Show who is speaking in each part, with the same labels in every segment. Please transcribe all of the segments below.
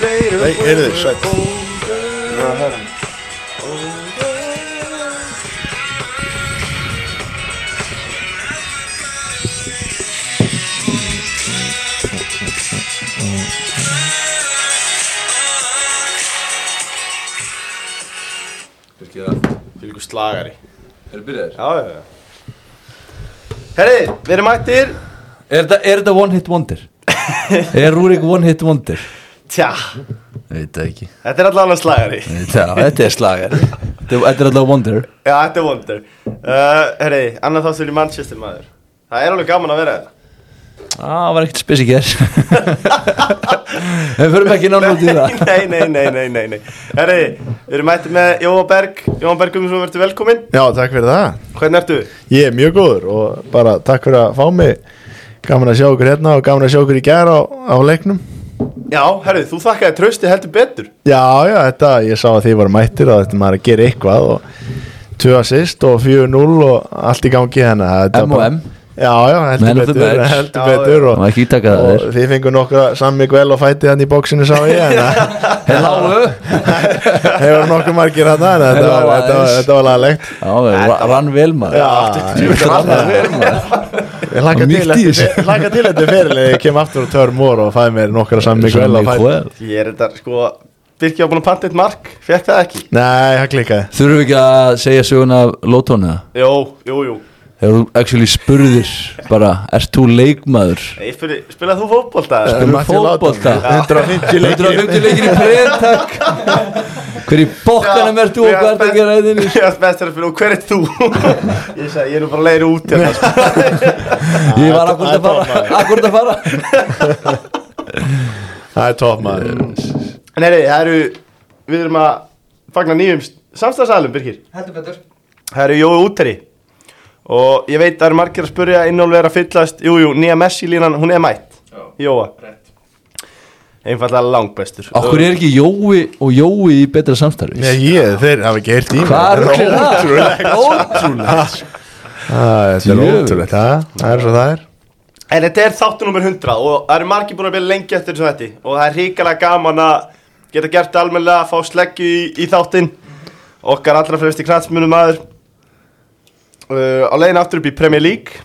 Speaker 1: fyrir
Speaker 2: Nei, heyrðu, sæll.
Speaker 1: Já, það er hann
Speaker 3: Fylgir það.
Speaker 2: Fylgur slagari
Speaker 3: Er það byrjaðir?
Speaker 2: Já, já, já Herri, við erum mættir
Speaker 3: Er þetta- er þetta one hit wonder? er Rúrik one hit wonder?
Speaker 2: Tja,
Speaker 3: Ég veit það ekki.
Speaker 2: þetta er allavega slagari
Speaker 3: Ég veit það, Þetta er slagar. Þetta þetta er alltaf wonder.
Speaker 2: Já, þetta er vondur uh, Herri, annar þáttur í Manchester maður Það er alveg gaman að vera hérna. þetta
Speaker 3: Á, Það var ekkert spes í ger. Við förum ekki nánu út í það.
Speaker 2: nei, nei, nei, nei, nei, nei Herri, við erum mættir með Jóa Berg Jóa Berg Guðmundsson, verður velkominn
Speaker 4: Já, takk fyrir það.
Speaker 2: Hvernig ertu?
Speaker 4: Ég er mjög góður og bara takk fyrir að fá mig. Gaman að sjá okkur hérna og gaman að sjá okkur í gær á, á leiknum.
Speaker 2: Já, herri, þú þakkaði trösti heldur betur
Speaker 4: Já, já, þetta, ég sá að þið voru mættir og þetta maður að gera eitthvað og 2 assist og 4-0 og allt í gangi hérna. Þetta var
Speaker 3: M og
Speaker 4: bara-
Speaker 3: M.
Speaker 4: Já, já,
Speaker 3: Man
Speaker 4: heldur
Speaker 3: of the
Speaker 4: betur,
Speaker 3: match.
Speaker 4: heldur
Speaker 2: Já,
Speaker 4: betur
Speaker 3: Það var
Speaker 4: og,
Speaker 3: ekki ítaka það
Speaker 4: og
Speaker 3: þér.
Speaker 4: þið fengur nokkra sammi vel og fætið hann í bóksinu sá ég en það
Speaker 3: Helláu.
Speaker 4: hefur nokkuð margir hann en
Speaker 3: Hello,
Speaker 4: þetta var, þetta var,
Speaker 3: aðeins.
Speaker 4: þetta var laglegt.
Speaker 3: Já, það rann vel maður.
Speaker 4: Já,
Speaker 3: Þetta rann vel maður.
Speaker 4: Ég hlakka
Speaker 3: Það er
Speaker 4: til,
Speaker 3: mýkt í
Speaker 4: eftir- hlakka til þetta fyrirlega Ég kem aftur á törm mór og fæði mér nokkra saman Miguel og fæði
Speaker 3: Miguel.
Speaker 2: Ég er þetta, sko Birki var búin að panta eitt mark, fekk það ekki
Speaker 4: Nei, það klikkaði
Speaker 3: Þurfum við ekki að segja söguna af lótónu það?
Speaker 2: Jó, jú, jú
Speaker 3: Þegar þú actually spurðir bara, ert þú leikmaður?
Speaker 2: Nei, spyrir, spilaði þú fótbolta?
Speaker 3: Spil- Erum
Speaker 4: Matthew Lawton,
Speaker 3: fótbolta?
Speaker 4: 150 leikir
Speaker 3: 150 leikir í preðtak Hver í bókkanum ert þú og hvað ert að gera
Speaker 2: þinn?
Speaker 3: eðinni?
Speaker 2: Ég varst best að spila og hver ert þú? ég sagði, ég er nú bara leiður út hérna sko.
Speaker 3: Ég var akkurat
Speaker 4: þetta
Speaker 3: að fara
Speaker 4: var
Speaker 3: Akkurat að fara
Speaker 4: Það er topp maður
Speaker 2: En heyri, það eru, við erum að fagna nýjum samstagsalum, Birgir
Speaker 5: Heldur betur
Speaker 2: Það eru Jói Úteri Og ég veit að það eru margir að spurja innólver að fyllast Jú, jú, nýja Messi-línan, hún er mætt Jóa
Speaker 5: Rétt.
Speaker 2: Einfallega langbestur
Speaker 3: Okkur er ekki Jói og Jói í betra
Speaker 4: Já,
Speaker 3: samstarfi
Speaker 4: ég, þeir hafa ekki heyrt í
Speaker 3: Hvað
Speaker 4: mér
Speaker 3: rugl
Speaker 4: Þetta
Speaker 3: er það?
Speaker 4: ótrúlegt
Speaker 3: Ótrúlegt
Speaker 4: Æ, Þetta er
Speaker 3: Djöfull.
Speaker 4: ótrúlegt, það það er svo það er
Speaker 2: En þetta er þáttu nummer 100 og það eru margir búin að byrja lengi eftir þessu þetta og það er ríkala gaman að geta gert þetta almennilega að fá sleggju í, í þáttinn okkar allra fremst í knatsmunum maður uh, á leiðin aftur upp í Premier League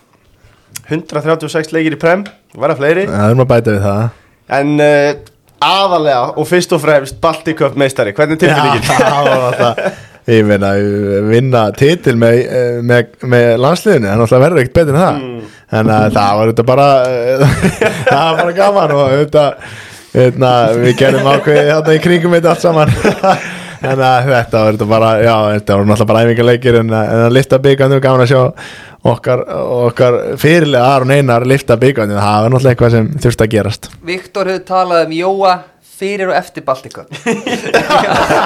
Speaker 2: 136 leikir í Prem og verða fleiri
Speaker 4: Það er maður að bæta við það
Speaker 2: en uh, aðalega og fyrst og fremst Baltic Cup meistari, hvernig er tilfinningin?
Speaker 4: það var það Ég meina, vinna titil með, með, með landsliðinu, hann alltaf verður ekkert betur en það Þannig að það var þetta bara, það var bara gaman og þetta, þetta, við gerum ákveðið þarna í kringum þetta allt saman Þannig að þetta var þetta bara, já, þetta var náttúrulega bara æfingarleikir en, að- en að lifta byggandi og gaman að sjá okkar, okkar fyrirlega Aron Einar lifta byggandi, það var náttúrulega eitthvað sem þurfti að gerast
Speaker 5: Viktor hefur talað um Jóa fyrir og eftir Baltikum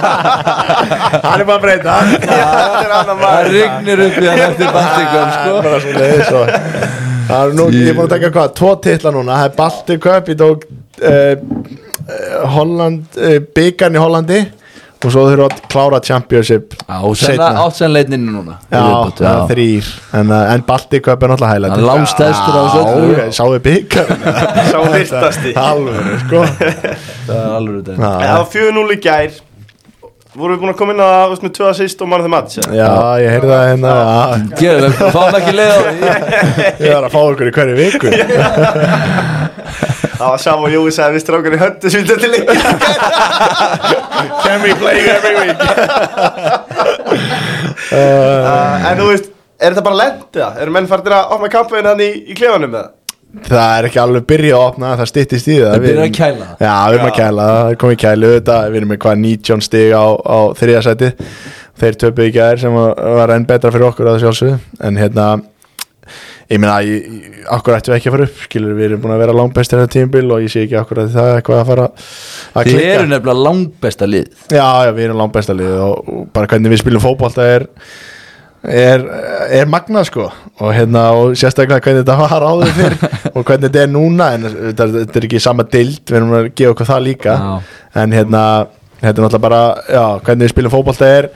Speaker 4: Hann er bara að breyta, hann
Speaker 2: Þetta er annar
Speaker 3: Það
Speaker 2: maður
Speaker 3: rignir upp í hann eftir bandingum sko
Speaker 4: bara svona leiðis og það er nú, ég er búin að taka hvað, tvo titla núna það er Baltic Cup, ég tók uh, Holland uh, byggarn í Hollandi og svo þurfa að klára Championship
Speaker 3: Ásena,
Speaker 4: seinna.
Speaker 3: ásenleitninu núna
Speaker 4: já, það er þrýr en, uh, en Baltic Cup er náttúrulega hælætt
Speaker 3: Hann er langstærstur af þessu öllu.
Speaker 4: sáðu byggarn
Speaker 2: Sá virtasti
Speaker 4: alveg, sko
Speaker 3: Það er alveg þetta
Speaker 4: Já,
Speaker 2: En það var 4-0 í gær vorum við búin að koma inn að þú veist, með 2 assist og mann þeim match eða?
Speaker 4: já, ég heyrði það hérna já,
Speaker 3: Gerðum við, fáum ekki leið á því
Speaker 4: ég var að fá ykkur í hverju viku
Speaker 2: Það var sama og Jói sagði við strákar í höndu sýnda til leik
Speaker 4: can we play every week
Speaker 2: Uh, En þú veist, er þetta bara lent eða? Eru menn farnir að opna kampaðin hann í, í klefanum eða?
Speaker 4: Það er ekki alveg byrja að opna, það styttist í það
Speaker 3: Það
Speaker 4: Við
Speaker 3: byrjar að
Speaker 4: erum-
Speaker 3: kæla.
Speaker 4: Já, við erum að kæla, það er komið kælu þetta Við erum með hvað 19 stig á, á þriðasæti Þeir töpuðu ekki aðeir sem var var enn betra fyrir okkur að það sjálfsögðu En hérna, ég meina, ég- ég- akkur ættum við ekki að fara upp Skilur, við erum búin að vera langbestir þetta tímbil Og ég sé ekki akkur að það er eitthvað að fara að
Speaker 3: Þið
Speaker 4: klikka
Speaker 3: eru nefnilega langbesta lið
Speaker 4: Já, já, við erum langt besta lið og, og bara hvernig við spilum fótbolta er er, er magna sko og hérna og sérstaklega hvernig þetta var áður fyrr og hvernig þetta er núna en þetta, þetta er ekki sama dild, við erum að gefa okkur það líka
Speaker 3: Já.
Speaker 4: en hérna þetta er náttúrulega bara, já, hvernig við spilum fótbolta er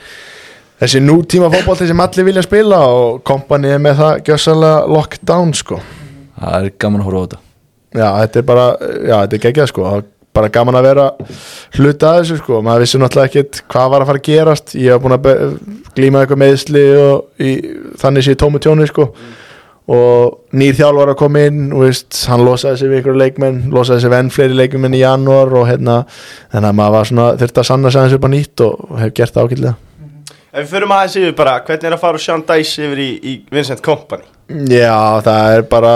Speaker 4: þessi nútíma fótbolta sem allir vilja spila og kompani er með það gjössalega lockdown sko
Speaker 3: Það er gaman að horfa á þetta
Speaker 4: Já, þetta er bara, já, þetta er geggjað sko og bara gaman að vera hluta að þessu sko, maður vissi náttúrulega ekkit hvað var að fara að gerast, ég hef búin að be- glíma eitthvað meðsli og í, þannig sé ég tómu tjóni sko og nýr þjálfar að koma inn og veist, hann losaði sig við ykkur leikmenn losaði sig við enn fleiri leikmenn í janúar og hérna, þannig að maður var svona þurfti að sanna sig aðeins upp á nýtt og hef gert það ágætlega
Speaker 2: Ef við förum aðeins yfir bara, hvernig er að fara úr Sean Dice yfir í, í Vincent Company?
Speaker 4: Já, það er bara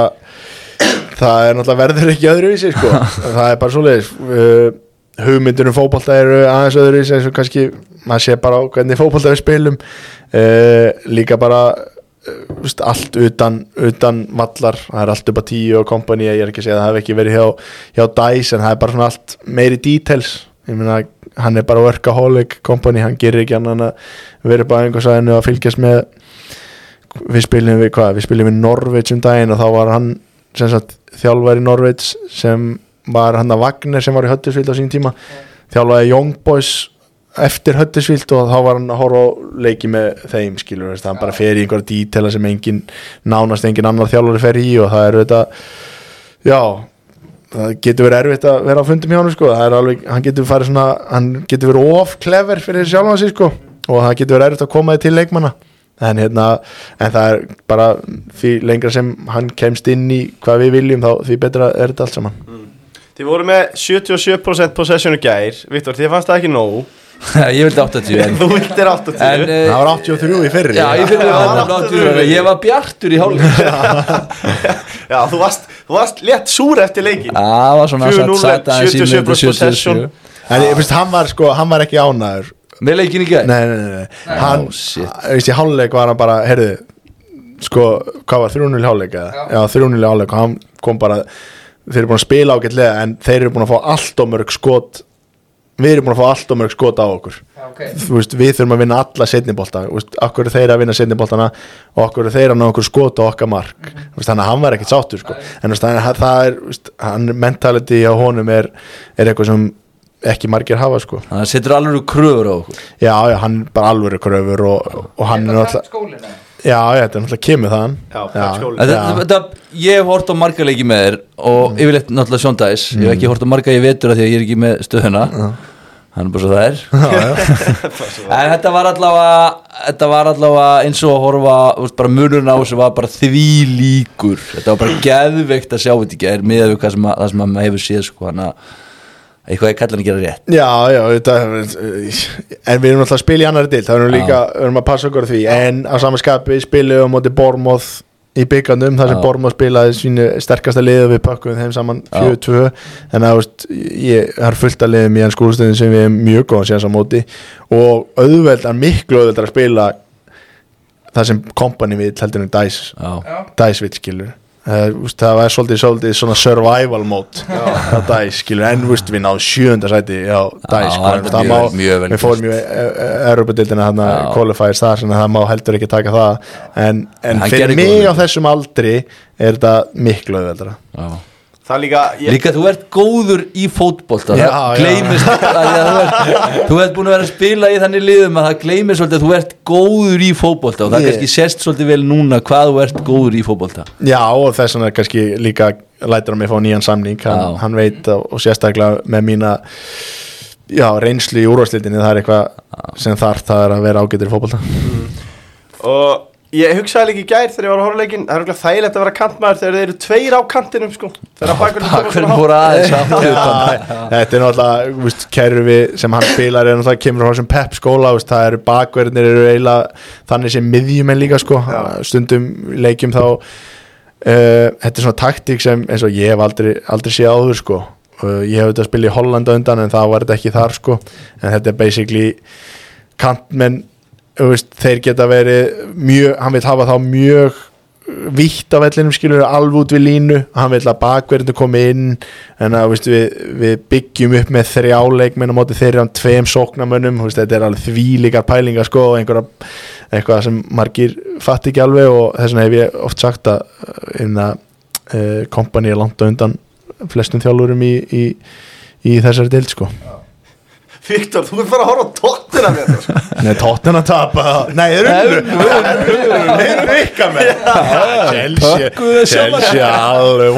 Speaker 4: það er náttúrulega verður ekki öðruvísi sko. það er bara svoleiðis uh, hugmyndunum fótbolta eru aðeins öðruvísi eins og kannski maður sé bara á hvernig fótbolta við spilum uh, líka bara uh, veist, allt utan, utan vallar það er allt upp á tíu og kompani ég er ekki að segja að það hef ekki verið hjá, hjá DICE en það er bara svona allt meiri details ég meina hann er bara workaholic kompani, hann gerir ekki annan að vera bara einhversæðinu að fylgjast með við spilum við hvað, við spilum við Norveits um daginn og þá var hann sem sagt þjálfæri Norveits sem var hann að Wagner sem var í Höttisvíld á sín tíma þjálfaði Young Boys eftir Höttisvíld og þá var hann að horfa á leiki með þeim skilur, veist, hann bara fer í einhverja dítela sem engin, nánast engin annar þjálfari fer í og það er þetta já, það getur verið erfitt að vera á fundum hjá hann sko, það er alveg, hann getur farið svona, hann getur verið of clever fyrir sjálfan sig sko og það getur verið erfitt að koma þið til leikmanna en hérna, en það er bara því lengra sem hann kemst inn í hvað við viljum þá því betra er þetta allt saman
Speaker 2: Þið voru með 77% possession í gær Viktor, þið fannst það ekki nóg
Speaker 3: Ég vildi 80 en,
Speaker 2: Þú viltir 80
Speaker 3: en eh,
Speaker 4: það var 83 í fyrri
Speaker 3: Já, ég fyrir
Speaker 2: Já,
Speaker 3: að
Speaker 2: 80.
Speaker 3: 80 Ég var bjartur í hálfleik
Speaker 2: Já, þú varst, þú varst létt súr eftir leikin
Speaker 3: Það var svona
Speaker 2: 4-0,
Speaker 3: satt aðeins í
Speaker 2: 77%
Speaker 3: myndu 77
Speaker 2: possession.
Speaker 4: en ég finnst hann var sko, hann var ekki ánæður
Speaker 3: Með leikin í
Speaker 4: nei,
Speaker 3: gæð
Speaker 4: nei, nei, nei. hann,
Speaker 3: Ó, shit.
Speaker 4: þú veist, í háluleik var hann bara heyrðu, sko, hvað var 3-0 háluleik eða, já, 3-0 háluleik og hann kom bara, þeir eru búin að spila ágætlega en þeir eru búin að fá allt og mörg skot við erum búin að fá allt og mörg skot á okkur
Speaker 5: Já, ok.
Speaker 4: Þú veist, við þurfum að vinna alla setnibolta okkur er þeir að vinna setniboltana og okkur er þeir að ná okkur skot á okkar mark mm -hmm. þannig að hann var ekkert sáttur sko. en þú veist, þannig að það er, þú veist, hann mentality á honum er, er eitthvað sem ekki margir hafa sko.
Speaker 3: Það setur alveg úr kröfur á okkur
Speaker 4: já, já, hann er bara alvöru kröfur og, og hann er náttúrulega
Speaker 5: skólinu
Speaker 4: já, já, þetta er náttúrulega kemur þaðan
Speaker 2: Já, Pep Skóli.
Speaker 3: Þetta,
Speaker 4: Já.
Speaker 3: þetta, ég hef hort á marga leiki með þér og yfirleitt náttúrulega sjóndæs ég hef ekki hort á marga í vetur af því að ég er ekki með stöðuna hann er bara svo það er en þetta var allavega þetta var allavega eins og að horfa þú veist, bara munurinn á þessu var bara því líkur þetta var bara geðveikt að sjá þetta ekki er miðað við hvað sem að, það sem að maður hefur séð sko, hann að eitthvað ég kallar hann að gera rétt
Speaker 4: Já, já, þetta, en við erum alltaf að spila í annari dild, það erum við líka, við erum að passa okkur á því, en á sama skapi spilum við á móti Bormóð í byggandum, þar sem
Speaker 3: Já.
Speaker 4: Bormóð spilaði sínu sterkasta liðu við pakkuðum þeim saman 4-2, en það, veist, ég það er fullt að liðum í hans skúrstöðin sem við erum mjög góðan síðan á móti og auðveldar, miklu auðveldar að spila það sem kompani við heldur um Dice
Speaker 3: já,
Speaker 4: Dice-vit skilur uh, úst, það var svolítið, svolítið svona survival mode á Dice skilur en úst, við náðum sjöunda sæti á Dice
Speaker 3: Já,
Speaker 4: sko,
Speaker 3: það er
Speaker 4: en það
Speaker 3: mjög-
Speaker 4: má,
Speaker 3: mjög vel
Speaker 4: við fórum í e, Europadildina hann að
Speaker 3: Já.
Speaker 4: qualifiers það þannig að það má heldur ekki taka það en, en
Speaker 3: Hann
Speaker 4: fyrir
Speaker 3: gerði
Speaker 4: mig
Speaker 3: góða
Speaker 4: á þessum aldri er þetta miklu auðveldra
Speaker 3: já.
Speaker 2: Það er líka, ég,
Speaker 3: Líka þú ert góður í fótbolta
Speaker 4: Já,
Speaker 3: Það
Speaker 4: já.
Speaker 3: gleymist að því að þú, ert, þú ert búin að vera að spila í þannig liðum að það gleymist svolítið að þú ert góður í fótbolta og það
Speaker 4: Ég-
Speaker 3: kannski sérst svolítið vel núna hvað þú ert góður í fótbolta
Speaker 4: Já og þess vegna kannski líka lætur hann mig fá nýjan samning hann,
Speaker 3: Já.
Speaker 4: hann veit og, og sérstaklega með mína já, reynslu í úrvarslitinni það er eitthvað sem þarf það er að vera ágættur í fótbolta
Speaker 2: og ég hugsaði líka í gær þegar ég var að horfa á leikinn Það er okkur þægilegt að vera kantmaður þegar þeir eru tveir á kantinum sko Þegar bakurinn koma
Speaker 3: Hvernig
Speaker 2: svona hátt
Speaker 3: fór aðeins aftur
Speaker 4: Já, þetta er náttúrulega þú veist, kerfi sem hann spilar er náttúrulega kemur frá sem pep skóla þú veist, það eru bakverðinir eru eiginlega þannig sem miðjumenn líka sko stundum í leikjum þá uh, þetta er svona taktík sem eins og ég hef aldrei, aldrei séð áður sko uh, ég hef auðvitað að spila í Hollanda undan en það var þetta ekki þar sko en þetta er basically kantmenn þú veist, þeir geta verið mjög, hann vil hafa þá mjög vitt af vellinum skilur alveg út við línu, hann vil að bakverðinu komi inn en að þú veist, við, við byggjum upp með þrjá leikmenn á móti þeirra um tveim sóknamönnum þú veist, þetta er alveg þvílíkar pælingar sko og einhverja, eitthvað sem margir fatt ekki alveg og þess vegna hef ég oft sagt að uh, kompani er langt á undan flestum þjálfurum í, í, í þessari deild sko
Speaker 2: Viktor, þú er bara að horfa á tóttina með sko. þetta
Speaker 4: Nei, Tottenham að tapa Nei, þeir unnu Þeir rikka með Chelsea
Speaker 3: Pökkuðu sjálfa.
Speaker 4: Chelsea alveg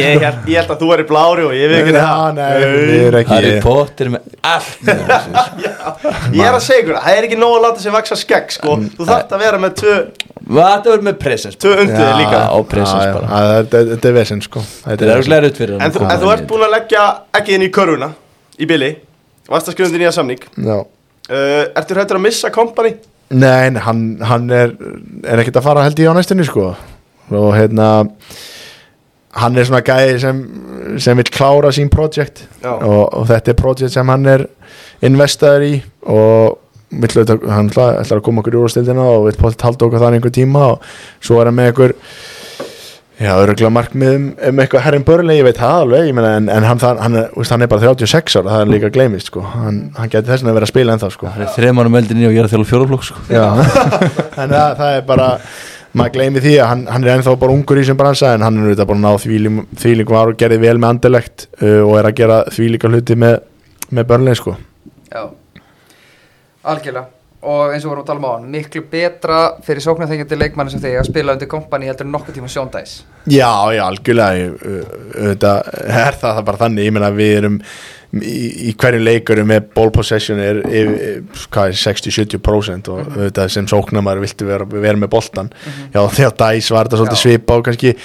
Speaker 2: ég, held- ég held að þú er í blári og ég veit ekki
Speaker 4: Já,
Speaker 2: það
Speaker 4: nei, við erum ekki
Speaker 3: Harry Potter með allt
Speaker 2: Ég er að segja ykkur, það, það er ekki nóg að láta sér vaksa skegg sko. Þú þarft að vera með tvö,
Speaker 3: Þetta verður með presens
Speaker 2: tvö undir
Speaker 4: Já,
Speaker 2: þig líka
Speaker 3: á presens
Speaker 4: Já, já,
Speaker 3: bara
Speaker 4: að Þetta þetta er vesens sko
Speaker 3: Þetta er örglega rutt fyrir hann
Speaker 2: En þú, en þú ert búin að leggja ekki inn í körfuna Í bili Vast að skrifa undir nýja samning
Speaker 4: Já
Speaker 2: uh, Ertu hrættur að missa kompani?
Speaker 4: Nei, en hann, hann er, er ekkert að fara held ég á næstunni sko og hérna hann er svona gæði sem, sem vil klára sín projekt
Speaker 2: Já.
Speaker 4: og, og þetta er projekt sem hann er investaður í og vill, auðvitað- hann ætlar, ætlar að koma okkur í úrstildina og vill potið halda okkur þannig einhver tíma og svo er hann með einhver já, öruglega markmið um, um eitthvað herrin börli, ég veit það alveg ég meina, en, en hann, það- hann, er- þú veist, hann er bara 36 ára það er líka gleymist sko, hann, hann geti þess að vera að spila ennþá sko
Speaker 3: Það er þremanum eldinni og ég er að þjála fjólaflokk sko.
Speaker 4: þannig að það er bara maður gleymi því að hann, hann er ennþá bara ungur í sem bransa en hann er auðvitað bara náð þvílíkum þvílíkum var og gerði vel með andilegt uh, og er að gera þvílíka hluti með, með börnlega sko
Speaker 5: Já, algjörlega og eins og vorum að tala um á hann, miklu betra fyrir sóknarþengjandi leikmanni sem þig að spila undir kompani heldur en nokkuð tíma sjóndæs
Speaker 4: já, já, algjörlega ég, uh, auðvitað er það, það bara þannig ég meina við erum í, í hverjum leikurum með ball possession er, er, er, hvað er 60-70% og auðvitað sem sóknamar viltu vera, vera með boltan já, þegar dæs var þetta svolítið
Speaker 5: Já.
Speaker 4: svipa og kannski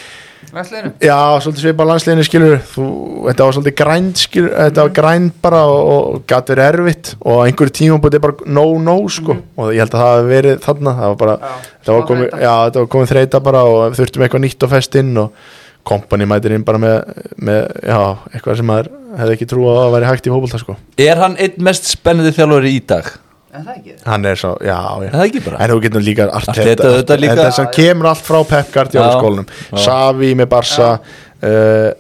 Speaker 5: Læsliðinu?
Speaker 4: Já, svolítið svipa landsliðinu skilur þú, Þetta var svolítið grænd skilur Þetta
Speaker 5: Mhm.
Speaker 4: var grænd bara og, og gæti verið erfitt og á einhverju tímum búið bara no no sko. og ég held að það hafi verið þarna það var bara,
Speaker 5: Mhm. Já,
Speaker 4: þetta var
Speaker 5: smá
Speaker 4: komið,
Speaker 5: þreyta.
Speaker 4: já, þetta var komið þreita bara og þurftum eitthvað nýtt og fest inn og kompani mætir inn bara með, með já, eitthvað sem maður hefði ekki trú að væri hægt í hópulta sko.
Speaker 3: Er hann einn mest spennandi þjálfari í dag?
Speaker 5: En það ekki
Speaker 4: Hann er svo, já, já
Speaker 3: Er það ekki bara?
Speaker 4: En þú getur líka
Speaker 3: Arteta,
Speaker 4: Arteta
Speaker 3: auðvitað líka.
Speaker 4: Þetta sem kemur allt frá Pep Guardiola
Speaker 3: Já.
Speaker 4: skólanum
Speaker 3: Já.
Speaker 4: Savi með Barca uh,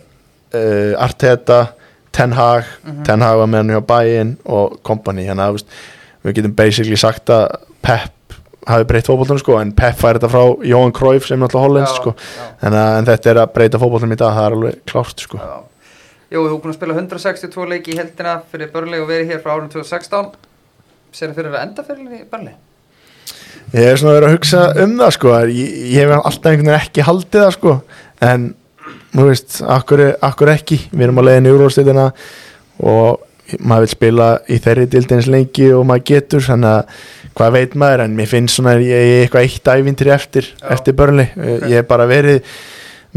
Speaker 4: uh, Arteta Ten Hag,
Speaker 5: Mhm.
Speaker 4: Ten Hag var með hann hjá Bayern og Company hérna, þú veist, við getum basically sagt að Pep hafi breytt fótbollunum sko en Pep fær þetta frá Johan Cruyff sem er náttúrulega hollens
Speaker 5: Já,
Speaker 4: sko
Speaker 5: já.
Speaker 4: en, en þetta er að breyta fótbollunum í dag það er alveg klárt sko
Speaker 5: Já. Jú, þú er búin að spila 162 leiki í heldina fyrir börnlega og verið hér frá árið 2016 Serðu fyrir að enda fyrir í börnlega?
Speaker 4: Ég er svona verið að hugsa um það sko að ég, ég hef alltaf einhvern veginn ekki haldið það sko en þú veist, akkur, akkur ekki við erum að leiðin í úrlóðstilina og maður vil spila í þeirri dildins lengi og maður getur þannig að hvað veit maður en mér finnst svona að ég, ég er eitthvað eitt ævintri eftir,
Speaker 5: Já.
Speaker 4: eftir börnli, okay. ég hef bara verið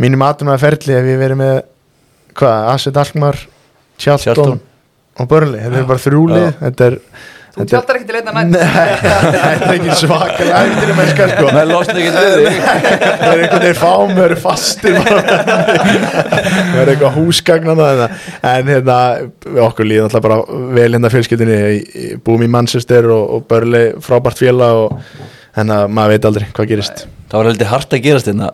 Speaker 4: mínum atum að ferli ef ég verið með hvað, Asset Alkmaar Charlton
Speaker 3: Charlton.
Speaker 4: og börnli, þetta er bara þrjúlið þetta er
Speaker 5: Þú
Speaker 4: Þetta er-
Speaker 5: tjaldar ekki til einna
Speaker 4: Nei,
Speaker 5: nætt
Speaker 4: þetta er ekki svakalega æfintir með skar sko
Speaker 3: Menn losna ekki við þig
Speaker 4: Það er einhvern veginn fám, það eru fastir Það eru eitthvað húsgagnana En hérna, við okkur líðum alltaf bara vel hérna fjölskyldinni Í- í- Búum í Manchester og, og Börli frábært félag og Þannig að maður veit aldrei hvað gerist
Speaker 3: Það var heldur hart að gerast hérna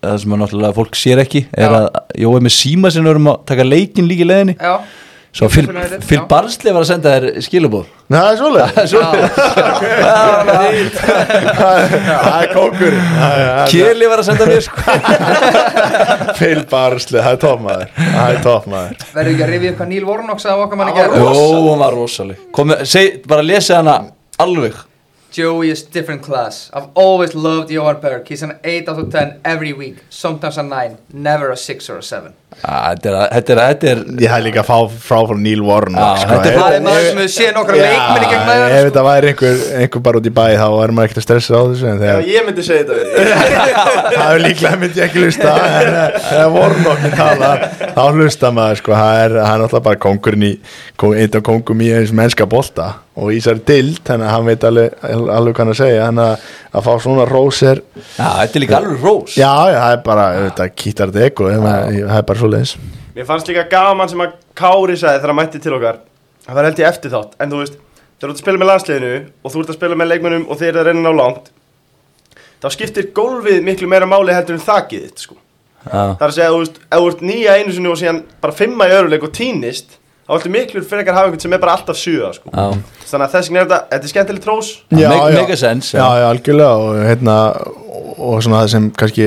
Speaker 3: Það sem að náttúrulega fólk sér ekki Er
Speaker 5: Já.
Speaker 3: að Jói með síma sinni vorum að taka leikin líka í leiðinni
Speaker 5: Já,
Speaker 3: Svo Phil
Speaker 5: United,
Speaker 3: Phil
Speaker 5: já.
Speaker 3: Barnsley var að senda þér skilabóð
Speaker 4: Nei, það er svoleið
Speaker 3: Svo
Speaker 4: Það er kókur
Speaker 3: Kjeli var að senda mér sko
Speaker 4: Fyll barsli, það er toppmaður Það er toppmaður
Speaker 5: verður ekki að rifja upp hvað Neil Warnock sagði okkur manni
Speaker 3: Jó,
Speaker 5: gerð
Speaker 3: hún var rosaleg Komi, seg, bara lesi hana alveg
Speaker 5: Joey is different class I've always loved Johan Berg He's an 8 out of 10 every week Sometimes a 9, never a 6 or a 7
Speaker 3: Á, Þetta er, að- þetta er, þetta er
Speaker 4: Ég hef líka fá, frá frá Neil
Speaker 3: Já,
Speaker 4: Warnock sko.
Speaker 3: þetta er
Speaker 5: Það er maður sem við séð nokkra leikmenni gegn
Speaker 4: Já,
Speaker 5: maður
Speaker 3: sko.
Speaker 4: ef þetta væri einhver, einhver bara út í bæ þá er maður ekkert að stressa á þessu en
Speaker 2: Já,
Speaker 4: þegar
Speaker 2: ég myndi segja þetta við þig.
Speaker 4: það er líklega myndi ég ekki hlusta en eh, þegar Warnock er tala þá hlusta maður sko, það er, hann er alltaf bara kongurinn í, kóng- einn af kongum í eins mennska bolta og Ísar Dild þannig að hann veit alveg, alveg hvað hann er að segja þannig að, að fá svona rósir já,
Speaker 3: Já, þetta er líka alveg rós
Speaker 4: já, það er bara, þetta kýtar þetta ego en maður- það er bara svoleiðis
Speaker 2: Mér fannst líka gaman sem að Kári sagði þegar hann mætti til okkar Það var held ég eftir þátt En þú veist, þegar þú ert að spila með landsliðinu Og þú ert að spila með leikmönnum og þeir eru að reyna að ná langt Þá skiptir gólfið miklu meira máli heldur en þakið þitt sko.
Speaker 3: Já.
Speaker 2: Það er að segja, þú veist, ef þú ert nýja einu sinni og síðan bara fimma í öruleik og týnist Þá ertu miklu frekar hafa einhvern sem er bara alltaf sjöða sko.
Speaker 3: Já.
Speaker 2: Þannig að þess vegna er þetta, þetta er skemmtileg trós
Speaker 4: Mm.
Speaker 3: Ja, make- make a sense,
Speaker 4: já,
Speaker 3: já.
Speaker 4: já, algjörlega og, hérna, og svona það sem kannski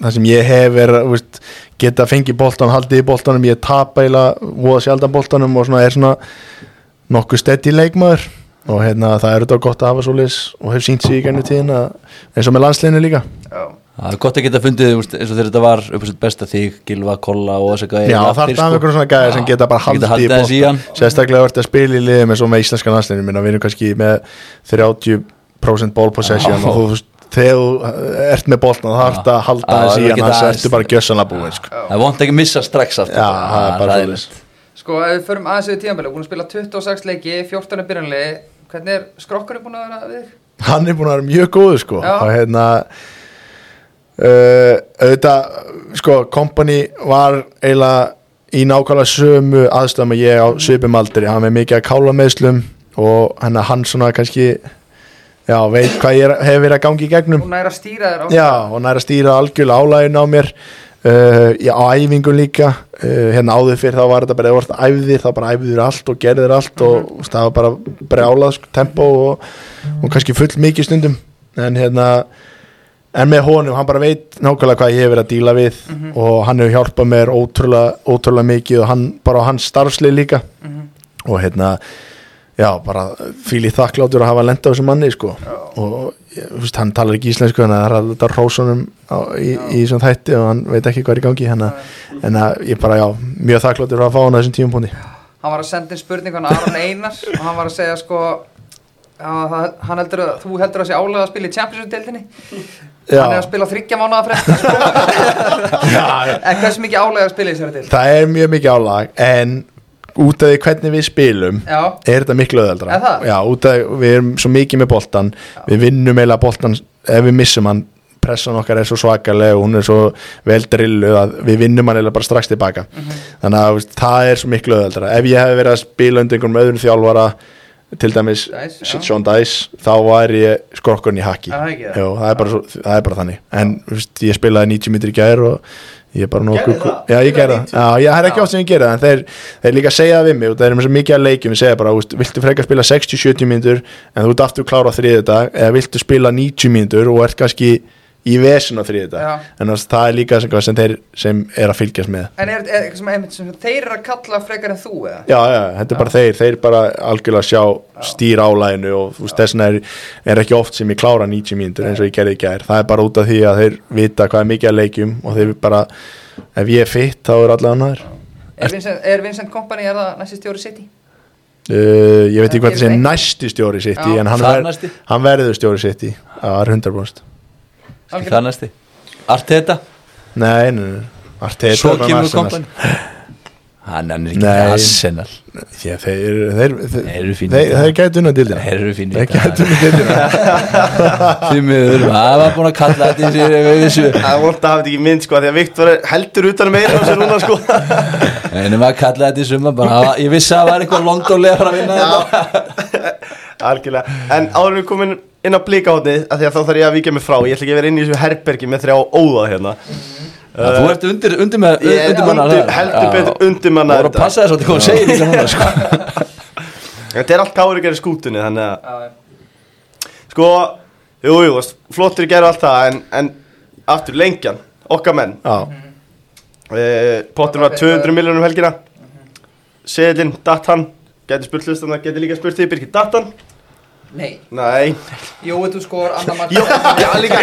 Speaker 4: það sem ég hef er þú veist, geta fengið boltan, haldið í boltanum ég tapa eila, voða sjaldan boltanum og svona er svona nokkuð steady leikmaður og hérna, það er þetta gott að hafa svoleiðis og hef sínt sig í gennu tíðin að, eins og með landsliðinu líka
Speaker 5: Já,
Speaker 3: Það er gott að geta fundið þú veist, eins og þegar þetta var upp á sitt besta þig, Gilva, Kolla og þess að gæja hérna sko.
Speaker 4: Já, það er það einhverjum svona gæði sem geta bara haldið í
Speaker 3: þess í hann
Speaker 4: bóttan Sérstaklega vart að spila í liðum eins og með íslenska landsliðinu minna, við erum kannski með 30% ball possession
Speaker 3: Já.
Speaker 4: og þú veist, þegar þú ert með bóltan þá þarf
Speaker 3: Já,
Speaker 4: að halda
Speaker 3: það
Speaker 4: þess
Speaker 3: er
Speaker 4: í hann
Speaker 3: ekki
Speaker 4: þannig
Speaker 3: það-
Speaker 4: að ertu bara gjössanlega búin sko.
Speaker 3: Það er vont ekki að missa strax aftur
Speaker 4: Já, það er bara
Speaker 3: hræðilegt.
Speaker 4: svoleiðis.
Speaker 5: sko ef við förum aðeins við tíðanbæli Búin að spila 26 leiki, 14 er byrjanlegi Hvernig er skrokkurinn búin að vera við þig?
Speaker 4: hann er búin að vera mjög góður sko
Speaker 5: Já.
Speaker 4: og hérna uh, auðvitað sko kompani var eiginlega í nákvæmlega sömu aðstæðum að ég á svipum aldri, hann er mikið að kála meðslum og hann, hann svona kannski já, veit hvað ég er, hef verið að gangi í gegnum
Speaker 5: Hún er að stýra þér á
Speaker 4: Um, já, og hann er að stýra algjörlega álægin á mér uh, já, á æfingum líka uh, hérna áður fyrr þá var þetta bara ef þú vart æfðir, þá bara æfðir allt og gerðir allt og mm. það var bara brjálað sko, tempo og, og kannski full mikið stundum en hérna en með honum, hann bara veit nákvæmlega hvað ég hef verið að díla við og hann hefur hjálpað mér ótrúlega, ótrúlega mikið og hann, bara á hans starfslið líka og hérna já, bara fíli þakklátur að hafa lenda á þessum manni sko og ég, þú veist, hann talar ekki íslensku þannig að það er alltaf rósunum á, í, í þessum þætti og hann veit ekki hvað er í gangi hana. en að ég bara, já, mjög þakklátur að fá hann á þessum tímpunkti
Speaker 5: Hann var að senda inn spurningu hann Aron Einar og hann var að segja sko að það- hann heldur að, þú heldur að sé álega að spila í Champions-deildinni hann er að spila á þryggja mánuða fresta sko. en hversu mikið álega að spila í þessari deild
Speaker 4: það er mjög mikið álag en út af því hvernig við spilum
Speaker 5: já,
Speaker 4: er þetta miklu
Speaker 5: Er
Speaker 4: öðaldra
Speaker 5: það?
Speaker 4: já, út af, við erum svo mikið með boltan við vinnum eiginlega boltan ef við missum hann pressan okkar er svo svakaleg og hún er svo vel drilluð að við vinnum hann eiginlega bara strax tilbaka
Speaker 5: Mhm.
Speaker 4: þannig að þú veist, það er svo miklu öðaldra ef ég hef verið að spila undir einhverjum öðrum þjálfara til dæmis
Speaker 5: Dice, já.
Speaker 4: Sean Dice þá var ég skrokkurinn í haki
Speaker 5: Er það ekki það?
Speaker 4: Jú, það, er bara svo, það er bara þannig en þú veist, ég spilaði 90 mítri í gær og ég er bara
Speaker 1: Gerðu
Speaker 4: nokkuð
Speaker 1: það?
Speaker 4: já ég gerði það
Speaker 1: Spilaði
Speaker 4: Já, ég, það er ekki oft sem ég gera það en þeir, þeir líka segja það við mig og þeir eru með svo mikið að leikjum við segja bara, úst, viltu frekar spila 60-70 mínútur en þú ert aftur klára á þriðið dag eða viltu spila 90 mínútur og ert kannski í vesin á þriðið dag
Speaker 5: Já.
Speaker 4: en þess, það er líka sem, sem þeir sem er að fylgjast með
Speaker 5: en er þetta eitthvað sem, einmitt sem þeir eru að kalla frekar en þú eða?
Speaker 4: Já, já, þetta er bara þeir, þeir bara algjörlega sjá stýra álæginu og úst, þessna er, er ekki oft sem ég klára 90 mínútur eins og ég gerði í gær, það er bara út af því að þeir vita hvað er mikið að leikjum og þeir bara, ef ég er fitt þá er allavega annar
Speaker 5: Er, Vincent, er Vincent Kompany, er það næsti stjóri City?
Speaker 4: Uh, ég veit ekki
Speaker 5: Það
Speaker 4: hvað það sé
Speaker 5: gerist
Speaker 4: næsti stjóri sitt í
Speaker 5: Já.
Speaker 4: en hann,
Speaker 3: Það er
Speaker 4: ver,
Speaker 3: næsti.
Speaker 4: hann verður stjóri sitt í það er 100%
Speaker 3: Ekki Það er næsti Arteta
Speaker 4: nei, nei, nei, Arteta
Speaker 3: Svo
Speaker 4: er um með
Speaker 3: kemur
Speaker 4: Arsenal.
Speaker 3: kompani Hann hann er ekki
Speaker 4: Nei.
Speaker 3: Arsenal
Speaker 4: Já, þeir, þeir, þeir,
Speaker 3: Þeir eru fínir í
Speaker 4: þeir,
Speaker 3: dag.
Speaker 4: þeir gætu unna dildina
Speaker 3: Þeir eru fínir í
Speaker 4: þeir
Speaker 3: dag.
Speaker 4: gætu unna dildina
Speaker 3: Því miður Það var búin að kalla þetta í sér Ég veit þessu
Speaker 2: Það er vort að hafa þetta ekki mynd sko Því að Viktor er heldur utan meira og sér núna sko
Speaker 3: En maður kallaði þetta í summa bara, hafa- Ég vissi að það var eitthvað londonlega að vinna þetta
Speaker 2: Algjörlega En áður en við komin inn á blíkahotni Því að þá þarf ég að víkja mig frá Ég ætla ekki að vera inn í þessu herbergi með þrjá óða hérna
Speaker 3: Já, Þú ert undir, undir með
Speaker 2: Ég er
Speaker 3: undirmanna
Speaker 2: undir-
Speaker 3: þar.
Speaker 2: heldur
Speaker 3: Já.
Speaker 2: betur undirmanna
Speaker 3: Þú voru að
Speaker 2: þetta.
Speaker 3: passa þess að þú kom að segja þetta núna sko.
Speaker 2: Þetta er allt káður að gera í skútunni Þannig að
Speaker 5: Já, já.
Speaker 2: sko Jú, jú, veist, flottir að gera allt það En, en aftur lengjan Okkar menn
Speaker 4: Já,
Speaker 2: Eh, Pottur var 200 miljónum um helgina Seðlinn, datt hann Gæti spurt hlustana, gæti líka spurt því Birgir, datt hann?
Speaker 5: Nei,
Speaker 2: Nei
Speaker 5: Jói, þú skor, annar mark
Speaker 2: Jó, já, líka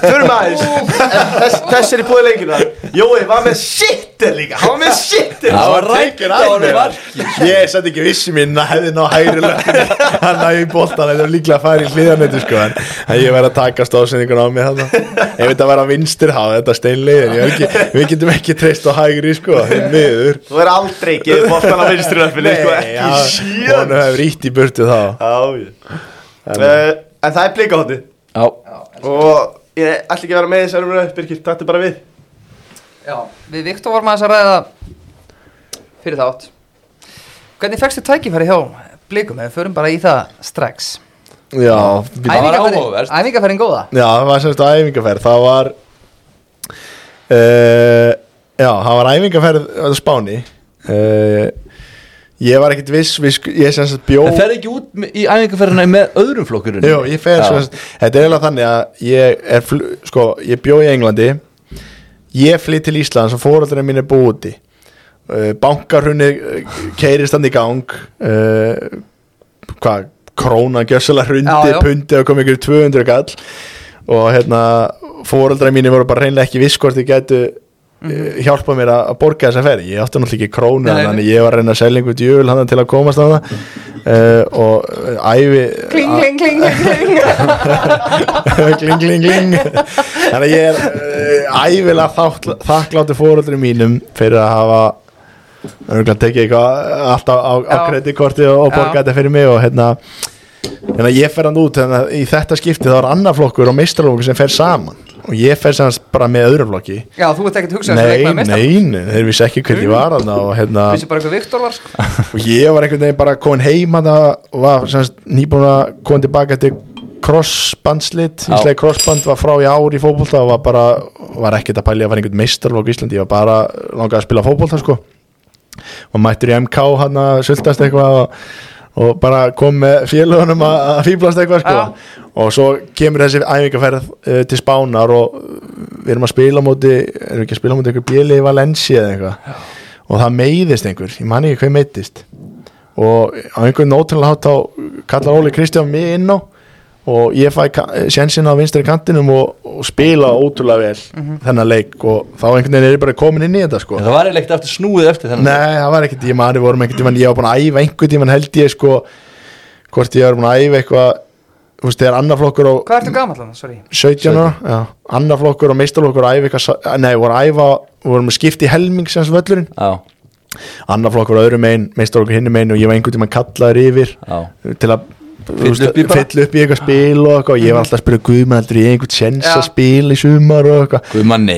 Speaker 2: Förum aðeins Þess, Þess er í búið leikina Jói, var með shitter líka Hann var með shitter
Speaker 3: Það var
Speaker 4: tekin
Speaker 3: rækta
Speaker 4: af
Speaker 3: á
Speaker 4: mér.
Speaker 3: mark
Speaker 4: ég er satt ekki viss í minna hefði ná hægri lögni hann næði í boltan, þetta er líklega að fara í hliðanetu sko, en en ég verði að taka stóðsendingun á mig þarna, ég veit að vera vinstir hafa þetta steinlega, en ég er ekki, við getum ekki treyst á hægri sko, þeim miður
Speaker 2: Þú er aldrei ekki Bóttan á vinstri löfni Sko ekki
Speaker 4: hún
Speaker 2: síðan
Speaker 4: hefur ítt í burtu þá
Speaker 2: Já, ég Eh, En það er blíkahótti
Speaker 3: Já,
Speaker 2: Og ég ætla ekki að vera með þess að vera Birgir, takk bara við
Speaker 5: Já, við Viktor vorum aðeins að ræða fyrir þátt Hvernig fegstu tækifæri hjá blikum ef við förum bara í það strax
Speaker 4: já,
Speaker 3: Það var
Speaker 5: Æfingafæri-
Speaker 3: áhugavert.
Speaker 5: Æfingafærin góða
Speaker 4: Já, það var semst æfingarferð Það var uh, Já, það var æfingarferð á Spáni uh, Ég var ekkert viss við, sk- Ég semst bjó
Speaker 3: það fer ekki út me- í æfingarferðina með öðrum flokkurinn
Speaker 4: Jú, ég fer
Speaker 3: Já.
Speaker 4: semst Þetta er eiginlega þannig að ég, er, fl- sko, ég bjó í Englandi Ég flytt til Íslands og fóröldurinn mín er búið úti uh, bankarhunni uh, keyrist hann í gang uh, hvað, krónan gjössalega
Speaker 5: Já,
Speaker 4: hrundi,
Speaker 5: já.
Speaker 4: pundi og kom ykkur 200 kall og hérna fóreldra mínir voru bara reynlega ekki viss hvort þið gætu mm. hjálpa mér að að borga þessa ferð ég átti náttúrulega ekki krónu
Speaker 5: Mhm. Nei, nei.
Speaker 4: þannig ég var að reyna að selja einhver djöl hann til að komast á það uh, og uh, ævi
Speaker 5: Kling, kling, kling, kling, kling
Speaker 4: kling, kling, kling þannig að ég er uh, ævilega þátt- þakkláttur fóröldri mínum fyrir að hafa örgulega tekið eitthvað allt á, á, á
Speaker 5: Já.
Speaker 4: kreditkorti og, og
Speaker 5: Já.
Speaker 4: borga þetta fyrir mig og hérna þannig að ég fer hann út þannig að í þetta skipti þá er annar flokkur og meistralokkur sem fer saman og ég fer sem hans bara með öðrum flokki
Speaker 5: Já, þú ert ekkert um hugsað
Speaker 4: nei,
Speaker 5: leikmaður
Speaker 4: nei,
Speaker 5: meistara.
Speaker 4: nei, þeir vissi ekki hvernig ég var þarna og hérna
Speaker 5: Vissi bara hvað Viktor var sko.
Speaker 4: og ég var einhvern veginn bara komin heim að það var semst nýbúin að koma tilbaka til crossbandslit
Speaker 3: Já.
Speaker 4: Íslega crossband var frá í ár í fótbolta og var bara, var ekkert að pæli að fara einhvern meistarlokk í Íslandi, ég var bara langað að spila fótbolta sko og mættur í MK hann að sultast eitthvað og, og bara kom með félagunum að að fíblast eitthvað sko
Speaker 5: Já.
Speaker 4: og svo kemur þessi æfingarferð uh, til Spánar og við erum að spila á móti, erum við ekki að spila á móti einhver bjöli í Valencia eða eitthvað og það meiðist einhver, ég man ekki hvað meiðist og á einhvern ótrúlega hátt þá kallar Óli Kristján mig inn á og ég fæ sjensin á vinstri kantinum og, og spila ótrúlega vel þennan leik og þá einhvern veginn er ég bara komin inn í þetta sko
Speaker 3: En Það var eiginlega ekkert aftur snúið eftir þennan
Speaker 4: Nei, það var ekkert, ég maður við vorum ekkert tíman, ég var búin að æfa einhvern tíman held ég sko hvort ég var búin að æfa eitthvað þú veist, þegar annar flokkur á
Speaker 5: Hvað ertu gamall hann, sorry
Speaker 4: 17 ára, já, annar flokkur og meistarflokkur að æfa eitthvað, sa- nei, voru að æfa vorum að skipta í helming sem hans völlurinn
Speaker 3: Já,
Speaker 4: annar flokkur á öðrum einn, meistarflokkur hinn einn og ég var einhvern tíman kallaður yfir
Speaker 3: já
Speaker 4: til að þú veist,
Speaker 3: upp í bara.
Speaker 4: fylla upp í eitthvað spil og eitthvað, og ég var alltaf að spyrja Guðmann heldur ég einhvern sens að
Speaker 5: Já.
Speaker 4: spila í sumar og eitthvað
Speaker 3: Guðmanni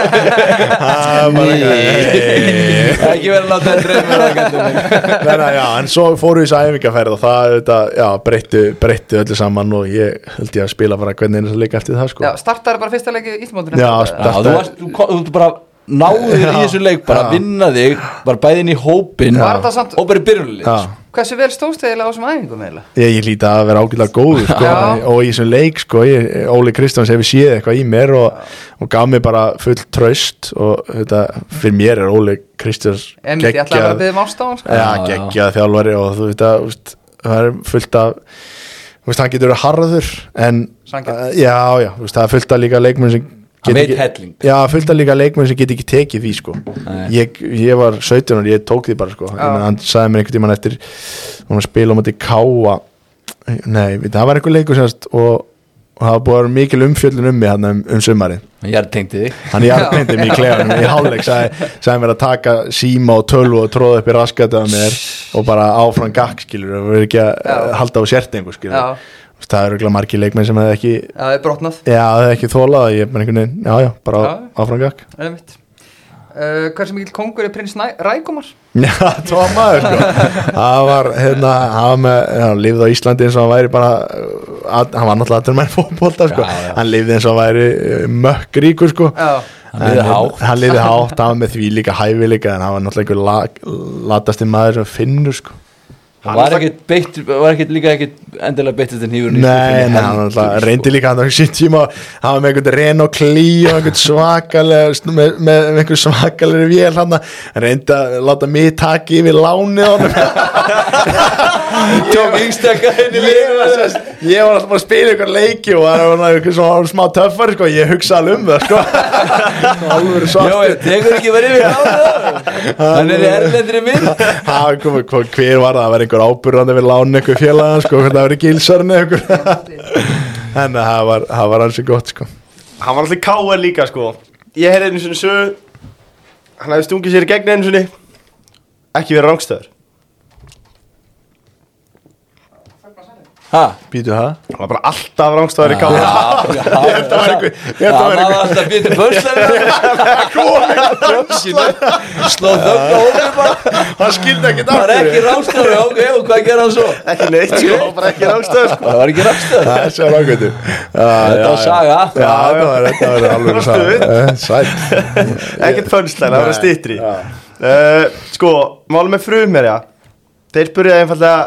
Speaker 4: Það var eitthvað-
Speaker 3: Ekki verið að láta um þetta dreymur að gæta mig
Speaker 4: Nei, nei, já, en svo fóru þessi æfingarferð og það þetta, já, breyttu, breyttu öllu saman og ég held ég að spila bara hvernig þess að leika eftir það sko
Speaker 5: Já, startaði bara fyrsta leikið íþmóndinu
Speaker 4: Já,
Speaker 3: Já,
Speaker 4: startaði-
Speaker 3: þú varst, þú, kom- þú bara náðu þér í þessu leik bara
Speaker 4: Já.
Speaker 3: að vinna þig, bara bæði inn í hópin
Speaker 5: Var þetta samt-
Speaker 3: og bara í byrjunlið
Speaker 4: Já.
Speaker 5: Hversu vel stóðst eiginlega á þessum æfingum eiginlega?
Speaker 4: Ég, ég líti að vera ágætlega góður sko,
Speaker 5: Já.
Speaker 4: og í þessum leik sko, ég, Óli Kristjáns hefur séð eitthvað í mér og, og gaf mér bara full tröst og þetta, fyrir mér er Óli Kristjáns
Speaker 5: Emmitt, ég ætlaði að vera að
Speaker 4: geggjað
Speaker 5: byggja mást á hann sko.
Speaker 4: Já,
Speaker 3: Já, já.
Speaker 4: geggjað þjálfari og þú veit að úst, það er fullt af þú veist, hann getur verið harður en,
Speaker 5: Sanngjarn.
Speaker 4: Uh, já, já, þú veist, það er fullt af líka leikmenn sem
Speaker 3: Hann
Speaker 4: geta
Speaker 3: veit helling.
Speaker 4: Já, fullt af líka leikmenn sem get ekki tekið því sko.
Speaker 3: Nei.
Speaker 4: ég, ég var 17 og ég tók því bara sko. Ég meina, hann sagði mér einhvern tímann eftir hún var að spila á móti káa nei, við- það var einhver leikur sérst og, og það var búið að vera mikil umfjöllun um mig hann um, um sumarið
Speaker 3: Ég er tengdi þig
Speaker 4: hann jarðbindi mig í klefanum í hálfleik sagði, sagði mér að taka síma og tölvu og tróða upp í raskata mér og bara áfram gakk skilur og verið ekki að
Speaker 5: Já.
Speaker 4: eh, halda á sértingu skilur
Speaker 5: Já.
Speaker 4: Þú veist, það eru örugglega margir leikmenn sem hefði ekki
Speaker 5: Já, það er brotnað,
Speaker 4: já, það hefði ekki þólað ég er bara einhvern veginn, já, já, bara
Speaker 5: Já.
Speaker 4: áfram gakk
Speaker 5: emmitt uh, Hversu mikil kongur er prins Næ- Rækumar?
Speaker 4: já, það var maður sko það var, hérna, hann var með hann lifði á Íslandi eins og hann væri bara eh, að, hann var náttúrulega aðtur með fótbolta sko
Speaker 3: Já, já.
Speaker 4: hann lifði eins og hann væri eh, mökkríkur sko
Speaker 5: Já,
Speaker 3: Hann lifði
Speaker 4: En, hérna,
Speaker 3: hátt.
Speaker 4: hann liði hátt, hann var með því líka hæfileika en hann var náttúrulega einhver lag- latasti maður sem finnur sko
Speaker 3: Hann var ekkert beitt, var ekkert líka ekkert endilega beittist en hýfur
Speaker 4: Nei, nei, hann
Speaker 3: sko.
Speaker 4: náttúrulega reyndi líka hann á sín tíma hann var með einhvern Renault Clio einhvern svakalega sn- með, með með einhvern svakalega vél hann hann reyndi að láta mig taka yfir lánið á honum
Speaker 3: Tjók yngstakka henni
Speaker 4: ég var, sérst, ég var alltaf bara að spila einhvern leiki og það var einhvern svona smá töffar sko. ég hugsa alveg um það sko. alveg
Speaker 3: Jó,
Speaker 4: svartur
Speaker 3: ég tekur ekki verið við hann Hann er í erlendri mynd
Speaker 4: Ha, kom, kom, hver var það, það var einhver ábyrðandi við láni einhver félagann, sko, hvernig það var í gilsarni einhver en eh, það var, það var ansi gott, sko
Speaker 2: Hann var alltaf í K.R. líka sko Ég heyrði einu svona sögu Hann hefði stungið sér í gegn einu svona Ekki verið rángstöður
Speaker 3: Ha?
Speaker 4: býtu það?
Speaker 2: Hann var bara alltaf rángstöður í K.R.
Speaker 3: Já, já
Speaker 4: það var einhver, ég
Speaker 3: Það
Speaker 4: held að
Speaker 3: var
Speaker 4: vera einhver
Speaker 3: alltaf býttu börslari Slóð þögn á hófið bara
Speaker 4: hann skildi ekkert
Speaker 3: Það
Speaker 4: af
Speaker 3: er ekki
Speaker 4: hverju
Speaker 3: ráðstöður, ok, og hvað gerði hann svo?
Speaker 2: Ekki neitt sko, hann var bara ekki rángstöður sko
Speaker 3: Það var ekki ráðstöður
Speaker 4: það er sér ákvöndu
Speaker 3: Þetta
Speaker 4: þetta
Speaker 3: var saga.
Speaker 4: já, þetta var, þetta var alveg
Speaker 2: Stuð.
Speaker 4: saga Eh, sæll
Speaker 2: Ekkert fönnslæn, það var
Speaker 4: Nei,
Speaker 2: stýttri
Speaker 4: já.
Speaker 2: uh, Sko, málum með frumherja Þeir byrjaði einfallega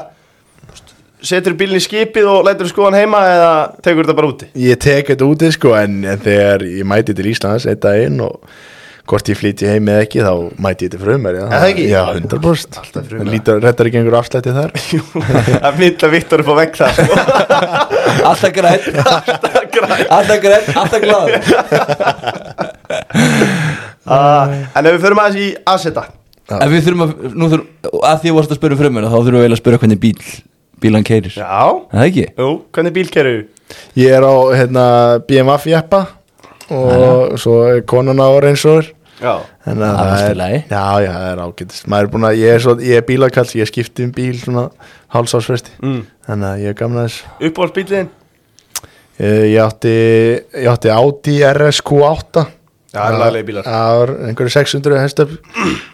Speaker 2: Setur bílinn í skipið og lætur skoðan heima Eða tekur þetta bara úti
Speaker 4: ég tek þetta úti, sko, en en þegar ég mæti til Íslands einn daginn og hvort ég flýti heim eða ekki þá mæti ég til frumar já,
Speaker 2: Er það ekki?
Speaker 4: já 100%
Speaker 2: Alltaf frumherji.
Speaker 4: En lítur, rettar ekki einhver afslætti þar
Speaker 2: að mynda Viktor upp á vegg þar sko.
Speaker 3: Alltaf græn,
Speaker 2: Alltaf græn.
Speaker 3: alltaf græn, alltaf glæð
Speaker 2: Ah, en ef við förum aðeins í Aseta
Speaker 3: En við þurfum að, nú þurfum, að því að varst að spyrja um frumuna Þá þurfum við eiginlega að spyrja hvernig bíl, bílan keirir Er
Speaker 2: já,
Speaker 3: Það ekki?
Speaker 2: jú, hvernig bíl keru
Speaker 4: ég er á hérna, BMW jeppa og svo er konan á reynsóður
Speaker 2: já,
Speaker 4: þannig
Speaker 3: Það er allt
Speaker 4: að
Speaker 3: í
Speaker 4: það er,
Speaker 3: lagi.
Speaker 4: já, já, það er ágætist maður er búin að, ég er, svo, ég er bílakall ég skipti um bíl svona hálsásfresti
Speaker 2: mm.
Speaker 4: þannig að ég er gaman að þessu
Speaker 2: uppbólsbílinn
Speaker 4: Eh, Ég átti, ég átti Audi RSQ8
Speaker 2: Já, það er laglegir bílar.
Speaker 4: Það var einhverju 600 hestöp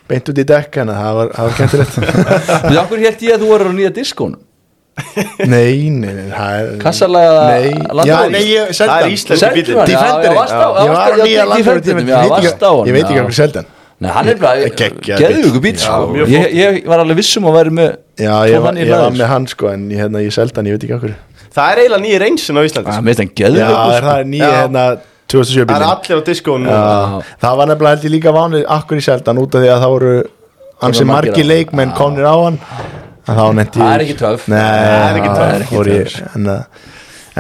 Speaker 4: beint út í dekk en það var, það var kentilegt
Speaker 3: Þú veist, okkur held ég að þú voru á nýja diskónum
Speaker 4: Nei, nei, nei það er
Speaker 3: Kassalaga
Speaker 4: Nei,
Speaker 3: Land
Speaker 4: já,
Speaker 3: Rover.
Speaker 4: nei, ég seldi
Speaker 2: Það er
Speaker 4: hann.
Speaker 2: íslenski
Speaker 3: Seldu
Speaker 2: bíllinn.
Speaker 3: hann, já,
Speaker 4: Defenderinn.
Speaker 3: já, varst á-
Speaker 4: Ég
Speaker 3: varst á-
Speaker 4: var
Speaker 3: já,
Speaker 4: nýja Land Rover
Speaker 3: Defenderinn,
Speaker 4: Defender.
Speaker 3: já,
Speaker 4: Ég veit
Speaker 3: varst á
Speaker 4: ekki-
Speaker 3: honum,
Speaker 4: Ég veit ekki
Speaker 3: já.
Speaker 4: hvað seldi hann
Speaker 3: Nei, hann er bara
Speaker 4: Geggjaður
Speaker 3: Geðugu bíl,
Speaker 4: bíll.
Speaker 3: sko
Speaker 2: mjög
Speaker 3: ég,
Speaker 2: flottur.
Speaker 3: ég var alveg vissum að væri með
Speaker 4: Já,
Speaker 3: Fór
Speaker 4: ég, var-
Speaker 3: hann í
Speaker 4: ég var
Speaker 3: lagður?
Speaker 4: með hann sko en ég, hérna, ég seldi hann, ég veit ekki okkur
Speaker 2: það er eiginlega nýja reynsin á Íslandi
Speaker 4: Ah,
Speaker 3: Það
Speaker 2: sko.
Speaker 3: meðist Ah, hann
Speaker 4: Já,
Speaker 3: geðugu
Speaker 4: er það er nýja
Speaker 2: Já.
Speaker 4: hérna 2007
Speaker 2: það er
Speaker 4: bílinn
Speaker 2: allir á diskónu
Speaker 4: Já, það var nefnilega held ég líka vánir akkur í seldan út af því að það voru hansi
Speaker 3: voru margir
Speaker 4: margir
Speaker 3: á-
Speaker 4: leikmenn komnir á hann en þá netti
Speaker 3: Það er ekki töff.
Speaker 4: Nei,
Speaker 2: Það er ekki
Speaker 4: það
Speaker 2: töff.
Speaker 4: fór ég- en, uh,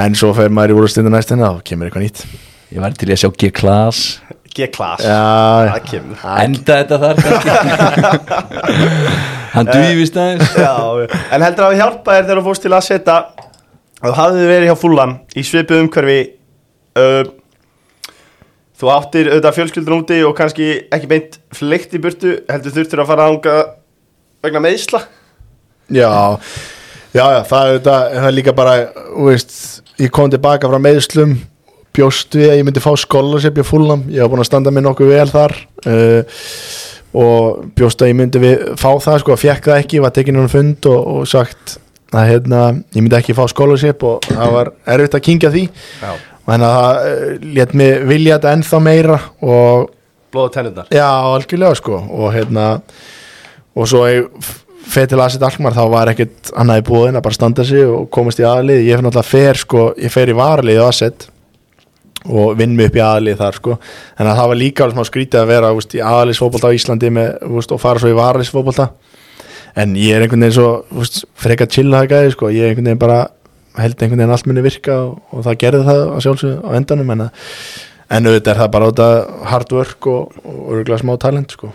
Speaker 4: en svo fer maður í úrstundu næstina og kemur eitthvað nýtt
Speaker 3: Ég var til í að sjá G-Class
Speaker 2: G-klass
Speaker 4: Já,
Speaker 2: það kemur
Speaker 3: Enda þetta þar kannski.
Speaker 4: Eh.
Speaker 3: Hann dvífist aðeins
Speaker 2: Já, en heldur að það hjálpa þér þegar þú fórst til að setja að þú hafði verið hjá fullan í svipu umhverfi uh, þú áttir auðvitað fjölskyldur úti og kannski ekki beint fleikt í burtu heldur þurftur að fara að hanga vegna meðsla
Speaker 4: já, já, já það, er, það, það er líka bara þú veist, ég kom tilbaka frá meðslum bjóst við að ég myndi fá skólasep ég fúlam, ég var búin að standa mig nokkuð vel þar uh, og bjóst að ég myndi við, fá það sko, fekk það ekki, var tekin hann fund og, og sagt að hérna, ég myndi ekki fá skólasep og það var erfitt að kingja því
Speaker 2: Já.
Speaker 4: og þannig að það eh, lét mig vilja þetta ennþá meira og
Speaker 2: blóða tennurnar
Speaker 4: Já, algjörlega sko og hérna og svo ég feið til aðsett allmar þá var ekkert annað í búðin að bara standa sig og komast í aðlið ég fer náttúrulega fer sko, ég fer í varalið aðsett og vinn mig upp í aðlið þar sko, en það var líka alveg smá skrítið að vera úst, í aðliðsfótbolta á Íslandi með, úst, og fara svo í varaliðsfótbolta en ég er einhvern veginn svo úst, freka chilla það gæði sko, ég er einhvern veginn bara held einhvern veginn allt muni virka og, og það gerði það að sjálfsögðu á endanum en, að, en auðvitað er það bara út að hard work og, og örgulega smá talent sko.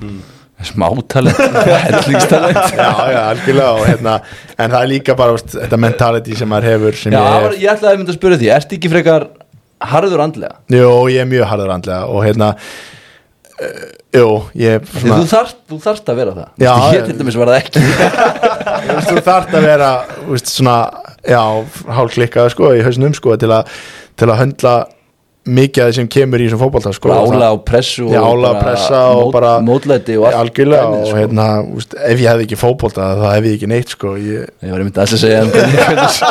Speaker 3: Smátalent, hellingstalent
Speaker 4: já, já, algjörlega og, hérna, en það er líka bara úst, þetta mentality sem maður hefur sem
Speaker 3: Já,
Speaker 4: ég
Speaker 3: það
Speaker 4: hef
Speaker 3: var, ég ætlaði að mynda að spyrja því Ertu ekki frekar harður andlega?
Speaker 4: Jó, ég er mjög harður andlega og hérna uh, Jó, ég er
Speaker 3: Því Þú þarft, þú þarft að vera það
Speaker 4: Já,
Speaker 3: Ég
Speaker 4: já.
Speaker 3: til dæmis var það ekki
Speaker 4: Þú veist, þú þarft að vera þú veist, svona, já, hálfklikkaður sko, í hausnum sko, til, að, til að höndla mikið af því sem kemur í þessum fótbolta sko,
Speaker 3: Ála
Speaker 4: Það-
Speaker 3: og pressu
Speaker 4: Já, ála og
Speaker 3: bara
Speaker 4: pressa og bara
Speaker 3: Mótlæti og allt
Speaker 4: algjörlega
Speaker 3: dæmið,
Speaker 4: og
Speaker 3: sko.
Speaker 4: hérna, úst, ef ég hefði ekki fótbolta þá hefði ég ekki neitt sko, ég,
Speaker 3: Ég var einmitt að segja um hvernig- hvernig-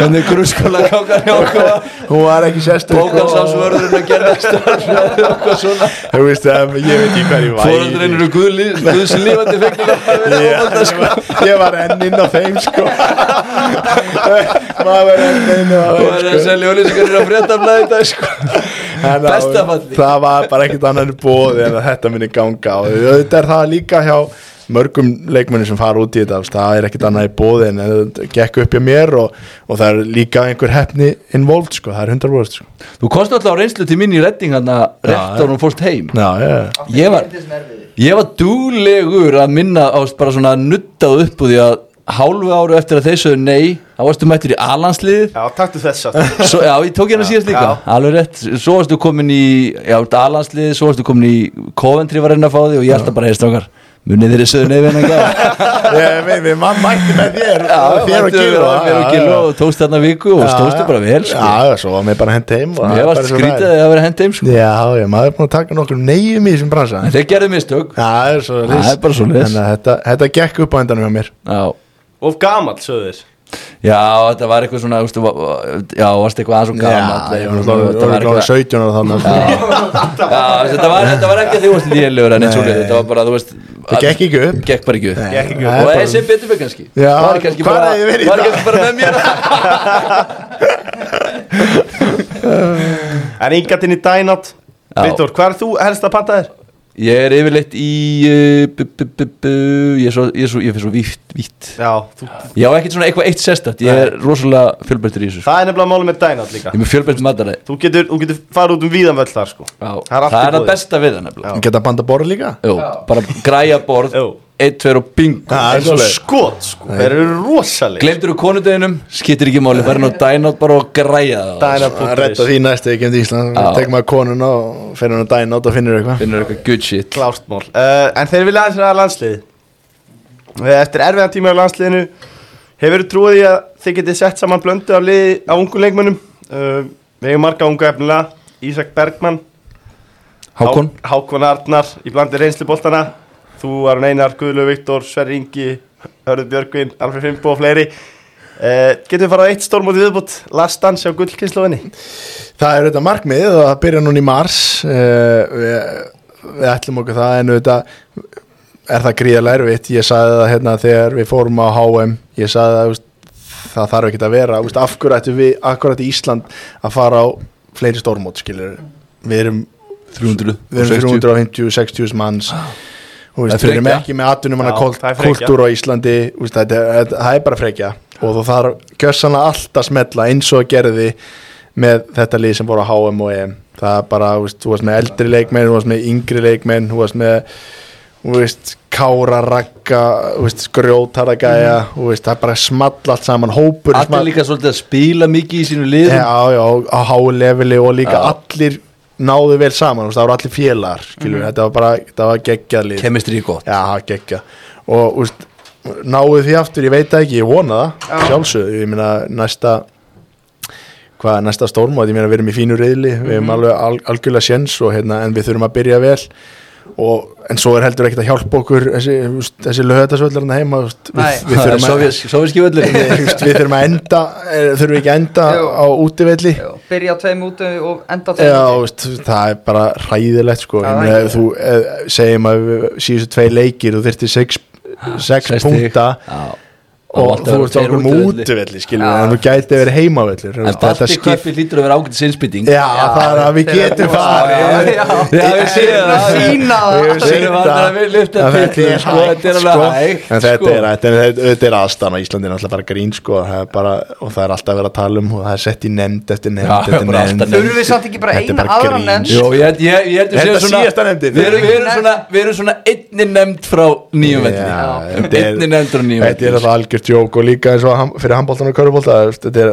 Speaker 3: Hvernig grunnskóla kákar hjá okkur var.
Speaker 4: hún var ekki sérstök
Speaker 3: Bókansafsvörðurinn að gerða starf Okkur svona
Speaker 4: þú veist, em, ég veit ekki hvað ég var
Speaker 3: Fóröldurinn eru guðli, guðsi lífandi fengið að vera ofalda
Speaker 4: ég,
Speaker 3: sko
Speaker 4: ég var enn inn á þeim sko maður var enn inn á
Speaker 3: Og það er
Speaker 4: þeim
Speaker 3: að
Speaker 4: sko
Speaker 3: selja ólýsingarnir á fréttablaði í dag sko
Speaker 4: En það-
Speaker 3: Besta falli.
Speaker 4: það var bara ekkert annar bóð en að þetta muni ganga og auðvitað er það líka hjá mörgum leikmennir sem fara út í þetta þú veist, það er ekkert annað í bóði en þetta gekk upp hjá mér og, og það er líka einhver hefni involved sko, það er 100% sko.
Speaker 3: Þú komst alltaf á reynslu til mín í redding hann að rétt
Speaker 4: já.
Speaker 3: árum fórst heim
Speaker 4: Já, ég,
Speaker 3: Ég var, ég var dúlegur að minna ást bara svona nuttað upp úr því að hálfu áru eftir að þeir sögðu nei þá varstu mættur í alansliðið
Speaker 2: já, taktu þess að
Speaker 3: Svo, já, ég tók hérna síðast líka,
Speaker 2: já.
Speaker 3: alveg rétt Svo varstu komin í, já, alansliðið Svo varstu komin í Coventry var henni að fá því og ég alltaf bara heist okkar Munið þeirri sögðu nei við henni að gera
Speaker 4: ég veit, við mann mætti með þér þér og
Speaker 3: Þér
Speaker 4: Gylfa,
Speaker 3: og
Speaker 4: já,
Speaker 3: Gilvo
Speaker 4: já.
Speaker 3: og tókst þarna viku og
Speaker 4: Já,
Speaker 3: stóðstu
Speaker 4: já.
Speaker 3: bara vel sko.
Speaker 4: Já, já, svo var mér bara hent heim og það
Speaker 3: Mér
Speaker 4: er
Speaker 3: varst
Speaker 4: bara svo það er.
Speaker 3: skrítið að það verið hend heim sko.
Speaker 4: Já, já, maður er búin að taka nokkur neyjum í þessum bransa
Speaker 3: En
Speaker 4: Já,
Speaker 3: þeir gerðu mistök
Speaker 4: það er svo
Speaker 3: Það er bara svoleiðis.
Speaker 4: Þannig að þetta, þetta gekk upp á endanum hjá mér
Speaker 3: Já
Speaker 2: of gamall söður
Speaker 3: Já, þetta var eitthvað svona, ústu, já, varst eitthvað aðeins og gaman
Speaker 4: Já, ég var náttúrulega 17 ára sko. þannig
Speaker 3: Já, þetta var, þetta var ekki því að þú varst lélugur en eins og
Speaker 4: Nei.
Speaker 3: leið, þetta var bara, þú veist
Speaker 4: Það gekk ekki upp.
Speaker 3: Gekk bara ekki upp
Speaker 4: Nei,
Speaker 2: Gekk ekki
Speaker 4: það
Speaker 2: upp.
Speaker 3: Og
Speaker 4: er
Speaker 3: þessi betur við kannski
Speaker 4: Já,
Speaker 3: Var kannski
Speaker 4: hvar
Speaker 3: bara,
Speaker 4: hefði ég verið í
Speaker 3: var
Speaker 4: dag?
Speaker 3: kannski bara með mér
Speaker 2: en yngatinn í Dynat Viktor, hvað er þú helst að panta þér?
Speaker 3: Ég er yfirleitt í uh, bu, bu, bu, bu, Ég er svo, ég er svo, ég fyrir svo vítt, vítt
Speaker 2: Já, þú,
Speaker 3: Já, ekkert svona eitthvað eitt sérstætt Ég er rosalega fjölbreyttur í þessu sko.
Speaker 2: það er nefnilega málið með dænat líka
Speaker 3: Ég er með fjölbreytt mataræði
Speaker 2: Þú getur, þú getur farið út um víðanvöll þar sko Það er allt
Speaker 3: Það
Speaker 2: í
Speaker 3: er það
Speaker 2: boði.
Speaker 3: besta við það nefnilega
Speaker 4: Geta banda borð líka
Speaker 3: Jú, bara græja borð
Speaker 2: Jú.
Speaker 3: Eitt, tveir og bingo
Speaker 4: Það er
Speaker 2: Eins og
Speaker 4: svoleiðis.
Speaker 2: skot sko, þeir eru rosaleg
Speaker 3: Glemdur þú konudeginum, skittir ekki máli Verðin á dænátt bara og græja það
Speaker 2: Dænat
Speaker 4: Að Redda því næstu ekki um til Ísland
Speaker 3: Já.
Speaker 4: Tekum maður konuna og fer hann að dæna át og finnir eitthvað
Speaker 3: Finnur eitthvað good shit
Speaker 2: Klárt mál uh, En þeir vilja aðeins ræða landsliði Eh, Eftir erfiðan tíma á landsliðinu Hefur þú trúið í að þið getið sett saman blöndu af liði á ungu leikmönnum uh, Við hefum marga unga efnilega Ísak Bergmann
Speaker 3: Hákon
Speaker 2: Há- Hákon Arnar Í blandi reynsluboltana Þú Aron Einar, Guðlu Viktor, Sverri Ingi Hörður Björgvin, Alfred Fimbo og fleiri uh, Getum við farað á eitt stórmóti viðbútt Last Dance á gullkynnslóðinni
Speaker 4: Það er auðvitað markmið og það byrja núna í mars uh, við, við ætlum okkur það en auðvitað er það gríðarlega erfitt ég sagði það hérna þegar við fórum á HM ég sagði það, þú veist, það þarf ekki að vera þú veist, af hverju ættu við, af hverju ættu Ísland að fara á fleiri stórmót skilur við erum,
Speaker 3: 300
Speaker 4: við erum 350-60 manns og
Speaker 3: Ah. Það er
Speaker 4: veist, við erum
Speaker 3: frekja.
Speaker 4: ekki með atvinnum
Speaker 2: Já, það er
Speaker 4: hana
Speaker 2: frekja.
Speaker 4: kultúr á Íslandi þú veist, þetta, þetta, það er bara frekja og þú þarf kjössanlega allt að smetla eins og gerði með þetta lið sem voru á HM og EM það er bara, þú veist, þú varst með eldri leikmenn þú varst með yngri leikmenn þú varst með, þú veist, kára rakka, þú veist, grjótara gæja þú veist, það er bara small allt saman hópur
Speaker 3: Allir líka svolítið að spila mikið í sínu liðum
Speaker 4: já, já, á hálefili og líka
Speaker 3: Já.
Speaker 4: allir náðu vel saman, þú veist, það voru allir félagar skilur,
Speaker 5: Mhm.
Speaker 4: þetta var bara, þetta var geggjað lið
Speaker 3: Kemistri er gott
Speaker 4: já, það var geggjað og, þú veist, náðu því aftur, ég veit það ekki ég vona það,
Speaker 5: Já.
Speaker 4: sjálfsögðu ég meina, næsta hvað er næsta stórmóð, ég meina við erum í fínu reyðli við
Speaker 5: Mhm.
Speaker 4: erum alveg al, algjörlega sjens og, hérna, en við þurfum að byrja vel og, en svo er heldur ekkert að hjálpa okkur þessi, þú veist, þessi lögðasvöldarinn heima þú veist,
Speaker 5: Nei.
Speaker 4: við, við þurfum að
Speaker 3: Sovjerski völdur
Speaker 4: Þú veist, við þurfum að enda eh, þurfum við ekki að enda
Speaker 5: Jú.
Speaker 4: á útivelli
Speaker 5: Já, byrja á tveim úti og enda á tveim
Speaker 4: Já,
Speaker 5: úti.
Speaker 4: veist, það er bara hræðilegt sko.
Speaker 5: Já,
Speaker 4: Ég meina,
Speaker 5: það er
Speaker 4: ef þú eh, segjum að við síðustu tvei leikir og þyrfti sex, sex punkta og þú ert okkur um útivelli skilur,
Speaker 5: Já.
Speaker 4: en þú gæti verið heimavellir
Speaker 3: En Batti Köppi lítur að vera ágætis innspýting
Speaker 4: Já, það er að við
Speaker 5: þeir eru
Speaker 4: getum
Speaker 5: búin að-
Speaker 4: farið
Speaker 5: Já, já.
Speaker 3: Já, við séum
Speaker 5: Að
Speaker 3: það
Speaker 5: sýna
Speaker 4: Við
Speaker 5: það
Speaker 4: höfum
Speaker 3: Við
Speaker 4: séð
Speaker 3: erum
Speaker 4: það.
Speaker 3: vandrar að við lyfta
Speaker 4: En þetta
Speaker 3: pitlum,
Speaker 4: er
Speaker 3: sko, þetta er
Speaker 4: hægt,
Speaker 3: alveg
Speaker 4: sko.
Speaker 3: hægt,
Speaker 4: En þetta
Speaker 3: sko.
Speaker 4: er hægt, en þetta- þetta er aðstæðan á Íslandi er náttúrulega bara grín sko, það er bara, og það er alltaf verið að tala um og það er sett í nefnd eftir nefnd
Speaker 3: Já,
Speaker 4: eftir
Speaker 3: bara alltaf
Speaker 4: nefnd
Speaker 3: nefnd.
Speaker 5: Þurfum við samt ekki bara
Speaker 4: Þetta er
Speaker 5: eina
Speaker 4: bara
Speaker 5: aðra
Speaker 4: grín.
Speaker 5: nefnd
Speaker 3: Jú, ég held- ég ég held að
Speaker 4: Þetta
Speaker 3: séu svona
Speaker 4: síðasta nefndin.
Speaker 3: Við erum- við erum svona Við erum svona einni nefnd frá nýjum velli
Speaker 4: Já,
Speaker 3: Um
Speaker 4: þetta er-
Speaker 3: Einni nefnd frá nýjum
Speaker 4: Þetta er
Speaker 3: velli
Speaker 4: alltaf algjör djók og líka eins og ham, fyrir handbóltan og körubólta þetta er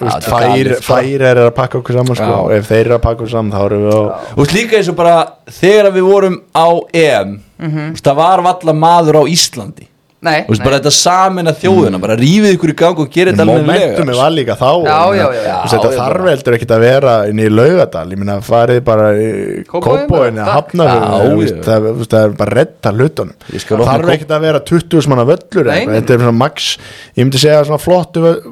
Speaker 4: þú
Speaker 3: þetta
Speaker 4: veist,
Speaker 3: er
Speaker 4: færi,
Speaker 3: galið, sko.
Speaker 4: færi er að pakka okkur saman sko,
Speaker 3: Já.
Speaker 4: og ef þeir eru að pakka okkur saman þá erum við á
Speaker 3: Og líka eins og bara Þegar við vorum á EM
Speaker 5: Mhm.
Speaker 3: þú veist, Það var valla maður á Íslandi
Speaker 5: Nei,
Speaker 3: Þú veist,
Speaker 5: nei.
Speaker 3: bara þetta samin að þjóðuna Bara rífið ykkur í gang og gera þetta
Speaker 4: momentumi
Speaker 3: alveg
Speaker 4: Mm.
Speaker 3: sko.
Speaker 4: var líka þá
Speaker 5: Já,
Speaker 4: og-
Speaker 5: já, já, já.
Speaker 4: þú veist,
Speaker 3: Já,
Speaker 4: þetta
Speaker 3: já,
Speaker 4: þarf heldur ekkit að vera inn í laugadal, ég meina farið bara í
Speaker 5: Kópavogi
Speaker 4: kópóin eða
Speaker 5: bara, takk.
Speaker 3: Já,
Speaker 4: hafnafjörðun
Speaker 3: já.
Speaker 4: það þú veist, það er bara að redda hlutunum
Speaker 3: Ég skal
Speaker 4: Það
Speaker 3: opna
Speaker 4: þarf
Speaker 3: Kóp-
Speaker 4: ekkit að vera 20 manna völlur eða
Speaker 5: Nei,
Speaker 4: eitthvað.
Speaker 5: nei.
Speaker 4: þetta er svona max, ég myndi segja svona flottu vö-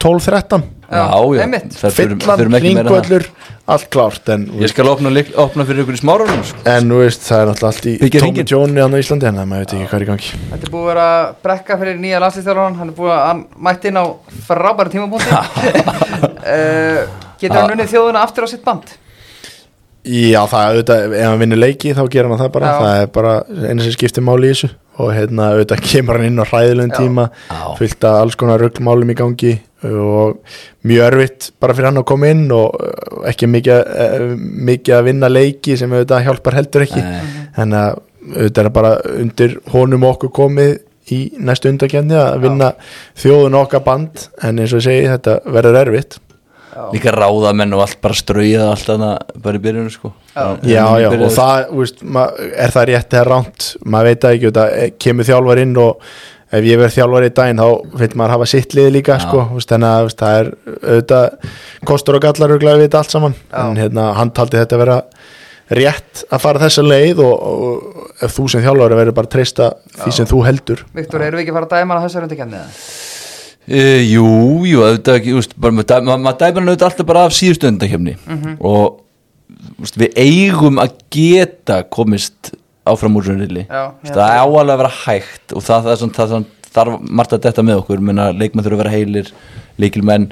Speaker 4: 12-13
Speaker 5: Já,
Speaker 3: Já, já
Speaker 5: einmitt.
Speaker 3: Það þurfum-
Speaker 4: fyllan,
Speaker 3: þurfum ekki meira en það.
Speaker 4: ringvöllur allt klárt en, þú
Speaker 3: Ég
Speaker 4: veist,
Speaker 3: skal opna, lyk- opna fyrir ykkur í smárunum sko.
Speaker 4: en þú veist, það er alltaf allt í
Speaker 3: Byggja
Speaker 4: tómi
Speaker 3: hringinn.
Speaker 4: tjóni á Íslandi en maður veit ekki hvað er í gangi
Speaker 5: Þetta er búið að vera brekka fyrir nýja landslýstjálfarnan Hann er búið að hann mætti inn á frábæra tímabúndi uh, Getur hann unnið þjóðuna aftur á sitt band?
Speaker 4: Já, það er auðvitað, ef hann vinnur leiki þá gerir hann það bara,
Speaker 5: Já.
Speaker 4: það er bara einu sem skiptir máli í þessu og hérna auðvitað kemur hann inn á hræðilegum
Speaker 5: Já.
Speaker 4: tíma
Speaker 3: Já.
Speaker 4: fyllt að alls konar rugglmálum í gangi og mjög örfitt bara fyrir hann að koma inn og uh, ekki mikið, eh, mikið að vinna leiki sem auðvitað hjálpar heldur ekki
Speaker 3: Nei.
Speaker 5: Mhm.
Speaker 4: þannig að auðvitað er bara undir honum og okkur komið í næstu undarkenni að vinna þjóðun okkar band en eins og ég segi þetta verður erfitt
Speaker 3: Líka ráðamenn og allt bara strauðið allt annað bara í byrjunum sko
Speaker 4: Já, já,
Speaker 3: Byrjaði-
Speaker 4: og það, þú veist, ma- er það rétt eða ránt, maður veit það ekki, það eh, kemur þjálfar inn og ef ég verð þjálfar í daginn þá vil maður hafa sitt lið líka,
Speaker 3: Já.
Speaker 4: sko, þú veist, þannig að þú veist, það er auðvitað kostur og gallar auðvitað við þetta allt saman,
Speaker 5: Já.
Speaker 4: en hérna, hann taldi þetta vera rétt að fara þessa leið og, og ef þú sem þjálfari verður bara að treysta því sem þú heldur.
Speaker 5: Viktor, erum við ekki að fara að dæma hann að þessu röndikefni?
Speaker 3: E, jú, jú, auðvitað ekki úst, bara, maður, dæ- maður, maður dæmir hann auðvitað alltaf bara af síðustu undakefni og úst, við eigum að geta komist áfram úr rauninni
Speaker 5: Já, já.
Speaker 3: það er áalega að vera hægt og það, það, er svona, það, það þarf margt að detta með okkur menna leikmenn þurfa að vera heilir leikilmenn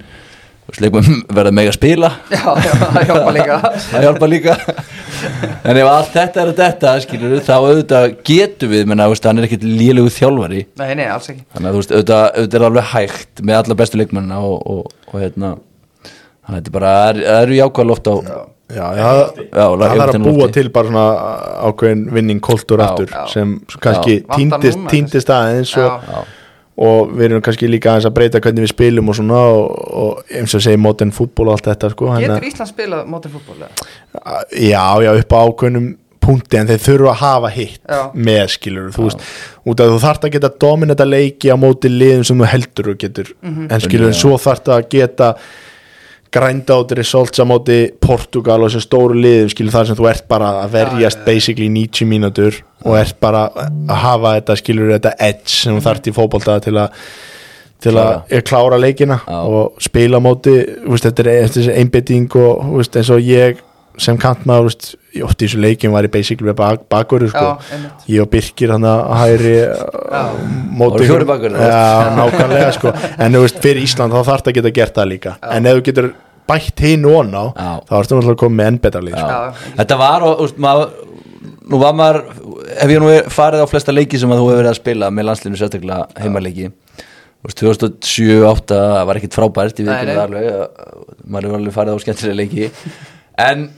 Speaker 3: Sleikmenn verða mega að spila
Speaker 5: já, já, það hjálpa líka
Speaker 3: það hjálpa líka en ef allt þetta er að þetta skilur þá auðvitað getum við menna, veist, hann er ekkit lélegu þjálfari
Speaker 5: nei, nei, alls ekki
Speaker 3: þannig að þú veist, auðvitað, auðvitað er það alveg hægt með alla bestu leikmennina og, og, og hérna þannig að þetta er bara, það er- það eru jákvæða loft á
Speaker 4: Já, það,
Speaker 3: Já, ég
Speaker 4: það þarf
Speaker 3: veit
Speaker 4: að
Speaker 3: henni
Speaker 4: búa
Speaker 3: lofti.
Speaker 4: til bara svona ákveðin vinning koltur aftur
Speaker 5: já.
Speaker 4: sem kannski
Speaker 5: Já. Vantar
Speaker 4: týndist,
Speaker 5: núna,
Speaker 4: týndist aðeins og,
Speaker 5: Já.
Speaker 4: og við erum kannski líka aðeins að breyta hvernig við spilum og svona og, og eins og segir modern fútból og allt þetta sko, hann
Speaker 5: getur
Speaker 4: að-
Speaker 5: Ísland spilað mótið fútból eða?
Speaker 4: já, já, upp á ákveðnum punkti en þeir þurfa að hafa hitt
Speaker 5: Já.
Speaker 4: með skilur, þú veist, út að þú þarft að geta dominata leiki á móti liðum sem þú heldur og getur, en skilur en svo þarft að geta grænda át results á móti Portugal og þessu stóru liðum, skilur þar sem þú ert bara að verjast basically í 90 mínútur og ert bara að hafa þetta skilur þetta edge sem þú þarft í fótbolta til að til að klára leikina og spila á móti þú veist, þetta er þessi einbytting og þú veist, eins og ég sem kantmaður þú veist, ég oft í þessu leikin var ég basically bak, bakur sko.
Speaker 5: Já, einmitt.
Speaker 4: ég og Birkir hann að hæri uh, móti
Speaker 3: Og fjórir bakverðir, þú veist.
Speaker 4: já, nákvæmlega sko. en þú veist, fyrir Ísland þá þarf það að geta gert það líka en ef þú getur bætt hinn og hann á
Speaker 3: Já.
Speaker 4: þá ertu náttúrulega að koma með enn betra lið sko.
Speaker 5: Já.
Speaker 3: þetta var og, úst, maður, nú var maður ef ég nú er- farið á flesta leiki sem að þú hefur verið að spila með landslinu sérstaklega heimaleiki Úst, 2007, 2008, það var ekkit frábært ég veit
Speaker 5: Nei,
Speaker 3: ekki
Speaker 5: nei.
Speaker 3: það alveg að- maður hefur alveg farið á skemmtilega leiki en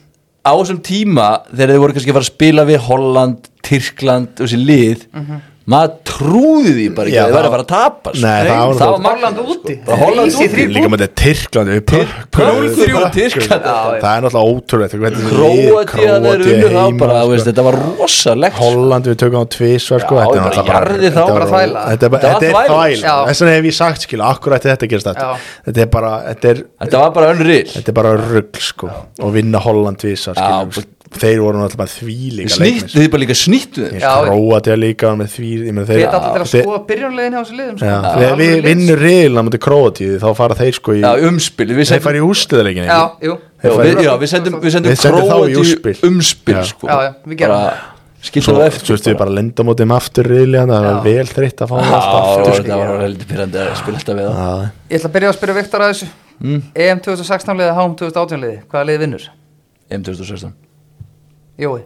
Speaker 3: á þessum tíma þegar þið voru kannski að fara að spila við Holland, Tyrkland og þessi lið
Speaker 5: Mhm.
Speaker 3: maður trúði því bara ekki
Speaker 4: Já,
Speaker 3: að þið væri að
Speaker 4: það-
Speaker 3: fara að tapa sko.
Speaker 4: Nei, það var-
Speaker 3: magnað,
Speaker 5: Holland úti.
Speaker 3: bara Holland
Speaker 5: Easy
Speaker 3: úti
Speaker 5: three.
Speaker 4: líka með þetta Tyrkland við pökkuðum-
Speaker 3: 0-3 Tyrkland
Speaker 5: Já, já.
Speaker 4: það er náttúrulega ótrúlegt hvernig þessi lið,
Speaker 3: Króatíðan er
Speaker 4: Króatía
Speaker 3: unnið þá
Speaker 4: heima,
Speaker 3: bara,
Speaker 4: sko.
Speaker 3: þú veist, þetta var rosalegt sko.
Speaker 4: Holland við tökum á tvísvar sko,
Speaker 3: Já,
Speaker 4: þetta er
Speaker 3: bara
Speaker 4: náttúrulega
Speaker 3: jarðið þá.
Speaker 4: þetta
Speaker 5: Bara
Speaker 4: var-
Speaker 5: þvæla.
Speaker 4: þetta er
Speaker 3: Þetta
Speaker 4: bara-
Speaker 3: var
Speaker 4: þetta er
Speaker 3: þvæla.
Speaker 4: þvæla,
Speaker 5: Já.
Speaker 4: þess vegna hef ég sagt skil akkur ætti þetta að gerast þetta
Speaker 5: Já.
Speaker 4: þetta er bara, þetta er
Speaker 3: Þetta var bara önnrið
Speaker 4: Þetta er bara rugg sko og vinna Holland tvísar
Speaker 3: Já,
Speaker 4: skilur. þeir voru náttúrulega bara sko. því líka
Speaker 3: Snýttu þið bara líka snýttu þið
Speaker 5: Já.
Speaker 4: Króa til að líka með því ég meina, þeir,
Speaker 5: Við ætlum allir að
Speaker 4: þeir-
Speaker 5: skoða byrjunlegin hjá þessu liðum sko.
Speaker 4: Já,
Speaker 5: Það er
Speaker 4: þegar við
Speaker 5: alveg
Speaker 4: vinnum reyðilna mútið Króa tíði þá fara þeir sko í
Speaker 3: Já, umspil Við
Speaker 4: þeir
Speaker 3: sendum,
Speaker 4: fara í úsliðarleikin
Speaker 5: Já, jú
Speaker 3: já,
Speaker 4: fara-
Speaker 3: við, já, við sendum, við sendum
Speaker 4: Við sendum þá í
Speaker 3: Króatíu
Speaker 4: úrspil.
Speaker 3: umspil
Speaker 4: Já.
Speaker 3: sko.
Speaker 5: Já, já, við gerum
Speaker 3: Skiltu
Speaker 4: Svo
Speaker 3: það
Speaker 4: þú
Speaker 3: eftir
Speaker 4: veist við bara lenda mótið með aftur reyðilega það er vel þreytt að fá það
Speaker 3: Já,
Speaker 4: aftur sko.
Speaker 3: þetta var heldur pyrrandi að spila alltaf við það
Speaker 4: Já,
Speaker 5: Ég ætla að byrja að spyrja Viktor að þessu
Speaker 4: Mm.
Speaker 5: EM 2016 liðið, HM 2018 liðið Hvaða liðið vinnur?
Speaker 3: M2016
Speaker 5: Jói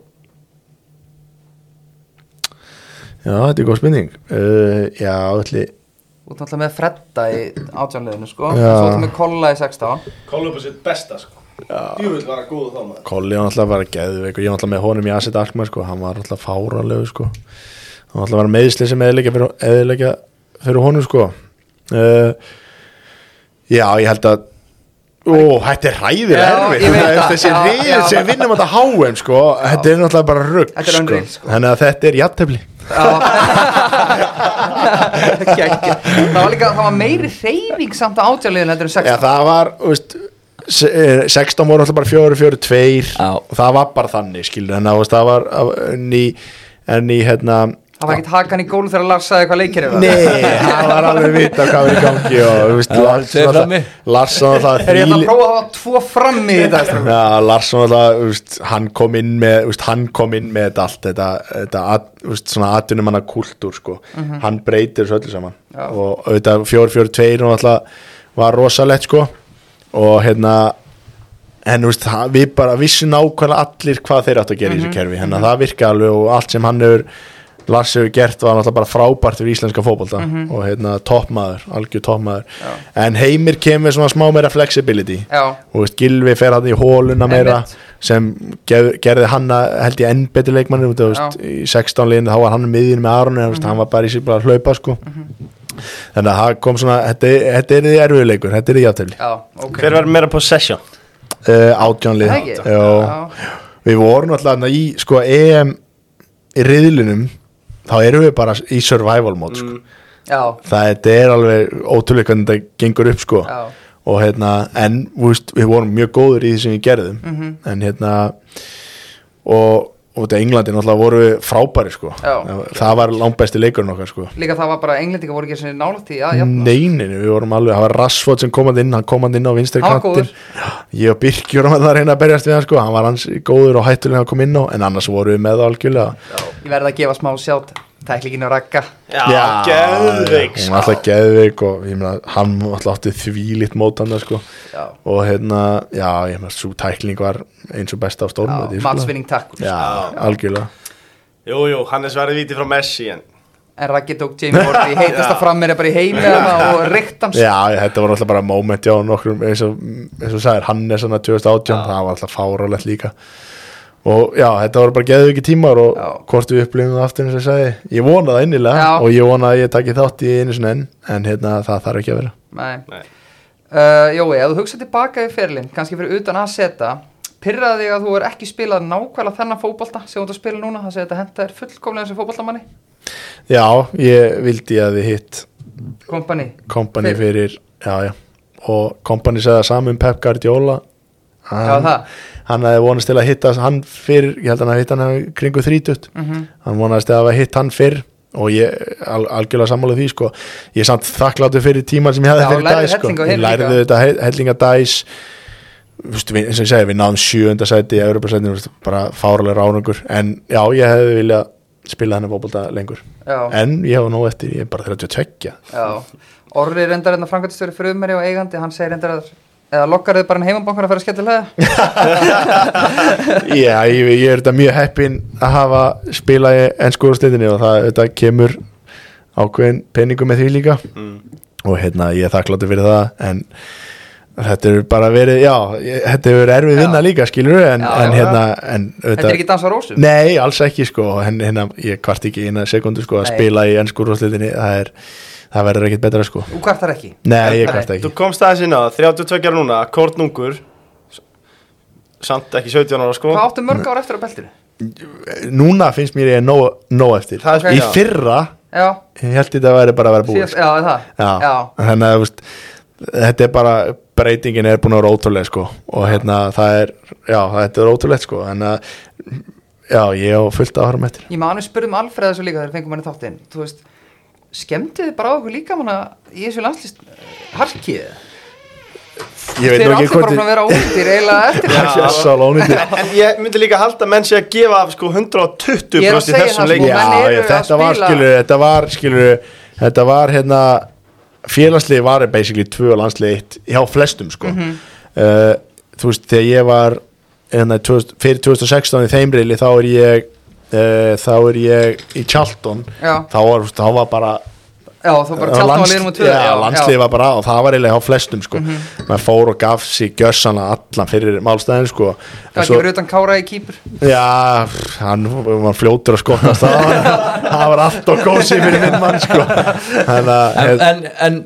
Speaker 4: Já, þetta er góð spurning uh, Já, ætli
Speaker 5: Þú ert náttúrulega með Fredda í 18 liðinu sko
Speaker 4: Já.
Speaker 5: Svo ertu með Kolla í 16
Speaker 2: Kollumbus er besta sko Djúvill var að góða þá maður
Speaker 4: Kolli var alltaf bara geðveik og ég var alltaf með honum í Asset Alkmaar sko, hann var alltaf fáralegu sko hann var alltaf bara meðisli sem eðilegja fyrir, eðilegja fyrir honum sko uh, Já, ég held að Ó, þetta er hræðir
Speaker 5: Já,
Speaker 4: erfið
Speaker 5: ég veit
Speaker 4: Það er
Speaker 5: það,
Speaker 4: þessi
Speaker 5: já, já.
Speaker 4: reyð sem vinnum þetta háum sko, þetta er náttúrulega bara rugg
Speaker 5: Þetta er
Speaker 4: sko.
Speaker 5: unreal, sko.
Speaker 4: þannig að þetta er jattefli
Speaker 5: Kekja. Það var líka, það var meiri reyning samt á 18 liðinu heldur en
Speaker 4: Já,
Speaker 5: 16
Speaker 4: það var, þú veist se- eh, 16 voru alltaf bara 4, 4, 2
Speaker 3: Já.
Speaker 4: og það var bara þannig skilur en það var- það var en í, en í hérna
Speaker 5: Það var ekkert hakan í gólu þegar Lars sagði hvað leikir eru
Speaker 4: Nei, það var alveg vita hvað var í gangi og þú veist,
Speaker 3: Já, segðu
Speaker 4: Larsson
Speaker 3: frammi.
Speaker 4: alltaf Larsson alltaf
Speaker 5: Er ég ætla
Speaker 4: þvíli-
Speaker 5: hérna að prófa að hafa tvo frammi í þetta strákar?
Speaker 4: Já, Larsson alltaf, þú veist, hann kom inn með, þú veist, hann kom inn með þetta allt þetta, þetta at, þú veist, svona atvinnum hann kultúr, sko, hann breytir þessu öllu saman
Speaker 5: Mhm. Já.
Speaker 4: og auðvitað 4-4-2 og alltaf var rosalegt, sko og hérna en þú veist, það- við bara vissum nákvæmlega allir hvað þeir áttu að gera
Speaker 5: Mhm.
Speaker 4: í þessu kerfi hérna, það virka alveg og allt sem hann hefur Lars hefur gert var náttúrulega bara frábært fyrir íslenska fótbolta
Speaker 5: Mhm.
Speaker 4: og hérna toppmaður, algjör toppmaður en Heimir kemur svona smá meira flexibility
Speaker 5: Já.
Speaker 4: og veist, Gilvi fer hann í hóluna meira
Speaker 5: Einmitt.
Speaker 4: sem gef, gerði hann að- held ég enn betur leikmann út, af, veist, í 16 liðin þá var hann miðin með Aron mm
Speaker 5: Mhm.
Speaker 4: veist, hann var bara í sér bara að hlaupa sko. þannig að það kom svona þetta, þetta er því erfiðleikur, þetta er því játtöfli
Speaker 5: Já, ok
Speaker 2: Hver verður meira possession?
Speaker 4: uh, átjánlið
Speaker 5: Það ekki? Já.
Speaker 4: við vorum alltaf þarna í sko EM í riðlinum þá erum við bara í survival mode sko.
Speaker 5: Mm. Já,
Speaker 4: það þetta er alveg ótrúlega hvernig þetta gengur upp sko
Speaker 5: Já.
Speaker 4: og hérna en þú veist, við vorum mjög góður í því sem við gerðum
Speaker 5: Mhm.
Speaker 4: en hérna og, og þetta Englandi náttúrulega voru við frábæri sko
Speaker 5: Já.
Speaker 4: það var langbæsti leikurinn okkar sko
Speaker 5: líka það var bara englendinga voru ekki sem nálægt í að
Speaker 4: Mm.
Speaker 5: jafna
Speaker 4: Neininu, við vorum alveg, það var Rashford sem komandi inn, hann komandi inn á vinstri
Speaker 5: Hann var
Speaker 4: kantin
Speaker 5: góður.
Speaker 4: ég og Birki vorum alltaf að reyna að berjast við hann sko, hann var hans góður og hættulega að koma inn á en annars vorum við með það algjörlega
Speaker 5: Ég verði að gefa smá sjátt Tæklingin og ragga
Speaker 2: Já, geðveik sko.
Speaker 4: Hún var alltaf geðveik og ég meina, hann var alltaf átti þvílitt mót hann sko.
Speaker 5: Já.
Speaker 4: og hérna, já, ég meina, svo tækling var eins og besta á
Speaker 5: Já,
Speaker 4: stórmóti sko.
Speaker 5: Matsvinning takk
Speaker 4: Já, algjörlega
Speaker 2: Jú, jú, hann er sverið víti frá Messi en
Speaker 5: En Raggi tók Jamie Ward í heitasta
Speaker 2: Já.
Speaker 5: frammeyri bara í heimi hana og reykt hans
Speaker 4: Já, ég- þetta var alltaf bara moment já, nokkrum, eins og, eins og sagðir Hannes hann 2018, það var alltaf fáralegt líka og já, þetta var bara geðu ekki tímar og
Speaker 5: Já.
Speaker 4: hvort við upplifum það aftur eins og ég sagði, ég vona það innilega
Speaker 5: Já.
Speaker 4: og ég vona að ég taki þátt í einu svona enn en hérna, það þarf ekki að vera
Speaker 5: Nei.
Speaker 2: Nei.
Speaker 5: Uh, Jói, ef þú hugsa tilbaka í ferlinn kannski fyrir utan að setja Pyrraði þig að þú er ekki spilað nákvæmlega þennan fótbolta sem þú ert að spila núna Það segir þetta henda er fullkomlega sem fótboltamanni
Speaker 4: Já, ég vildi að þið hitt
Speaker 5: Kompani
Speaker 4: kompani
Speaker 5: Fyrir-
Speaker 4: fyrir, já, já og kompani segði það saman um Pep Guardiola hann,
Speaker 5: það.
Speaker 4: hann hefði vonast til að hitta hann fyrr, ég held að hann hafi hitt hann hafi kringu 30,
Speaker 5: Mhm.
Speaker 4: hann vonast til að hafa hitt hann fyrr og ég al, algjörlega sammála því sko, ég er samt þakkláttur fyrir tíman sem ég hefði
Speaker 5: Já,
Speaker 4: fyrir
Speaker 5: lærði
Speaker 4: dæs sko.
Speaker 5: helling á
Speaker 4: ég
Speaker 5: hinn
Speaker 4: lærði
Speaker 5: líka.
Speaker 4: þetta he- hellinga dæs Vistu, við, eins og ég segi, við náðum sjöunda sæti í Europasætinu, bara fárlega ránungur en já, ég hefði viljað spila hennar bóbólta lengur
Speaker 5: Já.
Speaker 4: en ég hefa nóg eftir, ég er bara 32
Speaker 5: Já, Orri reyndar hérna framkvæmtistjóri frumherri og eigandi, hann segir reyndar að eða lokkar þið bara hann heimabankar að fara að skella hlæða
Speaker 4: Já, ég, ég er þetta mjög heppin að hafa spila í ennsku úrstendinni og það þetta kemur ákveðin peningum með því líka
Speaker 5: Mm.
Speaker 4: og hérna ég er þakkláttur fyrir það en þetta er bara verið já, ég, þetta hefur verið erfið vinna
Speaker 5: Já.
Speaker 4: líka skilur við en,
Speaker 5: Já,
Speaker 4: en
Speaker 5: já.
Speaker 4: hérna en,
Speaker 5: Þetta er ekki dansa á rósum
Speaker 4: Nei, alls ekki sko en hérna ég kvart ekki í eina sekundu sko að
Speaker 5: Nei.
Speaker 4: spila í ennsku úrstendinni það er það verður ekkit betra sko
Speaker 5: Þú kvartar ekki
Speaker 4: Nei, ég
Speaker 5: Nei.
Speaker 4: kvart
Speaker 2: Þú
Speaker 4: ekki
Speaker 2: komst aðeins inn á það, 32 ára núna, kortnungur S- Samt ekki 17 ára sko
Speaker 5: Hvað áttu mörg ára eftir á beltinu?
Speaker 4: Núna finnst mér ég nóg, nóg eftir
Speaker 2: Það er-
Speaker 4: Í
Speaker 2: já.
Speaker 4: fyrra
Speaker 5: Já,
Speaker 4: ég held þetta að vera bara að vera búið sko.
Speaker 5: síðast, já, er það
Speaker 4: já. þannig að þú veist, þetta er bara breytingin er búin að vera ótrúlega sko og hérna það er já þetta er ótrúlegt sko þannig að já ég á fullt að harma eftir
Speaker 5: Ég manu spurðum Alfreð þessu líka þegar fengum hann í þáttinn Þú veist, skemmtið þið bara á okkur líka manna í þessu landslist harkið
Speaker 4: ég veit
Speaker 5: Þeir
Speaker 4: nú ekki
Speaker 5: eru allir bara
Speaker 4: hvort
Speaker 5: búin að vera óttir eiginlega eftir
Speaker 2: Já.
Speaker 5: það
Speaker 4: ég sá lónið
Speaker 2: En ég myndi líka halda að menn sé að gefa af sko 120
Speaker 5: Ég er
Speaker 2: í
Speaker 5: að segja
Speaker 2: þessum
Speaker 5: það, sko.
Speaker 2: leik
Speaker 5: Og
Speaker 4: já
Speaker 5: menn eru
Speaker 4: ég,
Speaker 5: að
Speaker 4: þetta var
Speaker 5: spila-
Speaker 4: skilur þetta var skilur þetta var hérna félagslið var basically tvö og landslið eitt hjá flestum sko
Speaker 5: Mhm.
Speaker 4: uh, þú veist þegar ég var hérna, 2000, fyrir 2016 í þeimriðli þá er ég uh, þá er ég í Charlton
Speaker 5: Já.
Speaker 4: þá var, þá var bara
Speaker 5: Já, þú bara tjálta á liðnum og tvö Mhm.
Speaker 4: já, landslið var bara og það var eiginlega á flestum sko. maður fór og gaf sér gjössana allan fyrir málstæðin sko. En
Speaker 5: Kannski verið utan Kára í kýpur
Speaker 4: já, pff, hann var fljótur að skotnast á hann það var allt og gósi fyrir minn mann sko. hérna,
Speaker 3: en,
Speaker 4: en, en,
Speaker 3: en, en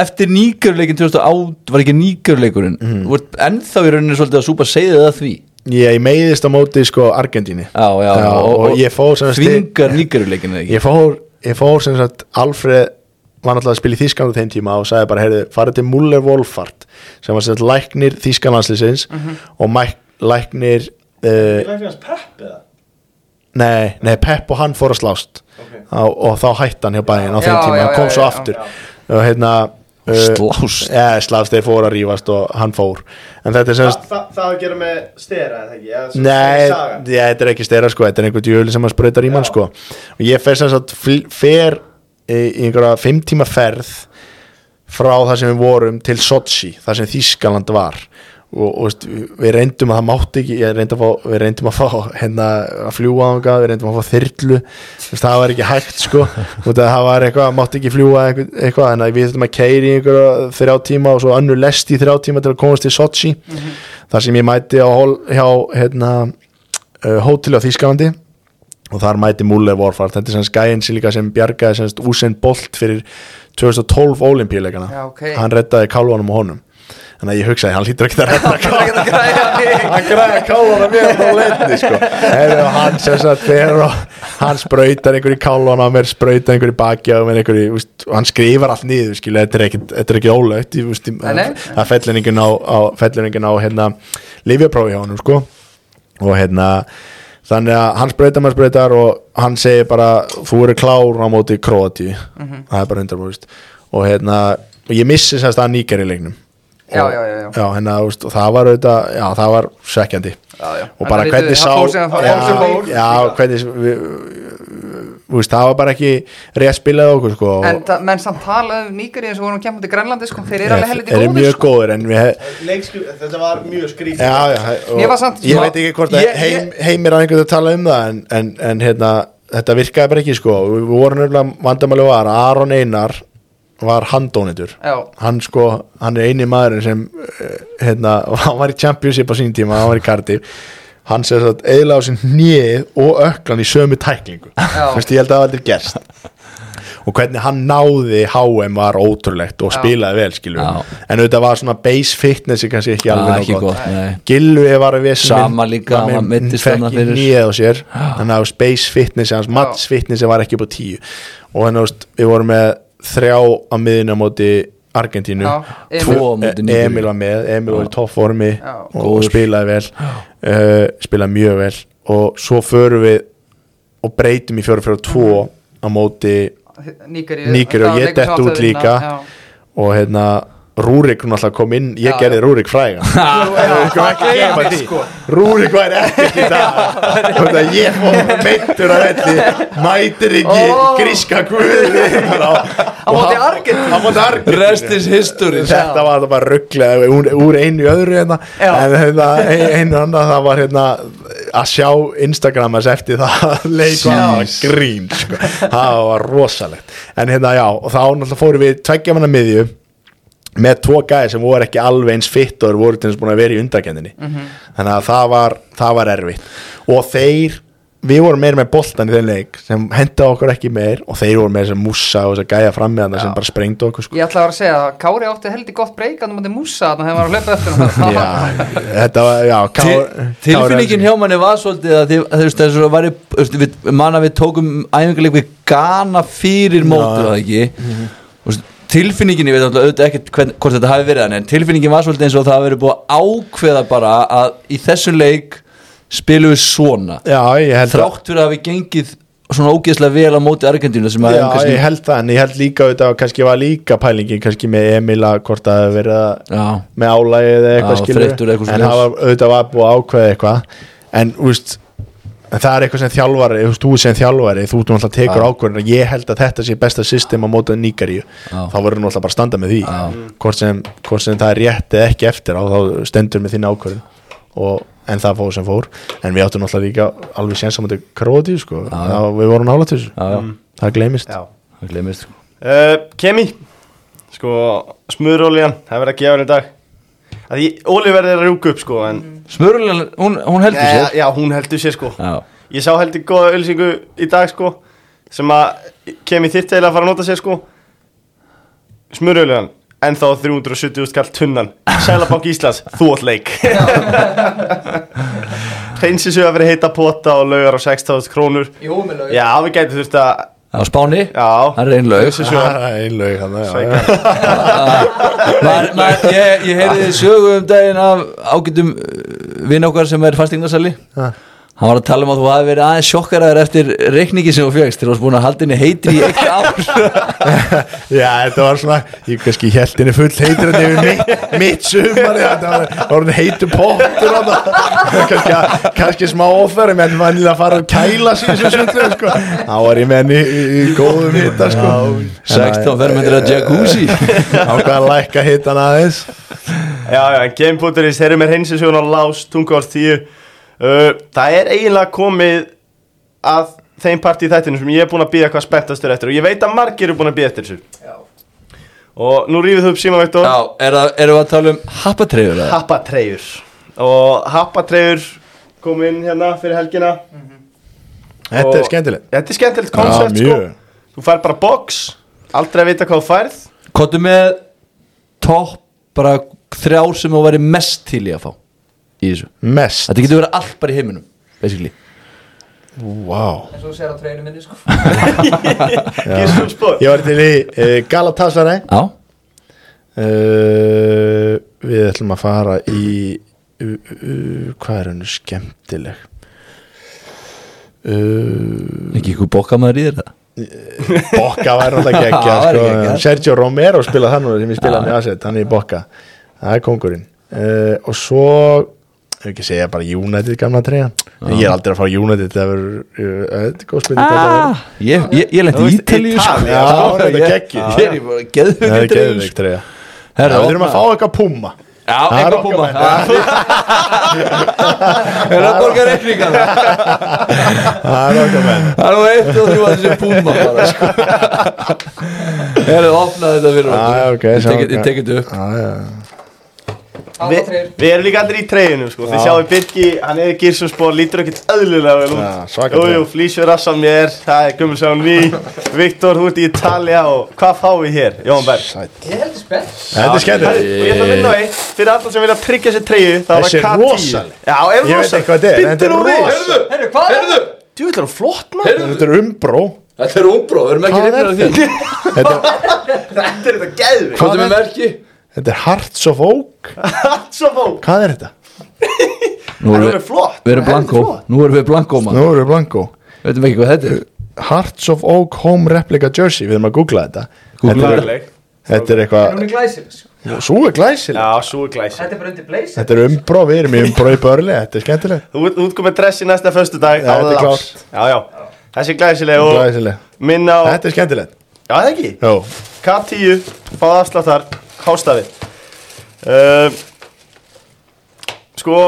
Speaker 3: eftir nýgjörleikin 2008 var ekki nýgjörleikurinn
Speaker 4: Mhm.
Speaker 3: mm. ennþá í rauninni svolítið að súpa segið það því
Speaker 4: ég meiðist á móti sko, Argentíni
Speaker 3: já, já,
Speaker 4: og, og ég fór sem sagt í-
Speaker 3: þvingar nýgjörleikin ekki
Speaker 4: ég fór, ég fór sem sagt Alfred var náttúrulega að spila í Þískandu þeim tíma og sagði bara, heyrðu, farið til Muller Wolfart sem var sem sagt læknir Þískanlandslisins
Speaker 3: Mhm.
Speaker 4: og mæk, læknir uh,
Speaker 2: Læknir hans Pep eða?
Speaker 4: nei, nei, Pep og hann fór að slást
Speaker 2: Ok.
Speaker 4: á, og þá hætti hann hjá bæinn á þeim
Speaker 5: Já,
Speaker 4: tíma,
Speaker 5: já,
Speaker 4: hann kom
Speaker 5: já,
Speaker 4: svo
Speaker 5: já,
Speaker 4: aftur og hérna
Speaker 3: Slást.
Speaker 4: ja, slást, þeir fóru að rífast og hann fór en þetta er sem sagt
Speaker 2: Þa, það, það að gera með stera eða ekki? eða sem-
Speaker 4: Nei,
Speaker 2: sem Ah, saga.
Speaker 4: ég, þetta er ekki stera sko, þetta er einhvern djöfli sem að sprautar í mann
Speaker 2: Já.
Speaker 4: sko og ég fer sem sagt fl- fer í í einhverja fimm tíma ferð frá það sem við vorum til Sochi, það sem Þískaland var og, og veist, við reyndum að það mátti ekki, ég reyndi að fá, við reyndum að fá hérna að fljúa ánga, við reyndum að fá þyrlu, þú veist, það var ekki hægt sko, út að það var eitthvað, mátti ekki fljúa einhver- eitthvað, þannig að við þurfum að keiri einhverja þrjá tíma og svo annu lest í þrjá tíma til að komast til Sochi þar sem ég mæti á hol, hjá hérna, uh, hóteli á Þískalandi og þar mæti Muller Warfart þetta er sem skæin sem líka sem bjargaði sem sagt Usain Bolt fyrir 2012 olimpíuleikana,
Speaker 5: Já, ok.
Speaker 4: hann reddaði kálvanum og honum, þannig að ég hugsaði hann lítur ekki að redda
Speaker 5: Það er ekki að græja mig
Speaker 4: hann græði að kálvana mér á leitni sko. Heru, hann sem sagt fer og hann sprautar einhverju kálvana á mér sprautar einhverju baki á mér einhverju, úst, og hann skrifar allt niður skilu, þetta, er ekki, þetta er ekki ólögt ég, úst,
Speaker 5: Nei, nei.
Speaker 4: það fellur enginn á, á, fellur enginn á hérna, lifjaprófi hjá honum sko. og hérna þannig að hann sprautar maður sprautar og hann segir bara þú eru klár á móti Kroati
Speaker 5: Mhm.
Speaker 4: það er bara 100% og hérna og ég missi sérst að nýkari leiknum
Speaker 5: Já,
Speaker 4: Og-
Speaker 5: já, já, já.
Speaker 4: já, hérna, þú veist, og það var auðvitað, já, það var svekkjandi
Speaker 5: Já, já.
Speaker 4: og bara
Speaker 5: Þannig að
Speaker 4: hvernig
Speaker 5: við-
Speaker 4: sá
Speaker 5: það fór sem það fór, sem fór.
Speaker 4: já, já, hvernig við, við, þú veist, það var bara ekki rétt spilað á okkur sko, og-
Speaker 5: En það, menn samt talaðu um nýgari eins og vorum að kemja til Grænlandi sko, þeir eru alveg
Speaker 4: Þeir
Speaker 5: helviti
Speaker 4: eru
Speaker 5: góðir
Speaker 4: mjög
Speaker 5: sko.
Speaker 4: góðir en við hef,
Speaker 2: Leikskri, þetta var mjög skrítið
Speaker 4: já, já, og
Speaker 5: Mér var samt
Speaker 4: ég
Speaker 5: smá-
Speaker 4: veit ekki hvort að
Speaker 3: Ég-
Speaker 4: heim, heimir að einhvern að tala um það en, en, en hérna, þetta virkaði bara ekki sko við við vorum nefnilega vandamáli var að Aron Einar var handónitur
Speaker 5: Já.
Speaker 4: hann sko, hann er eini maðurinn sem eh, hérna, hann var í championship á sín tíma, hann var í Cardiff hann sér satt eðla á sinn hnið og öklan í sömu tæklingu Vist, ég held að það hafi aldrei gerst og hvernig hann náði HM var ótrúlegt og
Speaker 5: Já.
Speaker 4: spilaði vel skilur
Speaker 3: Já.
Speaker 4: en auðvitað var svona base fitness kannski ekki
Speaker 3: Já,
Speaker 4: alveg nóg
Speaker 3: Ah, ekki gott, nei.
Speaker 4: Gilvi var við
Speaker 3: Sama líka, hann meiddist
Speaker 4: fekk
Speaker 3: þarna
Speaker 4: í
Speaker 3: fyrir.
Speaker 4: nýjað á sér þannig að space fitness hans match fitness var ekki upp á tíu og þannig að við vorum með þrjá á miðinu á móti Argentínu E-
Speaker 5: Já, Emil.
Speaker 3: Tvo á móti
Speaker 4: Emil,
Speaker 3: Nígeríu.
Speaker 4: var með, Emil var í toppformi
Speaker 5: Já.
Speaker 4: og, og spilaði vel uh, spilaði mjög vel og svo förum við og breytum í 4-4-2
Speaker 5: Mhm.
Speaker 4: á móti
Speaker 5: Nígari,
Speaker 4: Nígeríu og ég dett út líka. og hérna Rúrik hún alltaf kom inn, ég
Speaker 5: Já,
Speaker 4: gerði Rúrik frægan gleyma því.
Speaker 5: sko.
Speaker 4: Rúrik var ekkert í dag og það ég fór meintur að velli mætir ekki
Speaker 5: Ó.
Speaker 4: gríska guði á
Speaker 5: móti Argentínu.
Speaker 4: á móti Argentínu.
Speaker 3: Rest is history
Speaker 4: þetta var það bara rugglega úr, úr einu í öðru hérna
Speaker 5: Já.
Speaker 4: en hérna, ein- einu annað það var hérna að sjá Instagramas eftir það leik var það var grín sko. það var rosalegt en hérna já, og þá náttúrulega fórum við tveggja manna miðju með tvo gæði sem voru ekki alveg eins fitt og þeir voru til þess búin að vera í undarkendinni
Speaker 3: Mhm.
Speaker 4: þannig að það var, það var erfitt og þeir, við vorum meir með boltan í þeim leik sem henda okkur ekki meir og þeir voru með þess að mússa og þess að gæja fram með hann sem bara sprengdu okkur sko.
Speaker 5: Ég ætla að vera að segja að Kári átti heldur gott breyk að það múti músa þannig að það var að hlaupa eftir hann.
Speaker 4: já, þetta var, já
Speaker 3: Til,
Speaker 4: Kári-
Speaker 3: tilfinningin
Speaker 4: Kári-
Speaker 3: hjá manni var svolítið að þið, að þú veist, þessu að væri, þú veist, við, manna við tókum æfingarleik við Ghana fyrir mótið það ekki Þú veist, tilfinningin, ég veit alltaf auðvitað ekkert hvern, hvort þetta hafi verið þannig, en tilfinningin var svolítið eins og það hafi verið búið að ákveða bara að í þessum leik spilum við svona
Speaker 4: já, ég held það
Speaker 3: þrátt fyrir að hafi gengið svona ógeðslega vel á móti Argentínu sem að
Speaker 4: Já,
Speaker 3: hefum kannski-
Speaker 4: ég held það, en ég held líka auðvitað að kannski var líka pælingin, kannski með Emila hvort að það hafi verið að-
Speaker 3: Já.
Speaker 4: með álægi eða eitthvað
Speaker 3: Já,
Speaker 4: skilur
Speaker 3: þreyttur eða eitthvað
Speaker 4: en
Speaker 3: svoleiðis.
Speaker 4: það var auðvitað var búið að ákveða eitthvað en úst, það er eitthvað sem þjálfari þú veist, þú sem þjálfari, þú ert náttúrulega tekur
Speaker 3: Já.
Speaker 4: ákveðin og ég held að þetta sé besta system á mótað nýgaríu,
Speaker 3: Já.
Speaker 4: þá verður náttúrulega bara að standa með því, hvort sem, hvort sem það er rétt eða ekki eftir á, þá stendur með þín ákveðin og, en það fór sem fór en við áttum náttúrulega líka alveg sénsamandi króti, sko, þá, við vorum nála til
Speaker 3: Já,
Speaker 4: þessu,
Speaker 3: já.
Speaker 4: það gleymist
Speaker 2: Já.
Speaker 3: Það gleymist, sko.
Speaker 2: Uh, Kemi Sko, smurolíjan, það er verið að gefa henni í dag að því, Oliver er að rjúka upp sko en,
Speaker 3: Smörulín, hún, hún heldur
Speaker 2: já,
Speaker 3: sér
Speaker 2: já, hún heldur sér sko
Speaker 3: Já.
Speaker 2: Ég sá heldur góða ölsingu í dag sko sem að Kemi þyrfti eiginlega að fara að nota sér sko Smurolíjan En þá 370 skall tunnan Sælabank Íslands, þú átt leik Hreinsi sig að vera heita pota og laugar á 6000 krónur
Speaker 5: Jú, með lög.
Speaker 2: Já, við gætum þurft að
Speaker 3: á Spáni,
Speaker 2: Já,
Speaker 3: það er einn laug
Speaker 2: hreinsi sig að
Speaker 4: Það er einlaug hann
Speaker 2: Sækja.
Speaker 3: maður, maður, ég, ég heyrði sögu um daginn af ágætum uh, vinn okkar sem er fastingarsali
Speaker 4: Ha.
Speaker 3: hann var að tala um að þú hafi verið aðeins sjokkaraður eftir reikningi sem þú fjögst til þú varst búin að halda henni heitri í eitt ár
Speaker 4: Já, þetta var svona, ég kannski held henni full heitur en yfir mitt, mitt sumar þetta var var henni heitur pottur og það kannski, að- kannski smá ofæri menn var henni að fara að kæla sig sem sundlu, sko, þá var ég með henni í, í góðum hita, sko
Speaker 3: 16 fermentur að jacuzzi
Speaker 4: Ákvað að lækka hitan aðeins
Speaker 2: Já, já, game.is, þeir eru með hreinsisjón á lás, tungárs 10 uh, Það er eiginlega komið að þeim part í þættinu sem ég er búin að býða hvað spenntastur eftir og ég veit að margir eru búin að býða eftir þessu og nú rífið þú upp síma veitt og
Speaker 3: já, er það, erum við að tala um happatreyfur eða?
Speaker 2: happatreiður og happatreiður kom inn hérna fyrir helgina
Speaker 4: Þetta er skemmtilegt
Speaker 2: Þetta er skemmtilegt koncept sko
Speaker 4: mjög.
Speaker 2: Þú fær bara box, aldrei að vita hvað þú færð
Speaker 3: kottu með topp bara þrjár sem þú væri mest til í að fá í þessu
Speaker 4: Mest
Speaker 3: þetta getur verið allt bara í heiminum basically
Speaker 4: wow.
Speaker 5: Eins og þú sér á treynu minni sko.
Speaker 2: Gísum spóð
Speaker 4: Ég var til í uh, Galatasaray
Speaker 3: já,
Speaker 4: uh, Við ætlum að fara í uh, uh, Hvað er henni skemmtileg uh,
Speaker 3: ekki ykkur bókamaður í þér það
Speaker 4: Bokka var alltaf
Speaker 3: Já,
Speaker 4: geggja
Speaker 3: það var
Speaker 4: sko.
Speaker 3: geggjað.
Speaker 4: Sergio Romero spilaði þannig sem ég spilaði með Asset, hann er í Bokka það er kongurinn uh, og Eh, svo ef ekki segja bara United gamla treyjan en ég er aldrei að fara United það verður, uh, þetta er góð spil
Speaker 3: ah, Ég, ég, ég
Speaker 2: Þú
Speaker 3: lendi
Speaker 2: veist,
Speaker 3: ítalíu
Speaker 2: Ítalía,
Speaker 4: já, þetta er
Speaker 3: Ég er
Speaker 4: geggjur.
Speaker 3: bara
Speaker 4: það er
Speaker 3: geðvögg ítalíu
Speaker 4: geðvig treyja
Speaker 3: Herra,
Speaker 4: við þurfum að fá eitthvað púma
Speaker 3: Já,
Speaker 4: Það er
Speaker 3: eitthvað
Speaker 4: okkar
Speaker 3: púma
Speaker 4: menn.
Speaker 3: Það er að borga reikninga Það
Speaker 4: það er okkar menn
Speaker 3: er nú eitt og þrjú að þessi púma bara sko Herra, opnaði þetta fyrir
Speaker 4: Já, já, ok,
Speaker 3: Ég
Speaker 4: sjá,
Speaker 3: tek-
Speaker 4: ok.
Speaker 3: Ég tekið upp
Speaker 4: Já, já.
Speaker 5: Átta
Speaker 2: Við
Speaker 5: treyjur.
Speaker 2: við erum líka allir í treyjunum sko, þið sjáu Birki, hann er gírsumspor, lítur ekkert öðlulega vel
Speaker 4: Já,
Speaker 2: út
Speaker 4: svaka
Speaker 2: Jú,
Speaker 4: treyja.
Speaker 2: jú, flýsjur rassan mér, það er gummulsagan við, Viktor, þú ert í Ítalja og hvað fáum við hér, Jón Berg?
Speaker 4: Sæll.
Speaker 5: Ég heldur spennt
Speaker 4: þetta er
Speaker 2: Herri,
Speaker 4: skemmt
Speaker 2: Og ég ætla að vinna á eitt, fyrir alla sem vilja tryggja sér treyju, það var
Speaker 4: Þessi er
Speaker 2: K10
Speaker 4: rosaleg.
Speaker 2: Já, er
Speaker 4: Ég veit
Speaker 2: rosaleg.
Speaker 4: ekki hvað þetta er, en þetta er
Speaker 2: Bindur hún við.
Speaker 4: rosaleg.
Speaker 2: Heyrðu,
Speaker 5: Herru, hvað er það?
Speaker 2: Þú ætlar hún flott maður
Speaker 4: þetta er umbró
Speaker 3: Þetta er umbró, við erum ekki
Speaker 4: Hvað er
Speaker 3: reyfnir af því
Speaker 2: Þetta er þetta geðvig
Speaker 3: Hvað er með merki?
Speaker 4: þetta er Hearts of Oak
Speaker 2: Svo fó
Speaker 4: hvað er þetta?
Speaker 3: Nú
Speaker 2: Það
Speaker 3: erum
Speaker 2: er
Speaker 3: við
Speaker 2: flott
Speaker 3: Við erum blankó, nú erum við blankó
Speaker 4: nú
Speaker 3: maður
Speaker 4: erum við blanko
Speaker 3: Veitum ekki hvað þetta er
Speaker 4: Hearts of Oak Home Replica Jersey við erum að googla þetta
Speaker 3: Googlum
Speaker 4: þetta,
Speaker 3: þetta.
Speaker 4: er- þetta er
Speaker 5: Er hún
Speaker 4: eitthvað
Speaker 5: í glæsir?
Speaker 4: svo er glæsileg
Speaker 2: Já, svo er glæsi
Speaker 5: Þetta er bara undir blazer
Speaker 4: þetta er umbró, við erum í umbró í börli þetta er skemmtileg
Speaker 2: Þú þú ert komið dress í næsta föstu dag
Speaker 4: Já, þetta er klárt.
Speaker 2: Já, já Þessi er glæsileg og
Speaker 4: glæsileg
Speaker 2: minna á
Speaker 4: þetta er skemmtilegt
Speaker 2: Já, það ekki
Speaker 4: Jó.
Speaker 2: K10 Fáð afsláttar Hástafi um, Sko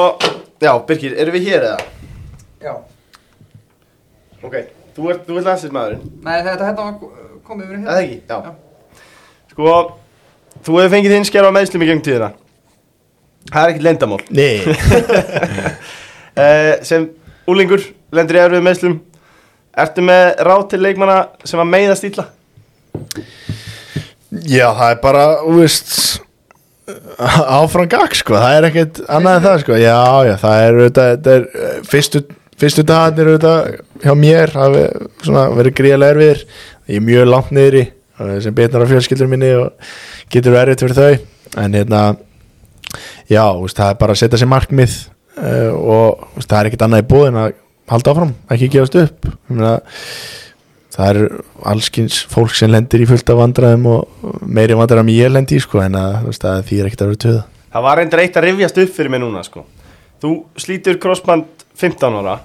Speaker 2: Já, Birgir, erum við hér eða?
Speaker 5: Já
Speaker 2: Ok Þú ert, þú ert landslýsmaðurinn
Speaker 5: Nei, þetta hérna var komið yfir
Speaker 2: Er Það ekki, já Sko, þú hefur fengið þinn skjálfa meðslum í gegnum tíðina Það er ekkert lendamál
Speaker 4: Nei.
Speaker 2: uh, Sem úlingur lendur í erfið meðslum Ertu með ráð til leikmanna sem að meiðast illa?
Speaker 4: já, það er bara þú veist áfram gag sko, það er ekkert annað en það sko, já, já, það er, þetta, þetta er eh, fyrstu, fyrstu dagarnir þetta hjá mér hafi svona verið gríðlega erfiðir ég er mjög langt niður í sem betnar af fjölskyldur minni og getur verið erfitt fyrir þau en hérna já, þú veist, það er bara að setja sér markmið uh, og þú veist, það er ekkert annað í búð en að halda áfram, ekki gefast upp Ég meina, það er allskins fólk sem lendir í fullt af vandræðum og meiri vandræðum en ég lendi í sko, en að, þú veist, það þýr ekkert að vera töða
Speaker 2: Það var reyndar eitt að rifjast upp fyrir mig núna sko. Þú slítur crossband 15 ára,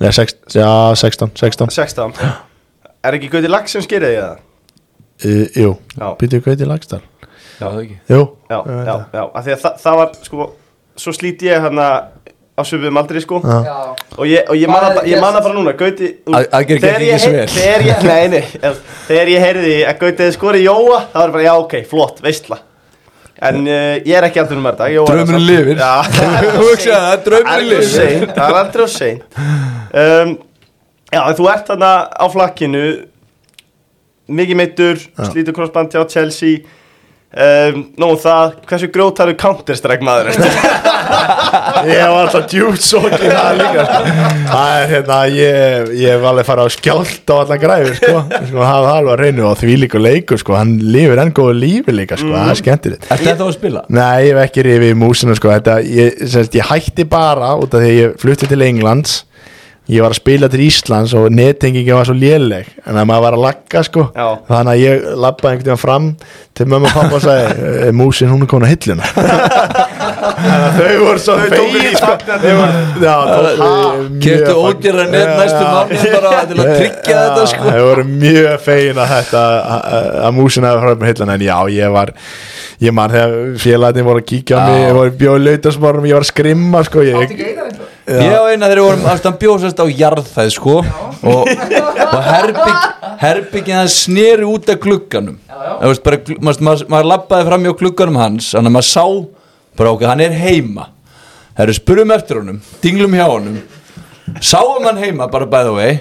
Speaker 4: Nei, sex, já, 16, 16
Speaker 2: 16 Er ekki Gauti Lax sem skýrði því það?
Speaker 4: uh, Jú,
Speaker 2: Já.
Speaker 4: býttu gauti lagstall
Speaker 3: Já, það ekki
Speaker 4: Jú,
Speaker 2: Já,
Speaker 4: ég veit
Speaker 2: já,
Speaker 4: það.
Speaker 2: já, af því að það, það var sko, svo slít ég hérna á svipum aldrei sko
Speaker 4: Já.
Speaker 5: Já
Speaker 2: Og ég, og ég man
Speaker 5: Hvað
Speaker 2: það
Speaker 5: er
Speaker 2: bara- ég man
Speaker 5: gerst?
Speaker 2: það bara núna, Gauti
Speaker 3: Að- aðgerð
Speaker 2: Þegar
Speaker 3: gekk
Speaker 2: ég
Speaker 3: ekki svo
Speaker 2: hey-
Speaker 3: vel.
Speaker 2: Þegar ég, nei, nei, ef- þegar ég heyrði að Gauti hefði skorið Jóa Það var bara, já, ok, flott, veistla En uh, ég er ekki aldrei um þetta Jóa er
Speaker 3: Draumurinn
Speaker 2: samt-
Speaker 3: lifir.
Speaker 2: Já, það er
Speaker 3: Þú hugsaði það, draumurinn
Speaker 2: aldrei of
Speaker 3: lifir.
Speaker 2: seint, Það er aldrei of seint um, Já, en þú ert þarna á flakkinu Mikið meittur, slítur crossband hjá Chelsea um, Nó um það, hversu grjótar er Counter-Strike maður ertu?
Speaker 4: Ég var alltaf djúpt sókið það líka sko. Það er hérna Ég, ég hef alveg farið á skjált á allan græfur sko. sko, Það var alveg að reynu og því líka leikur sko. Hann lifir enn góðu lífi líka sko. Það er skemmtilegt
Speaker 3: Er þetta að spila?
Speaker 4: Nei, ég hef ekki rifið í músina sko. Þetta, ég, semst, ég hætti bara út af því að ég flutti til Englands Ég var að spila til Íslands og nettingin var svo léleg En að maður var að lagga sko
Speaker 2: Já.
Speaker 4: Þannig að ég labbaði einhvern veginn fram Til mömmu og pappa og sagði "Eh, Músin hún er komin á hilluna Þannig að þau voru svo
Speaker 2: Þau tóku
Speaker 4: fegin,
Speaker 2: því
Speaker 4: sko.
Speaker 2: fagnandi.
Speaker 4: Þau voru- Já, tóku því
Speaker 3: Keftu
Speaker 4: mjög
Speaker 3: ódýra
Speaker 4: fagn-
Speaker 3: net næstu
Speaker 4: Já.
Speaker 3: mánu bara til að tryggja þetta sko
Speaker 4: Þau voru mjög fegin að þetta að- að að músin hefði frá upp með hillan en já, ég var ég man þegar félagarnir voru að kíkja á mig
Speaker 3: Já.
Speaker 4: ég voru bjóð lautasmornum, ég var að skrimma sko,
Speaker 5: Áttu
Speaker 4: ég,
Speaker 5: ekki eiga þetta?
Speaker 3: Ég á eina þegar við vorum alltaf bjósast á jarðæð sko og, og herbygg, herbyggin það sneri út af glugganum
Speaker 5: já.
Speaker 3: Það veist, bara, glu- maður, maður, maður labbaði fram hjá glugganum hans þannig að maður sá bara okkur, hann er heima Það eru spurum eftir honum, dinglum hjá honum Sáum hann heima bara by the way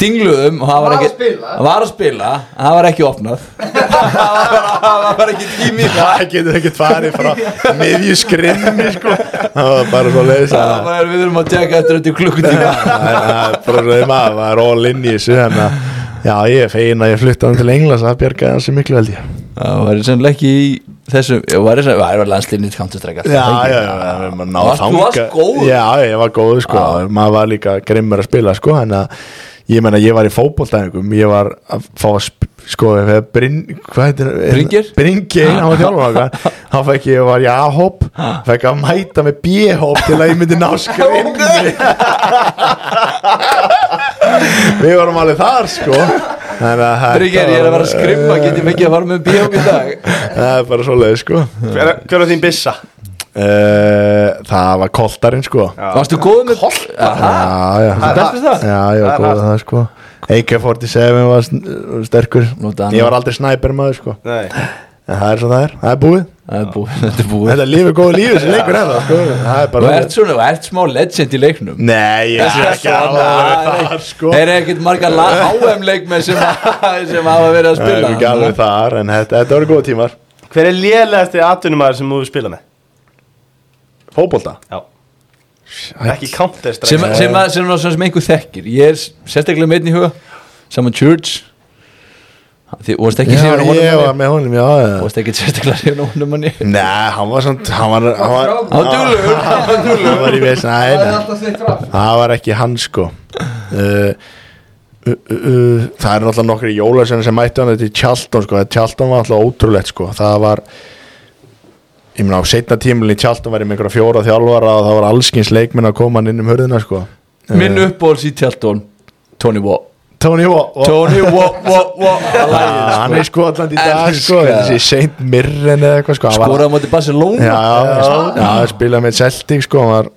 Speaker 3: Dingluðum og hann var
Speaker 5: Var að
Speaker 3: ekki
Speaker 5: spila.
Speaker 3: Hann var að spila, en hann var ekki opnað Það var bara, það var bara ekki tími í það
Speaker 4: það getur ekkert farið frá miðju skrimmi sko það var bara svo leiðis
Speaker 3: Það var
Speaker 4: að-
Speaker 3: bara, við þurfum að tjekka eftir þetta í klukkutíma
Speaker 4: það er bara svo maður, það er all in í þessu en að já, ég er fegin að ég flutta hann til Englands, það bjargaði hans miklu held ég
Speaker 3: Það var sannlega ekki í þessu Það var, var landslinni kantustræk
Speaker 4: já, já, já, já, við maður náð
Speaker 3: Varst- þú varst góður?
Speaker 4: já, ég var góð sko, maður var líka grimmur að spila sko, en að ég menna, ég var í fótboltæðingum ég var að fá að sp- sko, ef það Bryn, hvað heitir
Speaker 3: Bryngir?
Speaker 4: Bryngir, hann var þjálfur okkar hann fekk ég, var í A-hop fekk að mæta með B-hop til að ég myndi ná skrinni við vorum alveg þar sko Þannig að þetta
Speaker 3: Bryggir, ég er að
Speaker 4: var-
Speaker 3: vera að skrimma, get ég mikið að fara með bíók í dag
Speaker 4: það er bara svoleið sko
Speaker 2: Hver hver var þín bissa?
Speaker 4: Eh, það var koltarinn sko já,
Speaker 3: Varstu góð með Kolt?
Speaker 4: já,
Speaker 3: best með það?
Speaker 4: já, ég var
Speaker 2: Það er
Speaker 4: góð að það sko AK-47 var sn- sterkur
Speaker 3: Nota hann.
Speaker 4: ég var aldrei snæper maður sko
Speaker 2: Nei
Speaker 4: en það er svo það er, það er búið
Speaker 3: Það er búið, þetta er búið
Speaker 4: þetta er lífið góða lífið sem leikur eða sko. það er
Speaker 3: Þú
Speaker 4: bara
Speaker 3: ert svona, þú ert smá legend í leiknum
Speaker 4: nei, ég sé ekki að það er þar sko
Speaker 3: Það er ekkert marga HM-leikmenn sem, að- sem hafa verið að
Speaker 4: það er ekki
Speaker 3: spila
Speaker 4: alveg þar en þetta, þetta voru góða tímar
Speaker 2: Hver er lélegasti atvinnumæður sem þú hefur spilað með?
Speaker 4: fótbolta
Speaker 2: Já Ekki Counter-Strike
Speaker 3: sem, sem, að- sem, að- sem, sem einhver þekkir Ég er sérstaklega með einn í huga Saman Church Þið vorst ekki
Speaker 4: já,
Speaker 3: sér honum
Speaker 4: ég var
Speaker 3: manni
Speaker 4: með honum, já, já.
Speaker 3: Vorst ekki sérstaklega sér honum manni
Speaker 4: Nei, hann var samt hann var, hann var,
Speaker 5: Hann
Speaker 3: Hann duglegur, hann duglegur
Speaker 4: hann var í vesen
Speaker 5: Það
Speaker 4: Nei,
Speaker 5: er
Speaker 4: nei.
Speaker 5: alltaf svitt frá
Speaker 4: það var ekki hann sko uh, Uh, uh, uh, það er náttúrulega nokkri jólarsenn sem mættu hann þetta í Tjaldón sko. Tjaldón var náttúrulega ótrúlegt sko. það var ég meina á setna tímulinn í Tjaldón var ég með einhverja fjóra þjálfara og það var allskins leikminn að koma hann inn um hörðina sko.
Speaker 3: Minn uppbóls í tjaldón Tony Watt
Speaker 4: Tony Watt
Speaker 3: Tony Watt, Watt, Watt
Speaker 4: hann er sko allan í dag sko.
Speaker 3: Elskar.
Speaker 4: þessi Saint Mirren eða eitthvað sko. Hann var-
Speaker 3: Skoraði á móti Barcelona
Speaker 4: já, já, já, spilaði með Celtic sko, hann var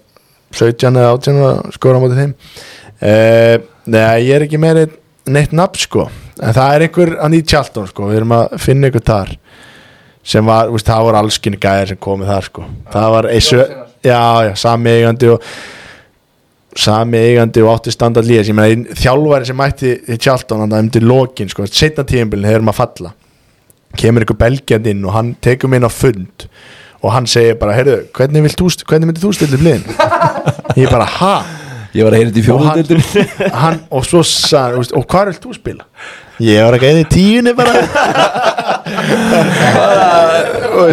Speaker 4: 17 eða 18 og skora á móti þeim uh, Nei, ég er ekki meiri neitt nafn sko, en það er einhver hann í Tjaldón sko, við erum að finna einhver þar sem var, þú veist, það voru allskinn gæðir sem komið þar sko það var eisu,
Speaker 5: Jólasveinar.
Speaker 4: já, já, sami eigandi og sami eigandi og átti standard lýðis ég meina, þjálfæri sem mætti í Tjaldón hann það um til lokin sko, setna tíðinbílinn hefur maður að falla kemur einhver belgjand inn og hann tekur mig inn á fund og hann segir bara, heyrðu, hvernig, vilt þú, st- hvernig myndir þú stilla bliðin? ég bara, ha?
Speaker 3: Ég var að heyra þetta í
Speaker 4: Og hann,
Speaker 3: fjóðudeldinu
Speaker 4: hann, og svo sagði, hann, þú veist, og hvað vilt þú spila? Ég var ekki eða í tíunni bara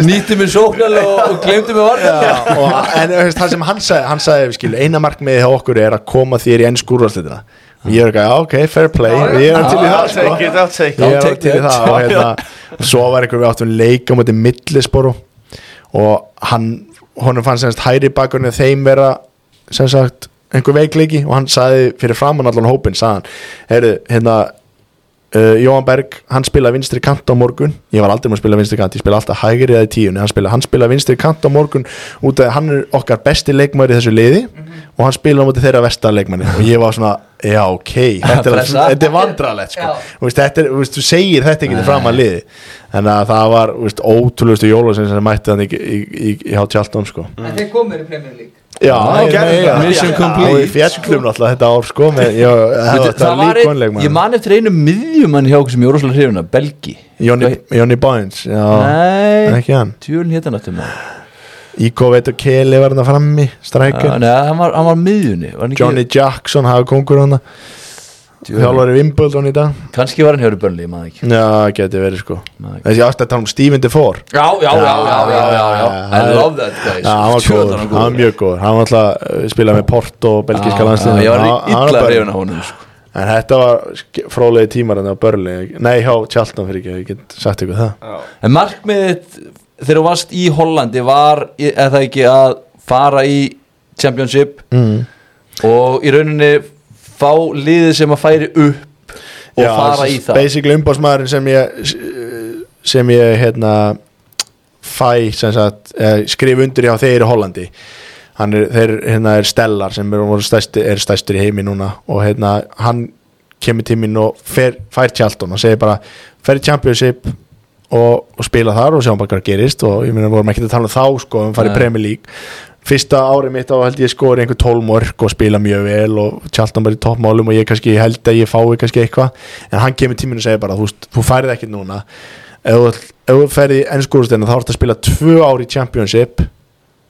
Speaker 3: Nýtti mér sóknal og, og glemdi mér varna
Speaker 4: Já, og, en þú veist, það sem hann sagði, hann sagði skilu, eina markmiði hjá okkur er að koma þér í enn skúrvarsleitina og ég er ekki, já, ok, fair play og ég er til í það, sko
Speaker 2: Take it, I'll take it
Speaker 4: ég
Speaker 3: I'll
Speaker 4: var
Speaker 3: take
Speaker 4: til í
Speaker 3: that.
Speaker 4: það og hérna, svo var einhver við áttum leik á móti millisporu og hann, honum fannst semst hæri bakunni þeim vera sem sagt einhver veikleiki og hann sagði fyrir framann allan hópin, sagði hann heyrðu, hérna uh, Jóhann Berg, hann spilaði vinstri kant á morgun ég var aldrei með að spila vinstri kant, ég spila alltaf hægri eða í tíunni, hann spilaði, hann spilaði vinstri kant á morgun út af að hann er okkar besti leikmæri í þessu liði og hann spilaði á móti þeirra versta leikmæri og ég var svona, já ok þetta er,
Speaker 3: Pressa.
Speaker 4: þetta er vandralegt sko.
Speaker 5: Já.
Speaker 4: Þú veist, þetta er, þú veist, þú segir þetta ekki fram að liði en að það var þú veist, ótrúlustu jólasinn sem mætti hann í, í, í, í hjá tjaldum sko.
Speaker 5: En þeir komið í Premier League
Speaker 4: já,
Speaker 2: það gerði það.
Speaker 3: Mission complete.
Speaker 4: og við fjallum náttúrulega þetta ár sko, með, já, það,
Speaker 3: Veitu,
Speaker 4: það, það var
Speaker 3: einn-
Speaker 4: líkonleik
Speaker 3: Ég man eftir einu miðjumann hjá okkur sem ég er rosalega hrifuna Belgi
Speaker 4: Johnny, Johnny Bynes já,
Speaker 3: Nei
Speaker 4: ekki hann
Speaker 3: Tjúlin hétt hann aftur maður
Speaker 4: Íko veit og Keli var hann frammi
Speaker 3: Já,
Speaker 4: strækjum,
Speaker 3: Ah, Nei, hann var, hann var á miðjunni var hann ekki-
Speaker 4: Johnny Jackson hafa kongur hann,
Speaker 3: Djöfull.
Speaker 4: þjálfari Wimbledon í dag,
Speaker 3: Kannski var hann hjá Burnley, ég maður ekki
Speaker 4: já, geti verið sko
Speaker 3: Nei.
Speaker 4: þessi átt að tala um Steven Defoe
Speaker 3: Já, já, já, já, já, já, já.
Speaker 4: Já,
Speaker 3: I
Speaker 4: já.
Speaker 3: love that guys
Speaker 4: Já, hann var
Speaker 3: Djöfull
Speaker 4: góður,
Speaker 3: var
Speaker 4: hann var mjög góður Hann var alltaf uh, spilað með Porto og belgíska
Speaker 3: Ah, Já,
Speaker 4: landslið
Speaker 3: já, Ég var illa hrifun á honum sko.
Speaker 4: En þetta var fróðlega tímar en það var börli Nei, hjá Tjaldon fyrir ekki, ég get sagt ykkur það
Speaker 3: En markmiðið þitt þegar þú varst í Hollandi var eða það ekki að fara í Championship
Speaker 4: mm.
Speaker 3: og í rauninni fá liðið sem að færi upp og
Speaker 4: Já,
Speaker 3: fara í það
Speaker 4: Basically umbásmaðurinn sem ég sem ég hérna fæ sem sagt, eh, skrif undir hjá þeir í Hollandi Hann er, þeir hérna er Stellar sem er, stæsti, er stæstur í heimi núna og hérna hann kemur tíminn og fer, fær Tjaldon og segir bara fer í Championship og, og spila þar og sjáum bara hvað gerist og ég meina vorum ekki að tala um þá sko um farið
Speaker 3: Nei.
Speaker 4: Premier League fyrsta árið mitt á held ég skori einhver 12 mörg og spila mjög vel og Charlton bara í toppmálum og ég kannski held að ég fái kannski eitthvað en hann kemur tíminu og segir bara þú, veist, þú færið ekkert núna ef þú, ef þú færið í ennskúrustegna þá ertu að spila tvö ári í Championship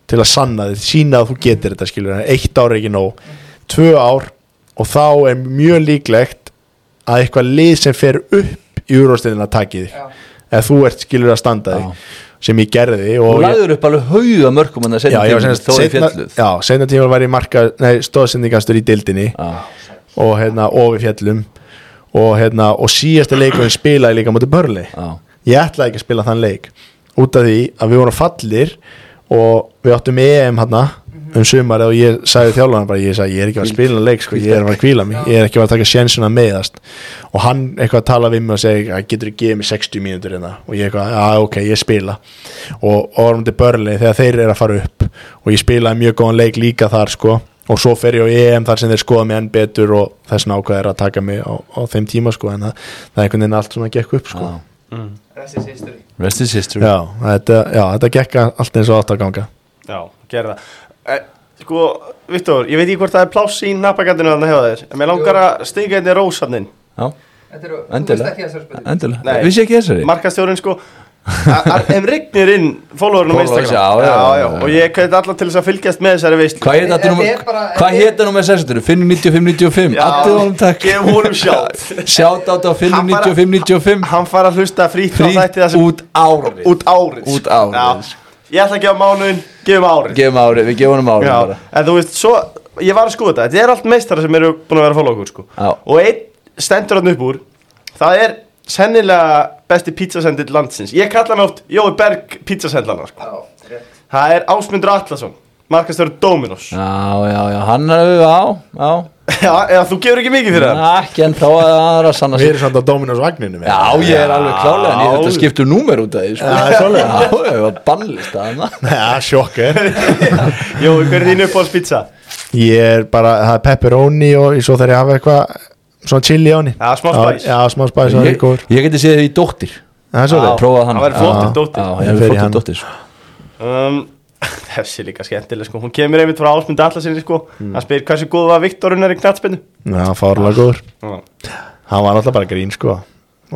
Speaker 4: til að sanna þið, sína að þú getur þetta skilur en eitt ár er ekki nóg tvö ár og þá er mjög líklegt að eitthvað lið sem fer upp í úrvarstegna takið
Speaker 5: Já.
Speaker 4: eða þú ert skilur að standa
Speaker 3: Já.
Speaker 4: þig sem ég gerði og
Speaker 3: og
Speaker 4: ég-
Speaker 3: lagður upp alveg hauga mörgum en það
Speaker 4: já,
Speaker 3: setja
Speaker 4: ég var
Speaker 3: tíma
Speaker 4: semst
Speaker 3: þó er
Speaker 4: seinna-
Speaker 3: fjalluð
Speaker 4: já, seinna tíma var ég marka, nei, stóðsendingastur í dildinni og hérna og við fjallum og, hérna, og síðasta leikurinn spilaði líka mútið börli
Speaker 3: Já.
Speaker 4: ég ætlaði ekki að spila þann leik út af því að við vorum fallir og við áttum EM hana um sumar og ég sagði þjálfana bara, ég, sagði, ég er ekki að spila þann leik sko, ég er bara að kvíla mig, ég er ekki að taka sjensuna meðast og hann eitthvað að tala við mig og segja, "Æ, getur þú gefið mig 60 mínútur hérna og ég eitthvað, já ok, ég spila og orðum til börli þegar þeir eru að fara upp og ég spilaði mjög góðan leik líka þar sko og svo fer ég á EM þar sem þeir skoða mig enn betur og þess nákvæð er að taka mig á, á þeim tíma sko en það, það er einhvern veginn allt svona gekk upp sko
Speaker 3: Já.
Speaker 5: Rest is history
Speaker 3: Rest is history
Speaker 4: Já, þetta, já, þetta gekk allt eins og átt að ganga
Speaker 2: Já, gerða e, Sko, Viktor, ég veit ekki hvort það er pláss í nappagandinu þannig að hefa þér En mér langar að stinga henni rósafnin
Speaker 3: Já,
Speaker 5: Þetta eru, þú veist ekki þessar
Speaker 3: endilega
Speaker 5: spurningar
Speaker 3: Endilega,
Speaker 2: Nei.
Speaker 3: vissi ekki þessari
Speaker 2: Markastjórinn sko a- a- Ef rignir inn fólóðurinn á
Speaker 3: Followers,
Speaker 2: Instagram
Speaker 3: já, já, já, já.
Speaker 2: Og ég kveit allar til þess að fylgjast með þessari veist
Speaker 3: Hvað hétt
Speaker 5: Þetta
Speaker 3: þetta nú
Speaker 5: er bara-
Speaker 3: Hvað hétt þetta nú með 60? Finnum 9595 Allir honum takk
Speaker 2: Gef honum sjátt
Speaker 3: Sjátt á Finnum
Speaker 2: Hann bara-
Speaker 3: 9595
Speaker 2: Hann fara að hlusta frýtt á þætti það
Speaker 3: Frýtt
Speaker 2: sem
Speaker 3: út árið
Speaker 2: út árið
Speaker 3: Út árið. sko.
Speaker 2: Já. Ég ætla að gefa mánuðin, gefum árið
Speaker 3: Gefum árið, við gefum honum árið
Speaker 2: Já,
Speaker 3: bara
Speaker 2: en þú veist, svo, ég var að skoða þetta Þetta er allt meistara sem eru búin að vera að fóla okkur sko.
Speaker 3: Já.
Speaker 2: Og einn stendur hann upp úr Það er sennilega besti pítsasendil landsins Ég kalla hann oft Jói Berg pítsasendlana sko.
Speaker 5: Já, rétt
Speaker 2: Það er Ásmundur Atlason Markastöru Dominos Já,
Speaker 3: Já, já, já, hann er við á, já
Speaker 2: eða þú gefur ekki mikið fyrir hann
Speaker 3: Næ, Ekki en þá að aðra sanna
Speaker 4: Við erum samt á Dominos vagninu
Speaker 3: Já, ég er alveg klálega en ég þetta
Speaker 2: Já.
Speaker 3: skiptu númer út af því sko.
Speaker 4: Já, svoleiðis.
Speaker 3: Já, ég var bannlist að hana
Speaker 4: Já, sjokk eh. er
Speaker 2: Jói, hver er þín uppáhalds pizza?
Speaker 4: Ég er bara, það er pepperoni og svo þarf ég að hafa eitthvað Svona chili á henni
Speaker 2: Já, smá spice.
Speaker 4: Já, smá spæs, það er
Speaker 3: Ég,
Speaker 4: góður
Speaker 3: ég geti séð því dóttir
Speaker 4: Það er
Speaker 2: Já.
Speaker 4: svolítið
Speaker 3: Prófað hann
Speaker 2: Það væri flottur
Speaker 4: Já.
Speaker 2: dóttir.
Speaker 3: Já, ég
Speaker 4: Ég
Speaker 3: hefði
Speaker 4: fer í
Speaker 3: flottur
Speaker 4: hann.
Speaker 3: dóttir sko.
Speaker 2: um, Þessi er líka skemmtileg sko. Hún kemur einmitt frá Ásmundur Atlasinni sko.
Speaker 3: Hmm.
Speaker 2: Hann spyr hversu góð var Viktorunar í knatspennu
Speaker 4: Já, fárlega góður
Speaker 2: Já.
Speaker 4: Hann var alltaf bara grín, sko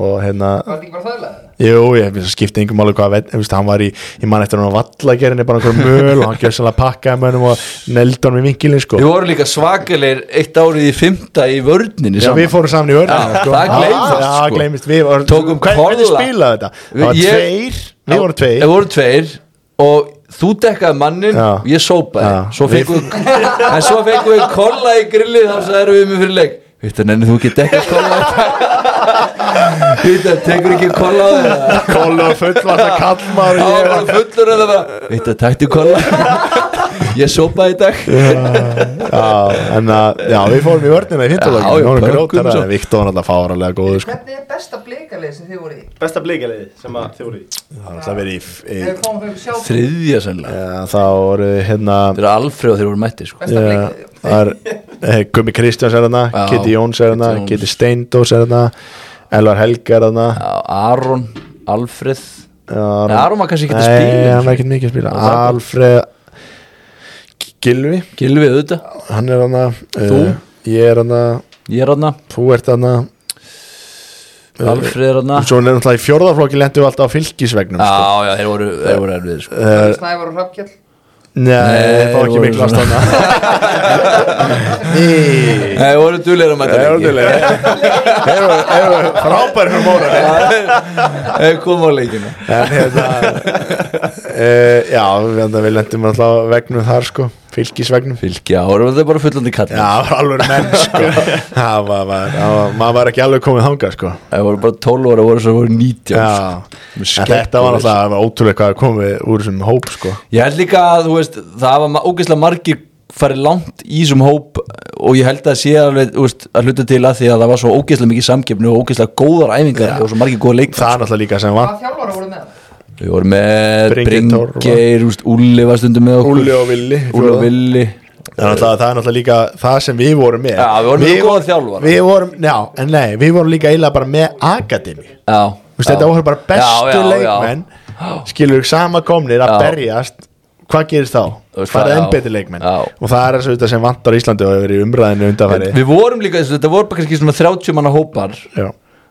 Speaker 4: Og hérna,
Speaker 5: Var þetta ekki bara þaðlega?
Speaker 4: Jú, ég það skipti yngum alveg hvað veit, þú veist, hann var í, ég man eftir hann á vallagerinni bara einhverjum möl og hann gjör svolítið að pakka með hennum og neldi hann við vinkilin sko.
Speaker 3: Við vorum líka svakalegir eitt árið í fymta í vördninni
Speaker 4: Já, við fórum saman í
Speaker 3: Já,
Speaker 4: örnum
Speaker 3: það gleymist,
Speaker 4: Já,
Speaker 3: sko.
Speaker 4: gleymist við vorum-
Speaker 3: Tókum
Speaker 4: Hvern- Hvernig
Speaker 3: kolla.
Speaker 4: spilaði þetta? Það var
Speaker 3: Ég-
Speaker 4: tveir, við vorum tveir
Speaker 3: Við vorum tveir og þú dekkaði mannin
Speaker 4: Já.
Speaker 3: og ég sópaði
Speaker 4: Já.
Speaker 3: Svo fengum við En svo fengum við kolla í grillið þá sagði við mér fyrir leik Vittu, nennið þú ekki dekka kolla Vittu, tekur ekki kolla á það
Speaker 4: Kolla og fullvart að kallma
Speaker 3: Já, það var fullur en það bara Vittu, takti kolla Ég sópaði í dag
Speaker 4: Já, en að, já, við fórum í örnina í
Speaker 3: Já,
Speaker 4: fintalokin
Speaker 3: já,
Speaker 4: Við vorum
Speaker 3: pökkum
Speaker 4: grótar
Speaker 3: svo.
Speaker 4: að Viktor var alltaf fáralega góður sko.
Speaker 5: Hvernig er besta blikalið sem þið voru í?
Speaker 2: Besta blíkaliði sem að þið voru í
Speaker 4: Það var alltaf verið í, í
Speaker 5: Þegar komum við sjá
Speaker 3: Þriðja sennilega
Speaker 4: já, Þá voru, hérna
Speaker 3: Þetta er Alfreð og þeir voru mætti sko.
Speaker 4: Já,
Speaker 5: Besta blikalið
Speaker 4: það er eh, Gummi Kristjáns er hana,
Speaker 3: Já,
Speaker 4: Kitty Jóns er hana
Speaker 3: Kiddi Jóns.
Speaker 4: Kitty Steindós er hana Elvar Helga er hana
Speaker 3: Já, Aron, Alfreð
Speaker 4: Aron-
Speaker 3: Nei, Aron var kannski ekki að
Speaker 4: Nei,
Speaker 3: spila.
Speaker 4: hann var ekkert mikið að spila
Speaker 3: það-
Speaker 4: Alfred Gilvi,
Speaker 3: Gilvið auðvitað
Speaker 4: hann er hana
Speaker 3: Þú?
Speaker 4: eh, Ég er hana,
Speaker 3: Ég er hana,
Speaker 4: þú ert hana
Speaker 3: Alfreð er hana
Speaker 4: Svo er náttúrulega í fjórðaflokki lentum við alltaf á fylgisvegnum sko.
Speaker 3: Já, já, þeir voru, þeir voru erfið sko.
Speaker 4: Eh,
Speaker 5: Snævar og Hrafkjell
Speaker 4: Nei,
Speaker 3: Nei,
Speaker 4: það var
Speaker 3: voru
Speaker 4: ekki miklu að
Speaker 3: svona.
Speaker 4: stanna Nei
Speaker 3: Þeir voru duðleira með
Speaker 4: Það
Speaker 3: þetta
Speaker 4: er
Speaker 3: leiki.
Speaker 4: orðilega Þeir eru- þeir eru frábæri fyrir móra
Speaker 3: Þeir komu á leikina
Speaker 4: en hérna uh, já, við, enda, við lendum alltaf vegnum þar sko, fylgisvegnum
Speaker 3: Fylgja, það voru þetta bara fullandi kall
Speaker 4: já, það var alveg menn sko það var, var, það var, maður var ekki alveg komið þangað sko
Speaker 3: Það voru bara 12 ára, voru svo voru 19 sko.
Speaker 4: já,
Speaker 3: Með
Speaker 4: en
Speaker 3: skegg
Speaker 4: þetta
Speaker 3: og veist.
Speaker 4: var alltaf það var ótrúlega hvað að komið úr þessum hóp sko
Speaker 3: Ég held líka að, þú veist, það var ógeðslega margir farið langt í þessum hóp og ég held að sé alveg, þú veist, að hluta til að því að það var svo ógeðslega mikið samgefni og ógeðslega góðar æfingar og svo margir góða leikmenn
Speaker 4: það er alltaf líka sem var
Speaker 5: Hvaða þjálfara voru með það?
Speaker 3: Við vorum með
Speaker 4: Bringeir
Speaker 3: Bringeir, úst, Úlli var stundum með okkur
Speaker 4: Úlli og Villi,
Speaker 3: Úlli og
Speaker 4: fjóra.
Speaker 3: Villi
Speaker 4: Það er náttúrulega- það er náttúrulega líka það sem við vorum með
Speaker 3: Já, við vorum með góða þjálfara.
Speaker 4: Við vorum, já, en nei, við vorum líka eiginlega bara með akademi
Speaker 3: Já,
Speaker 4: Þú veist,
Speaker 3: já.
Speaker 4: þetta voru bara bestu
Speaker 3: Já, já, já.
Speaker 4: leikmenn skilur sama komnir að
Speaker 3: Já.
Speaker 4: berjast hvað gerist þá?
Speaker 3: Þú veist,
Speaker 4: Það
Speaker 3: það-
Speaker 4: er
Speaker 3: já.
Speaker 4: ennbeti leikmenn
Speaker 3: Já.
Speaker 4: og það er þessu þetta sem vantar í Íslandi og hefur verið í umræðinu undanfæri
Speaker 3: Við vorum líka, þessu, þetta voru bara kannski svona 30 manna hópar
Speaker 4: Já.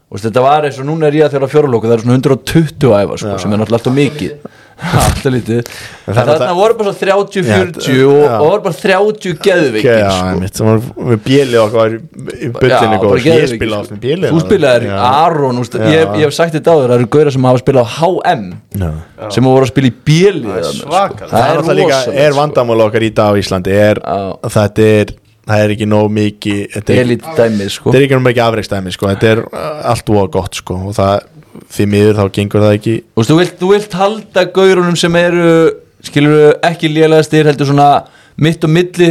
Speaker 3: Þú veist, Þetta var eins og núna er ég að þjála fjóralóku Það eru svona 120 æfa sko, sem er náttúrulega alltaf mikið Alltaf lítið
Speaker 4: En það er
Speaker 3: Þannig að
Speaker 4: náttúrulega-
Speaker 3: þarna voru bara svo 30-40
Speaker 4: Já,
Speaker 3: og,
Speaker 4: já.
Speaker 3: og voru bara 30 geðveikir
Speaker 4: Já,
Speaker 3: sko.
Speaker 4: einmitt, það var- við bjelið okkar í- í
Speaker 3: Já,
Speaker 4: bullinu
Speaker 3: bara
Speaker 4: góð ég
Speaker 3: geðveikir,
Speaker 4: spilaði
Speaker 3: sko.
Speaker 4: oft með bjelið
Speaker 3: Þú spilaðir
Speaker 4: Já.
Speaker 3: Aron úst,
Speaker 4: Já.
Speaker 3: ég, ég hef sagt þetta áður, það eru gauðra sem hafa spilað á HM
Speaker 4: Já.
Speaker 3: sem voru að spila í sko. bjeli
Speaker 2: svakalegt.
Speaker 4: það er náttúrulega líka er vandamál okkar í dag á Íslandi er,
Speaker 3: sko. Já.
Speaker 4: þetta er það er ekki nóg mikið þetta er,
Speaker 3: Elít dæmi sko
Speaker 4: þetta er ekki nóg mikið afreikstæmi sko. þetta er uh, allt og gott sko. og það, því miður þá gengur það ekki
Speaker 3: Þú veist, þú vilt, þú vilt halda gaurunum sem eru skilur ekki lélega styr heldur svona mitt og milli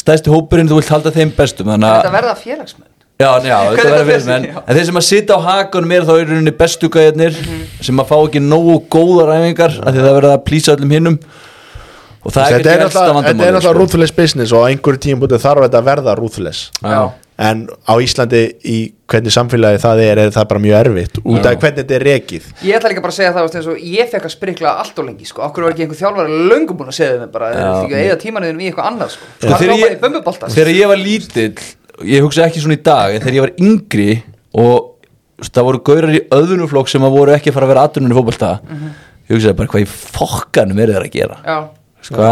Speaker 3: stæsti hópurinn, þú vilt halda þeim bestum þannig
Speaker 5: Þetta
Speaker 3: að,
Speaker 5: verða félagsmenn
Speaker 3: já, já, þetta
Speaker 5: Hvernig
Speaker 3: verður
Speaker 5: þetta
Speaker 3: verið menn
Speaker 5: fer- já.
Speaker 3: en þeir sem að sita á hakanum er þá í rauninni bestu gæðirnir
Speaker 5: Mhm.
Speaker 3: sem að fá ekki nógu góðar æfingar af því það verður að plýsa öllum hinnum og það er
Speaker 4: þetta er
Speaker 3: ekki helsta
Speaker 4: náttúrulega þetta er
Speaker 3: vandamálið, sko.
Speaker 4: náttúrulega ruthless business og á einhverju tíum bútið þarf þetta að verða ruthless
Speaker 3: Já.
Speaker 4: en á Íslandi í hvernig samfélagi það er er það bara mjög erfitt út af hvernig þetta er rekið
Speaker 5: Ég ætla líka bara að segja það, veist, eins og ég fekk að sprikla allt og lengi, sko, okkur var ekki einhver þjálfari löngum búin að segja þeim bara, þeir eru ekki að eða tímanuðinum í eitthvað annað, sko,
Speaker 3: Sko,
Speaker 5: sko það
Speaker 3: þegar
Speaker 5: er bara í
Speaker 3: ég-
Speaker 5: bömbubolta, sko.
Speaker 3: Þegar ég var lítill, ég hugsa ekki svona í dag en þegar ég var yngri og þú veist, það voru gaurar í öðvunuflokk sem að voru ekki að fara að vera aðdunum í fótbolta
Speaker 5: Mhm.
Speaker 3: ég hugsaði bara hvað í fokkanum er þeir að gera
Speaker 5: Já,
Speaker 3: sko,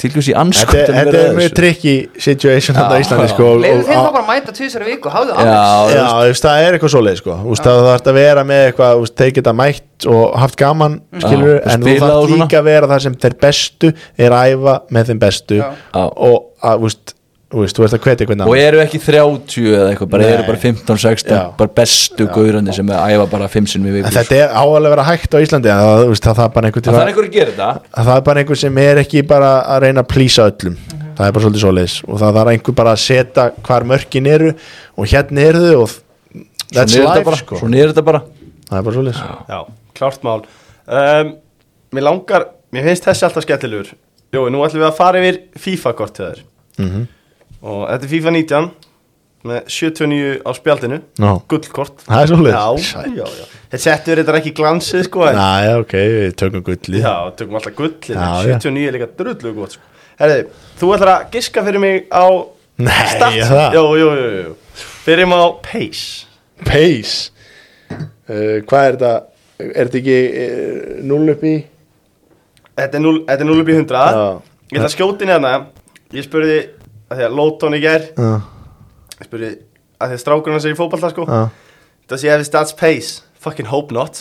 Speaker 3: tilgjus í
Speaker 4: þetta,
Speaker 3: anskotum
Speaker 4: þetta er mjög tricky situation hann á
Speaker 3: Já.
Speaker 4: Íslandi sko, og,
Speaker 5: leiðu
Speaker 4: og,
Speaker 5: þeim
Speaker 4: á-
Speaker 5: þá bara að mæta tvisar viku, háðu
Speaker 3: Já,
Speaker 5: aðeins.
Speaker 4: Já, þú veist, það er eitthvað svoleið sko. Þú veist, það þarf að vera með eitthvað þú veist, þeir geta mætt og haft gaman
Speaker 5: Mm.
Speaker 4: skilur,
Speaker 3: Já, og
Speaker 4: en þú
Speaker 3: spilað og
Speaker 4: þarf
Speaker 3: svona.
Speaker 4: líka að vera það sem þeir bestu er að æfa með þeim bestu
Speaker 5: Já.
Speaker 3: Já.
Speaker 4: og að, þú veist, þú veist, þú veist að hvetja hvernig
Speaker 3: og eru ekki 30 eða eitthvað bara
Speaker 4: Nei.
Speaker 3: eru bara 15-16
Speaker 4: Já.
Speaker 3: bara bestu gaurandi sem að æfa bara 5 sinni við
Speaker 4: En
Speaker 3: vikur
Speaker 4: þetta er áalega að vera hægt á Íslandi að, það, þú veist, að það, er bara einhver,
Speaker 3: það er
Speaker 4: það,
Speaker 3: einhver að gera þetta
Speaker 4: það er bara einhver sem er ekki bara að reyna að plýsa öllum það er bara svolítið svoleiðis og það þarf einhver bara að setja hvar mörkin eru og hérna eru þau og that's
Speaker 3: Svona er þetta
Speaker 4: life
Speaker 3: bara,
Speaker 4: sko.
Speaker 3: svona er þetta bara.
Speaker 4: það er bara svoleiðis
Speaker 2: Já, klárt mál um, Mér langar, mér finnst þessi alltaf skemmtilegur Jó, nú ætlum við að fara yfir FIFA-kort til þér
Speaker 4: Mhm.
Speaker 2: Og þetta er FIFA 19 Með 79 á spjaldinu
Speaker 4: Já.
Speaker 2: Gullkort
Speaker 4: það er svoleiðis
Speaker 2: Já, já, já Þetta settur þetta ekki glansið sko en,
Speaker 4: Næja, ok, við tökum gullið
Speaker 2: Já, tökum alltaf gullið
Speaker 4: Já, já.
Speaker 2: 79 er líka drullu gott sko Herði, þú ætlar að giska fyrir mig á
Speaker 4: Nei,
Speaker 2: stats-
Speaker 4: ég það.
Speaker 2: Jó, jó, jó, jó, jó Fyrir mig á pace
Speaker 4: Pace uh, Hvað er þetta? Er þetta ekki uh, null upp í?
Speaker 2: Þetta er 0 þetta er 0 upp í 100
Speaker 4: Já.
Speaker 2: Ég ætla að skjóta inn hérna Ég spurði að því að Lóton í gær
Speaker 4: Já,
Speaker 2: Ég spurði að því að strákurinn hans er í fótballta sko
Speaker 4: já
Speaker 2: Does he have his dad's pace? Fucking hope not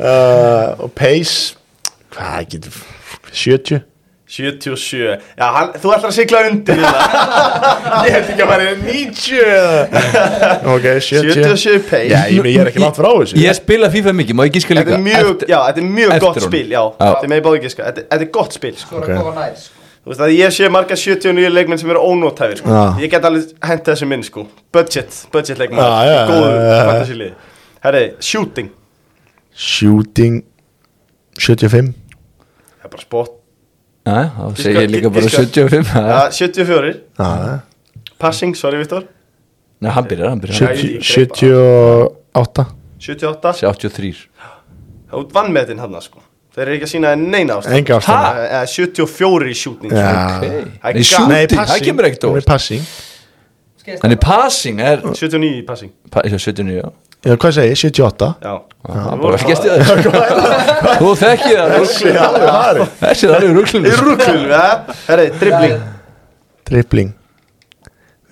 Speaker 4: uh, Og Pace Hvað getur 70
Speaker 2: 77 Já, hann, þú ætlar að sigla undir í það
Speaker 4: Ég held ekki að vera 90 Ok, 70
Speaker 2: 77 pace
Speaker 4: Já, ég, ég er ekki langt frá þessu
Speaker 3: ég spila FIFA mikið, má ég gíska
Speaker 2: Þetta
Speaker 3: líka
Speaker 2: er mjög,
Speaker 3: Eftir-
Speaker 2: já, þetta er mjög
Speaker 3: eftir
Speaker 2: gott
Speaker 3: honum.
Speaker 2: spil, já,
Speaker 3: Já.
Speaker 2: þetta er með báði giska, þetta, þetta er gott spil, sko.
Speaker 5: Þú er að koma nær, sko.
Speaker 2: Þú veist að ég sé marga 79 leikmenn sem eru ónótæfir, sko.
Speaker 4: Já.
Speaker 2: Ég get alveg hent þessum inn, sko. Budget, budget leikmenn,
Speaker 4: Já, já,
Speaker 2: góðu,
Speaker 4: já, já, já.
Speaker 2: fantasy liði. Herri, shooting,
Speaker 4: Shooting 75
Speaker 2: það er bara spot,
Speaker 3: Já, þá segir ég
Speaker 2: Giska-
Speaker 3: líka bara
Speaker 2: giska.
Speaker 3: 75
Speaker 2: ja,
Speaker 3: já.
Speaker 2: 74,
Speaker 4: ah,
Speaker 2: passing, sorry Viktor,
Speaker 3: Nei, hann byrjar, hann byrjar
Speaker 4: 70, 78
Speaker 2: 78,
Speaker 3: 83
Speaker 4: Ah.
Speaker 2: þú vann með þinn hann, sko. Þeir eru ekki að sína neina Eh, ástæð.
Speaker 4: Enga ástæðu.
Speaker 2: Eða 74 í shooting, sko.
Speaker 4: Já.
Speaker 2: Það er
Speaker 3: Nei,
Speaker 2: ga-
Speaker 3: shooting,
Speaker 2: Nei,
Speaker 3: það
Speaker 4: passing,
Speaker 3: kemur ekkert
Speaker 4: hún er
Speaker 3: úr
Speaker 4: passing
Speaker 5: Skeist
Speaker 3: Þannig passing er
Speaker 2: 79 í passing,
Speaker 3: pa, já, 79, já
Speaker 4: Já, hvað segir, ég? 78
Speaker 2: já.
Speaker 4: Ah.
Speaker 3: Það er bara skesti það Þú þekkið það
Speaker 4: Þessi er alveg farið
Speaker 3: Þessi er alveg
Speaker 2: Í
Speaker 3: rúklum
Speaker 2: rúkul, já. Herri, dribbling.
Speaker 4: Dribbling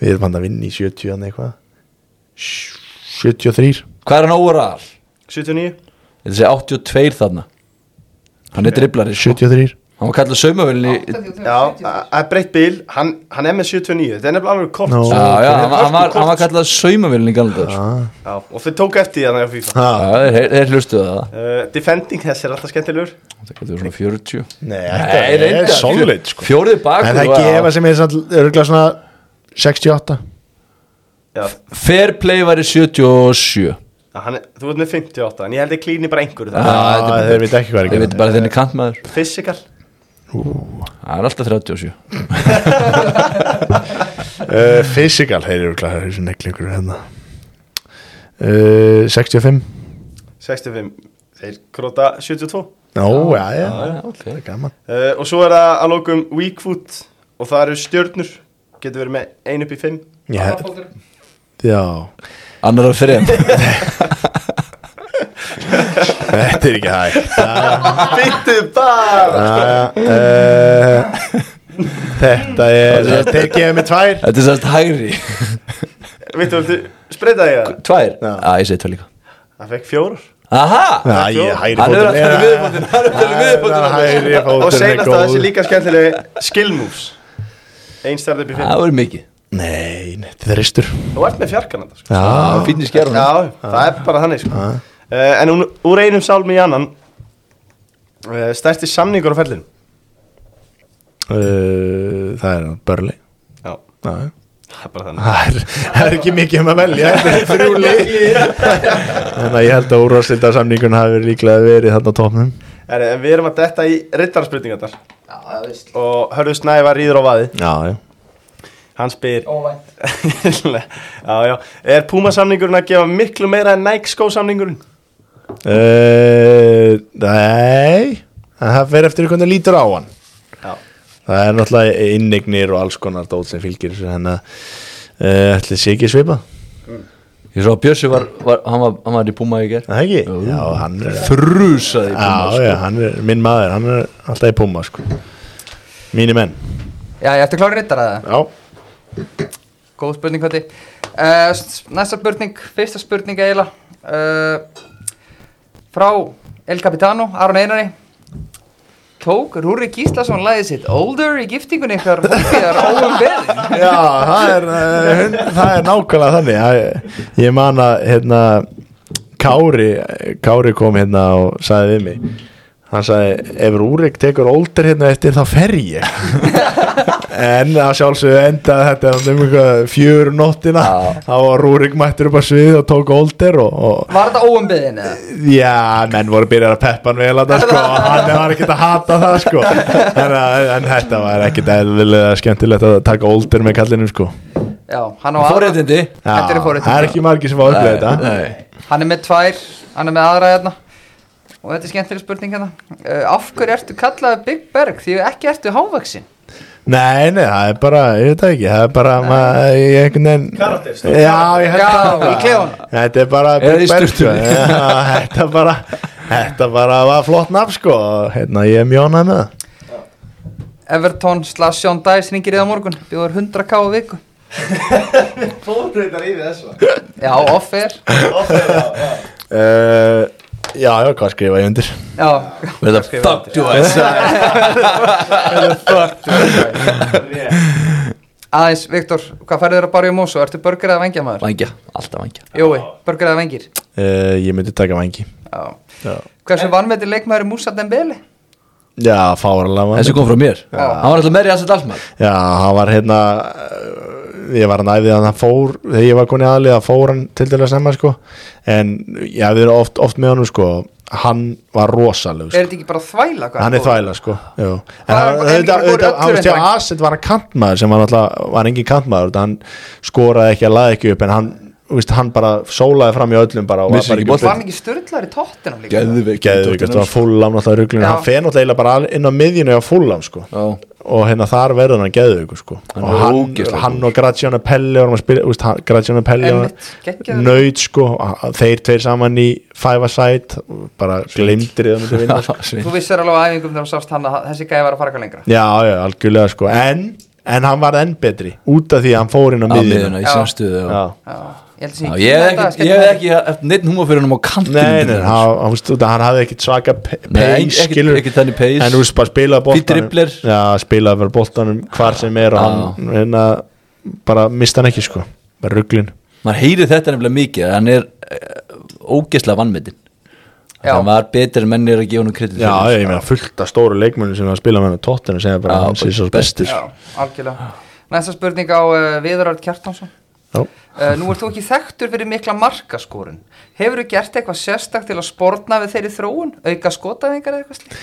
Speaker 4: Við erum hann að vinna í 70 hann eitthvað Sj- 73
Speaker 3: Hvað er hann overall?
Speaker 2: 79
Speaker 3: Þetta sé 82 þarna Hann er dribblari sko.
Speaker 4: 73
Speaker 3: Hann var kallað saumavelin í
Speaker 2: Já, það er breytt bíl Hann, hann er með 79, þetta er nefnilega alveg kort
Speaker 4: Nó.
Speaker 2: sko.
Speaker 3: Já, já, hann, var- hann, var, hann var
Speaker 2: Kort.
Speaker 3: kallað saumavelin í galda sko.
Speaker 4: Ah.
Speaker 2: já, Og þau tók eftir því að það er FIFA
Speaker 4: ha,
Speaker 3: Já, þeir- þeir hlustuðu það
Speaker 2: uh, Defending þess er alltaf skemmtilegur
Speaker 3: Það getur svona 40
Speaker 4: Nei,
Speaker 3: Nei,
Speaker 4: þetta er
Speaker 3: reyndar.
Speaker 4: solid sko.
Speaker 3: Fjórði bakur
Speaker 4: En það er ekki ef að sem er samt örgulega svona 68
Speaker 2: já,
Speaker 3: Fair play var í 77
Speaker 2: já, hann, er- Þú ert með 58, en ég held að klíni bara einhverju
Speaker 4: Já,
Speaker 2: það
Speaker 3: þetta er-
Speaker 4: þeir veit ekki hvað er
Speaker 3: Ég veit
Speaker 4: ekki
Speaker 3: bara þenni kantmaður
Speaker 2: Physical
Speaker 3: Það er alltaf 37
Speaker 4: uh, Physical, þeir eru örgulega þessu neklingur hérna uh, 65
Speaker 2: 65, þeir króta 72 uh,
Speaker 4: Nó, já, já,
Speaker 3: já, ok.
Speaker 4: það er gaman
Speaker 2: Eh, Og svo er það að lókum weak foot Og það eru stjörnur Getur verið með 1 upp í 5
Speaker 4: Já,
Speaker 5: fólkurinn.
Speaker 4: já
Speaker 3: Annar af þrejum
Speaker 4: Þetta er ekki hægt
Speaker 2: Byttu bara
Speaker 4: uh, Þetta er Þeir gefið mig tvær
Speaker 3: Þetta er sérst hægri
Speaker 2: Vittu, viltu spreita því að það?
Speaker 3: Tvær? Já, ég segi tvær líka
Speaker 2: Það fekk fjórar
Speaker 3: Aha!
Speaker 4: Já, ég hægri
Speaker 3: Hann er
Speaker 4: fótum
Speaker 3: að tala viðbótinn Hann er að tala viðbótinn
Speaker 4: Hægri fótum
Speaker 2: Og seinast að þessi líka skemmtilegi skill moves Einn stærð upp í fimm
Speaker 3: það verður mikið
Speaker 4: Nei, nei, þetta er ristur
Speaker 2: Þú ert með fjarkan þetta sko.
Speaker 3: Það er
Speaker 4: Já,
Speaker 3: fínir skerðan
Speaker 2: Já, það er bara þannig sko. uh, En hún, úr einum sálmi í annan uh, Stærsti samningur á fellinu
Speaker 4: uh, það er börli
Speaker 2: Já,
Speaker 4: Já,
Speaker 2: það er bara þannig
Speaker 4: Það er, það er ekki mikið um að velja Þetta er þrjú lið Þannig að ég held að úrvarsilda samningun hafi líklega verið þarna á topnum
Speaker 2: er, En við erum að detta í rittarspurningarnar
Speaker 5: Já, það er veist
Speaker 2: Og Hörður Snævar rýður á vaði
Speaker 4: Já, já
Speaker 2: Hann spyr
Speaker 5: Óvænt
Speaker 2: já, já. Er Puma samningurinn að gefa miklu meira en Nike skó samningurinn?
Speaker 4: uh, Nei En Það fer eftir hvernig lítur á hann
Speaker 2: Já
Speaker 4: Það er náttúrulega innignir og alls konar dót sem fylgir þessu Þannig að uh, ætli sé ekki svipa
Speaker 3: Ég svo að Bjössi var, var, hann var, hann var í Puma í ger
Speaker 4: Er Það ekki? Já, hann er
Speaker 3: Þrúsaði í Puma sko.
Speaker 4: Já, já, hann er minn maður Hann er alltaf í púma sko Mínu menn
Speaker 5: Já, ég ætti að klára rittar að það
Speaker 4: Já
Speaker 5: Góð spurning, Kati uh, Næsta spurning, fyrsta spurning eiginlega uh, Frá El Capitano, Aron Einari Tók Rúrik Gíslason lagið sitt Older í giftingunni ykkar hófiðar óum beðin
Speaker 4: Já, það er, eh, hund- það er nákvæmlega þannig ég, ég man að hérna, Kári Kári kom hérna og sagði við mig hann sagði, ef Rúrik tekur older hérna eftir þá fer ég en að sjálfsögðu endaði þetta um einhver fjör nóttina þá var Rúrik mættur upp að svið og tók older og, og
Speaker 5: Var þetta óum beðin eða?
Speaker 4: Já, menn voru byrjar að peppa hann vel að það sko og hann var ekkert að hata það sko en, að- en þetta var ekkert eðlilega skemmtilegt að taka older með kallinum sko
Speaker 5: Já, hann á aðra
Speaker 3: Fóréttindi
Speaker 4: Já,
Speaker 5: Þetta eru forréttindi.
Speaker 4: Það er ekki margir sem var að upplega þetta
Speaker 3: Nei, nei.
Speaker 5: Hann er með tvær, hann er með aðra hérna Og þetta er skemmtileg spurning hérna uh, Af hverju ertu kallaði Big Berg því ekki ertu hávaksin?
Speaker 4: Nei, nei, það er bara, ég veit það ekki Það er bara, maður, ég einhvern veginn
Speaker 2: Karakter, sko.
Speaker 4: Já, ég held
Speaker 5: Já,
Speaker 4: það bara.
Speaker 5: í klefann.
Speaker 4: Þetta er bara
Speaker 3: Eða í
Speaker 4: Big Bird,
Speaker 3: sturtunni.
Speaker 4: sko. Já, Þetta bara, þetta bara var flott nafn sko og, Hérna, ég er mjónað með það
Speaker 5: Everton slash Sean Dice ringir í það á morgun Bjóður 100k á viku
Speaker 2: Fórbreytar yfir þessu
Speaker 5: Já, off-air Eh,
Speaker 4: uh, Já, já, hvað skrifa ég undir
Speaker 5: Já,
Speaker 3: With a fuck to us
Speaker 5: aðeins, Viktor, hvað færður þér að barja mús og ertu börgur eða vengja maður?
Speaker 3: Vangja, alltaf vangja
Speaker 5: Jói, börgur eða vengir
Speaker 4: uh, Ég myndi taka vangi
Speaker 5: Já.
Speaker 4: Já
Speaker 5: Hversu vannmeti leikmaður er Músa Dembele?
Speaker 4: Já, fárlega
Speaker 3: Þessi kom frá mér Hann var alltaf meiri að setja allmann
Speaker 4: Já, hann var hérna eh, Ég var næðið að hann fór Þegar ég var konið aðlið að fór hann til dæla saman sko En ég hafði verið oft, oft með honum sko Hann var rosaleg
Speaker 5: Er
Speaker 4: sko.
Speaker 5: þetta ekki bara þvæla? hvað
Speaker 4: Hann er
Speaker 5: góður?
Speaker 4: þvæla sko Jú. En
Speaker 5: Var
Speaker 4: hann,
Speaker 5: hann-
Speaker 4: auðvitað,
Speaker 5: hann fór
Speaker 4: auðvitað,
Speaker 5: öllu
Speaker 4: hann veist hjá
Speaker 5: reyndar?
Speaker 4: Asset var hann kantmaður sem var alltaf, var engin kantmaður þetta, Hann skoraði ekki að laða ekki upp En hann, þú veist, hann bara sólaði fram í öllum bara, og var
Speaker 3: Missir
Speaker 4: bara
Speaker 3: ekki
Speaker 4: ekki
Speaker 5: Var
Speaker 3: boltann. sko.
Speaker 5: hann ekki styrlar í tóttinum líka?
Speaker 3: Geðvig
Speaker 4: Geðvík, þetta var fúllam náttúrulega ruglun
Speaker 5: Já.
Speaker 4: Hann fer náttúrulega eiginlega bara inn á miðjunu á fúllam sko og hérna þar verður hann geðugu sko.
Speaker 3: Hann
Speaker 4: og
Speaker 3: er
Speaker 4: hann,
Speaker 3: ógeðslega
Speaker 4: hann og Graziano Pelli vorum að spila, úst, Graziano Pelli
Speaker 5: Einmitt, geggjaður.
Speaker 4: nöyt sko að- þeir tveir saman í five a side og bara glimtir í það myndi vinna sko.
Speaker 5: Þú vissir alveg á æfingum þegar þú sást hann að þessi gæði var að fara eitthvað lengra
Speaker 4: já, já, algjörlega sko en, en hann var enn betri út af því að hann fór inn á
Speaker 3: Á
Speaker 4: miðjuna
Speaker 3: miðuna, í
Speaker 5: Já.
Speaker 3: samstöðu já.
Speaker 4: Já.
Speaker 5: Já, ég held að
Speaker 3: Já,
Speaker 5: sé
Speaker 3: Ég hef
Speaker 5: Kína þetta,
Speaker 3: ekki,
Speaker 5: skemmtilegt.
Speaker 3: ég hef ekki haft neitt humor fyrir hann á kantinu
Speaker 4: Nei, nei, hann, hann, veist, hann hafði ekkit svaka pe-
Speaker 3: Nei,
Speaker 4: pace,
Speaker 3: ekkit-
Speaker 4: skilur
Speaker 3: ekkit þannig pace.
Speaker 4: En þú veist, bara spilaði boltanum
Speaker 3: dribbler.
Speaker 4: Já, spilaði bara boltanum hvar sem er og hann, hérna, bara mista hann ekki, sko Bara rugglin
Speaker 3: Maður heyrir þetta nefnilega mikið Hann er uh, ógeðslega vannmyndin
Speaker 5: Já.
Speaker 3: Hann var betur en menn er að gefa hann kredit
Speaker 4: Já, ég meina fullt af stóru leikmönnum sem að spila með hann á tóttinu segja bara
Speaker 3: Já,
Speaker 4: að hann sé
Speaker 3: bara
Speaker 4: svo
Speaker 3: bestur.
Speaker 4: bestur
Speaker 5: Já, algjörlega Næsta spurning á uh, Viðarard Kjartansson
Speaker 4: Já.
Speaker 5: Uh, nú ert þú ekki þekktur fyrir mikla markaskorun Hefur þú gert eitthvað sérstakt til að sportna við þeirri þróun? Auka skotaðingar eða eitthvað slíkt?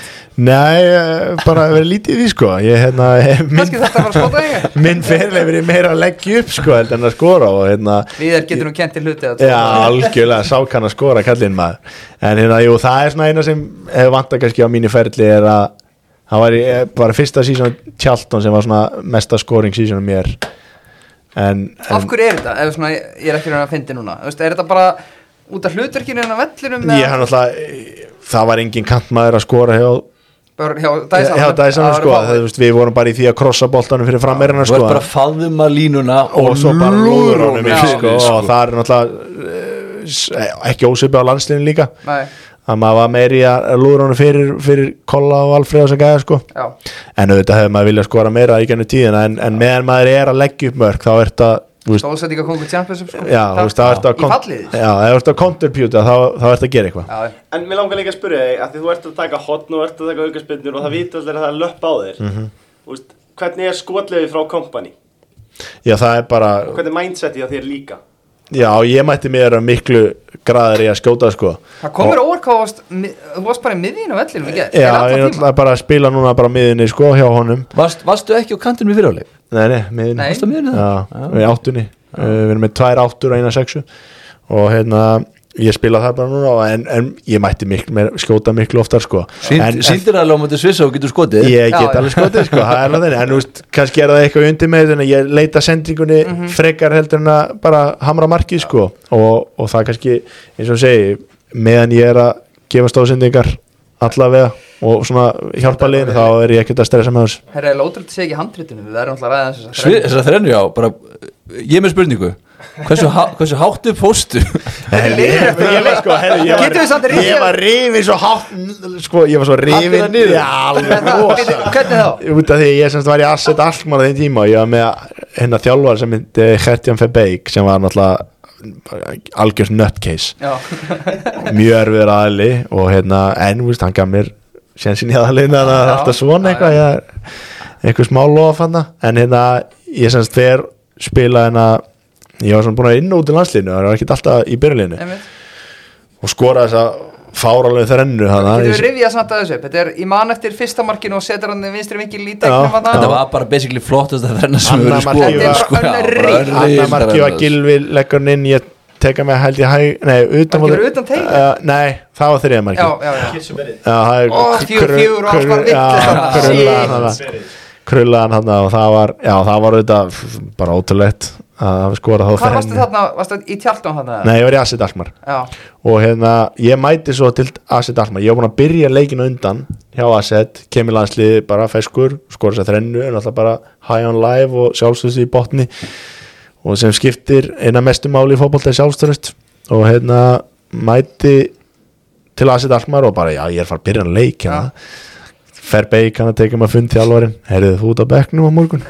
Speaker 4: Nei, eh, bara verið lítið í því, sko Ég, hérna, eh,
Speaker 5: Kanski
Speaker 4: minn,
Speaker 5: þetta var skotaðingar
Speaker 4: minn fyrirlega verið meira að leggja upp, sko, heldur en að skora og hérna
Speaker 5: Viðar getur nú kent til hluti eða tvo.
Speaker 4: Já, algjörlega sákan að skora kallinn maður En hérna, jú, það er svona eina sem hefur vantar kannski á mínu ferli er að það var í- eh, bara fyrsta sísón Tjalton sem var svona mesta scoring sísónum mér En,
Speaker 5: Af
Speaker 4: en
Speaker 5: hverju er þetta? Ef svona, ég er ekki reyna að fyndi núna Þú veist, Er þetta bara út af hluturkinu en að vellinum
Speaker 4: ég hann alltaf það var engin kantmaður að skora hjá
Speaker 5: Bör, hjá Dyson
Speaker 4: hjá Dyson sko, það, þú veist, við vorum bara í því að krossa boltanum fyrir frammeirina
Speaker 3: Þú
Speaker 4: sko
Speaker 3: ert bara að faðma línuna
Speaker 4: og svo bara lúður honum sko.
Speaker 5: Já. sko.
Speaker 4: yfir, sko, og það er náttúrulega eh, s- ekki ósipið á landsliðin líka
Speaker 5: Nei,
Speaker 4: að maður var meiri að lúra honum fyrir, fyrir Kolla og Alfreð og sem gæða sko
Speaker 5: Já,
Speaker 4: en auðvitað hefur maður viljað skora meira í gennum tíðina en, en meðan maður er að leggja upp mörg þá ert að þú veist,
Speaker 5: stóðsendinga kongur Champions sko.
Speaker 4: já, þú veist, þá ert að
Speaker 5: Í fallið
Speaker 4: já, ef þú ert að counterputa þá, þá ert að gera eitthvað
Speaker 5: Já,
Speaker 2: En mér langar líka að spyrja þig, að því þú ert að taka hotn og ert að taka aukarspinnur og það vita allir að það er löpp á þér Þú veist, hvernig er skotlefi frá kompani?
Speaker 4: já, það er bara,
Speaker 2: Og hvernig er mindseti á þér líka?
Speaker 4: já, ég mætti mér að miklu graðar í að skjóta sko
Speaker 5: það komur óvarkáðast Þú varst bara í miðinu vellinu ekki?
Speaker 4: já, ég er alltaf bara að spila núna bara á miðinni sko hjá honum,
Speaker 3: Varst, Varstu ekki á kantinum í fyrirháleik?
Speaker 4: nei, nei, miðinni
Speaker 5: Nei.
Speaker 3: Varstu á miðunni það?
Speaker 4: Já, við áttunni uh, Við erum með tvær áttur og eina sexu Og hérna, ég spila það bara núna og- En, en ég mætti miklu, mér, skjóta miklu oftar sko. en,
Speaker 3: Sýnd- Sýndir alveg á móti Svissa og getur skotið
Speaker 4: en ég
Speaker 5: Já,
Speaker 4: get
Speaker 5: já.
Speaker 4: alveg skotið sko, það er alveg þannig. En þú veist, kannski er það eitthvað undir með þetta Ég leita sendingunni frekar heldur en að bara hamra markið sko. og, og það kannski, eins og ég segi Meðan ég er að gefa stóðsendingar Allavega og svona hjálpa liðinu þá er ég ekkert að stressa með þessu
Speaker 5: Herra, ég lótur þetta sé ekki í handritinu Við verðum alltaf að ræða þessu samt.
Speaker 3: Svi- Þessar þrennu já, bara Ég er með spurningu Hversu, há, hversu háttu fóstu?
Speaker 4: Herri, ég- ég var sko, herri, ég var-
Speaker 5: Getum við samt rifið-
Speaker 4: Ég var rifið svo hátt Sko, ég var svo rifið
Speaker 3: það niður?
Speaker 4: Já, alveg rosa
Speaker 5: Hvernig þá?
Speaker 4: Út af því að ég semst var í Asset Alkmaar á þeim tíma og ég var með hérna þjálfar sem myndi Hertjan Febeik sem var náttúrulega algjörst nutcase
Speaker 5: Já,
Speaker 4: mjög erfiður aðli og hérna en, þú veist, hann gaf mér sénsinn í aðalina þannig að það er
Speaker 5: Já,
Speaker 4: alltaf svona
Speaker 5: já,
Speaker 4: eitthvað ég, eitthvað smá lof hann en hérna, ég semst þegar spila hérna, ég var svona búin að vera inn og út í landslinu, það var ekkert alltaf í byrjulinu
Speaker 5: einmitt
Speaker 4: og skora þess að fáralegu þrennu hana,
Speaker 5: Getur við
Speaker 4: ég,
Speaker 5: rifjað samt að þessu upp? Þetta er í mann eftir fyrsta markinu og setur hann í vinstri vinkil í
Speaker 4: Já,
Speaker 5: degnum
Speaker 3: Þetta
Speaker 5: að
Speaker 3: var bara basically flottast að þrenna sem
Speaker 4: Annað
Speaker 3: við verið
Speaker 4: markið
Speaker 3: skoðið
Speaker 4: var-
Speaker 3: sko, já, bara
Speaker 5: Annað
Speaker 3: önnur
Speaker 5: markið
Speaker 4: Anna marki var
Speaker 3: þrenna.
Speaker 4: gilvi leggur hann inn, ég teka mig held ég hæg, nei, utan
Speaker 5: Markið
Speaker 4: móti-
Speaker 5: var utan teig?
Speaker 4: Eh, nei, það var þriða marki
Speaker 5: Já, já, já
Speaker 4: Já, það er
Speaker 5: Ó, fjögur,
Speaker 4: krull-
Speaker 5: fjögur og allt var
Speaker 4: krull-
Speaker 5: vitleysa
Speaker 4: já,
Speaker 5: þarna.
Speaker 4: krullaðan
Speaker 5: Shit.
Speaker 4: þarna. krullaðan hann og það var, já, það var auðvitað bara ótrúlegt að skora þá
Speaker 5: Hvað varstu
Speaker 4: þrennu.
Speaker 5: þarna? Varstu í tjaldum þarna?
Speaker 4: nei, ég var í Asset Alkmaar
Speaker 5: Já,
Speaker 4: og hérna, ég mæti svo til Asset Alkmaar, ég var búin að byrja leikinu undan hjá Asset, kemur landsliði bara feskur, skora þess að þrennu en alltaf bara high on live og sjálfstöðs í botni og sem skiptir eina mestu máli í fótbolta er sjálfstöðust og hérna mæti til Asset Alkmaar og bara, já, ég er farið að byrja hann leik hérna fer beik hann að teka maður fund þjálfarin heyrðu þú út á bekknum á morgun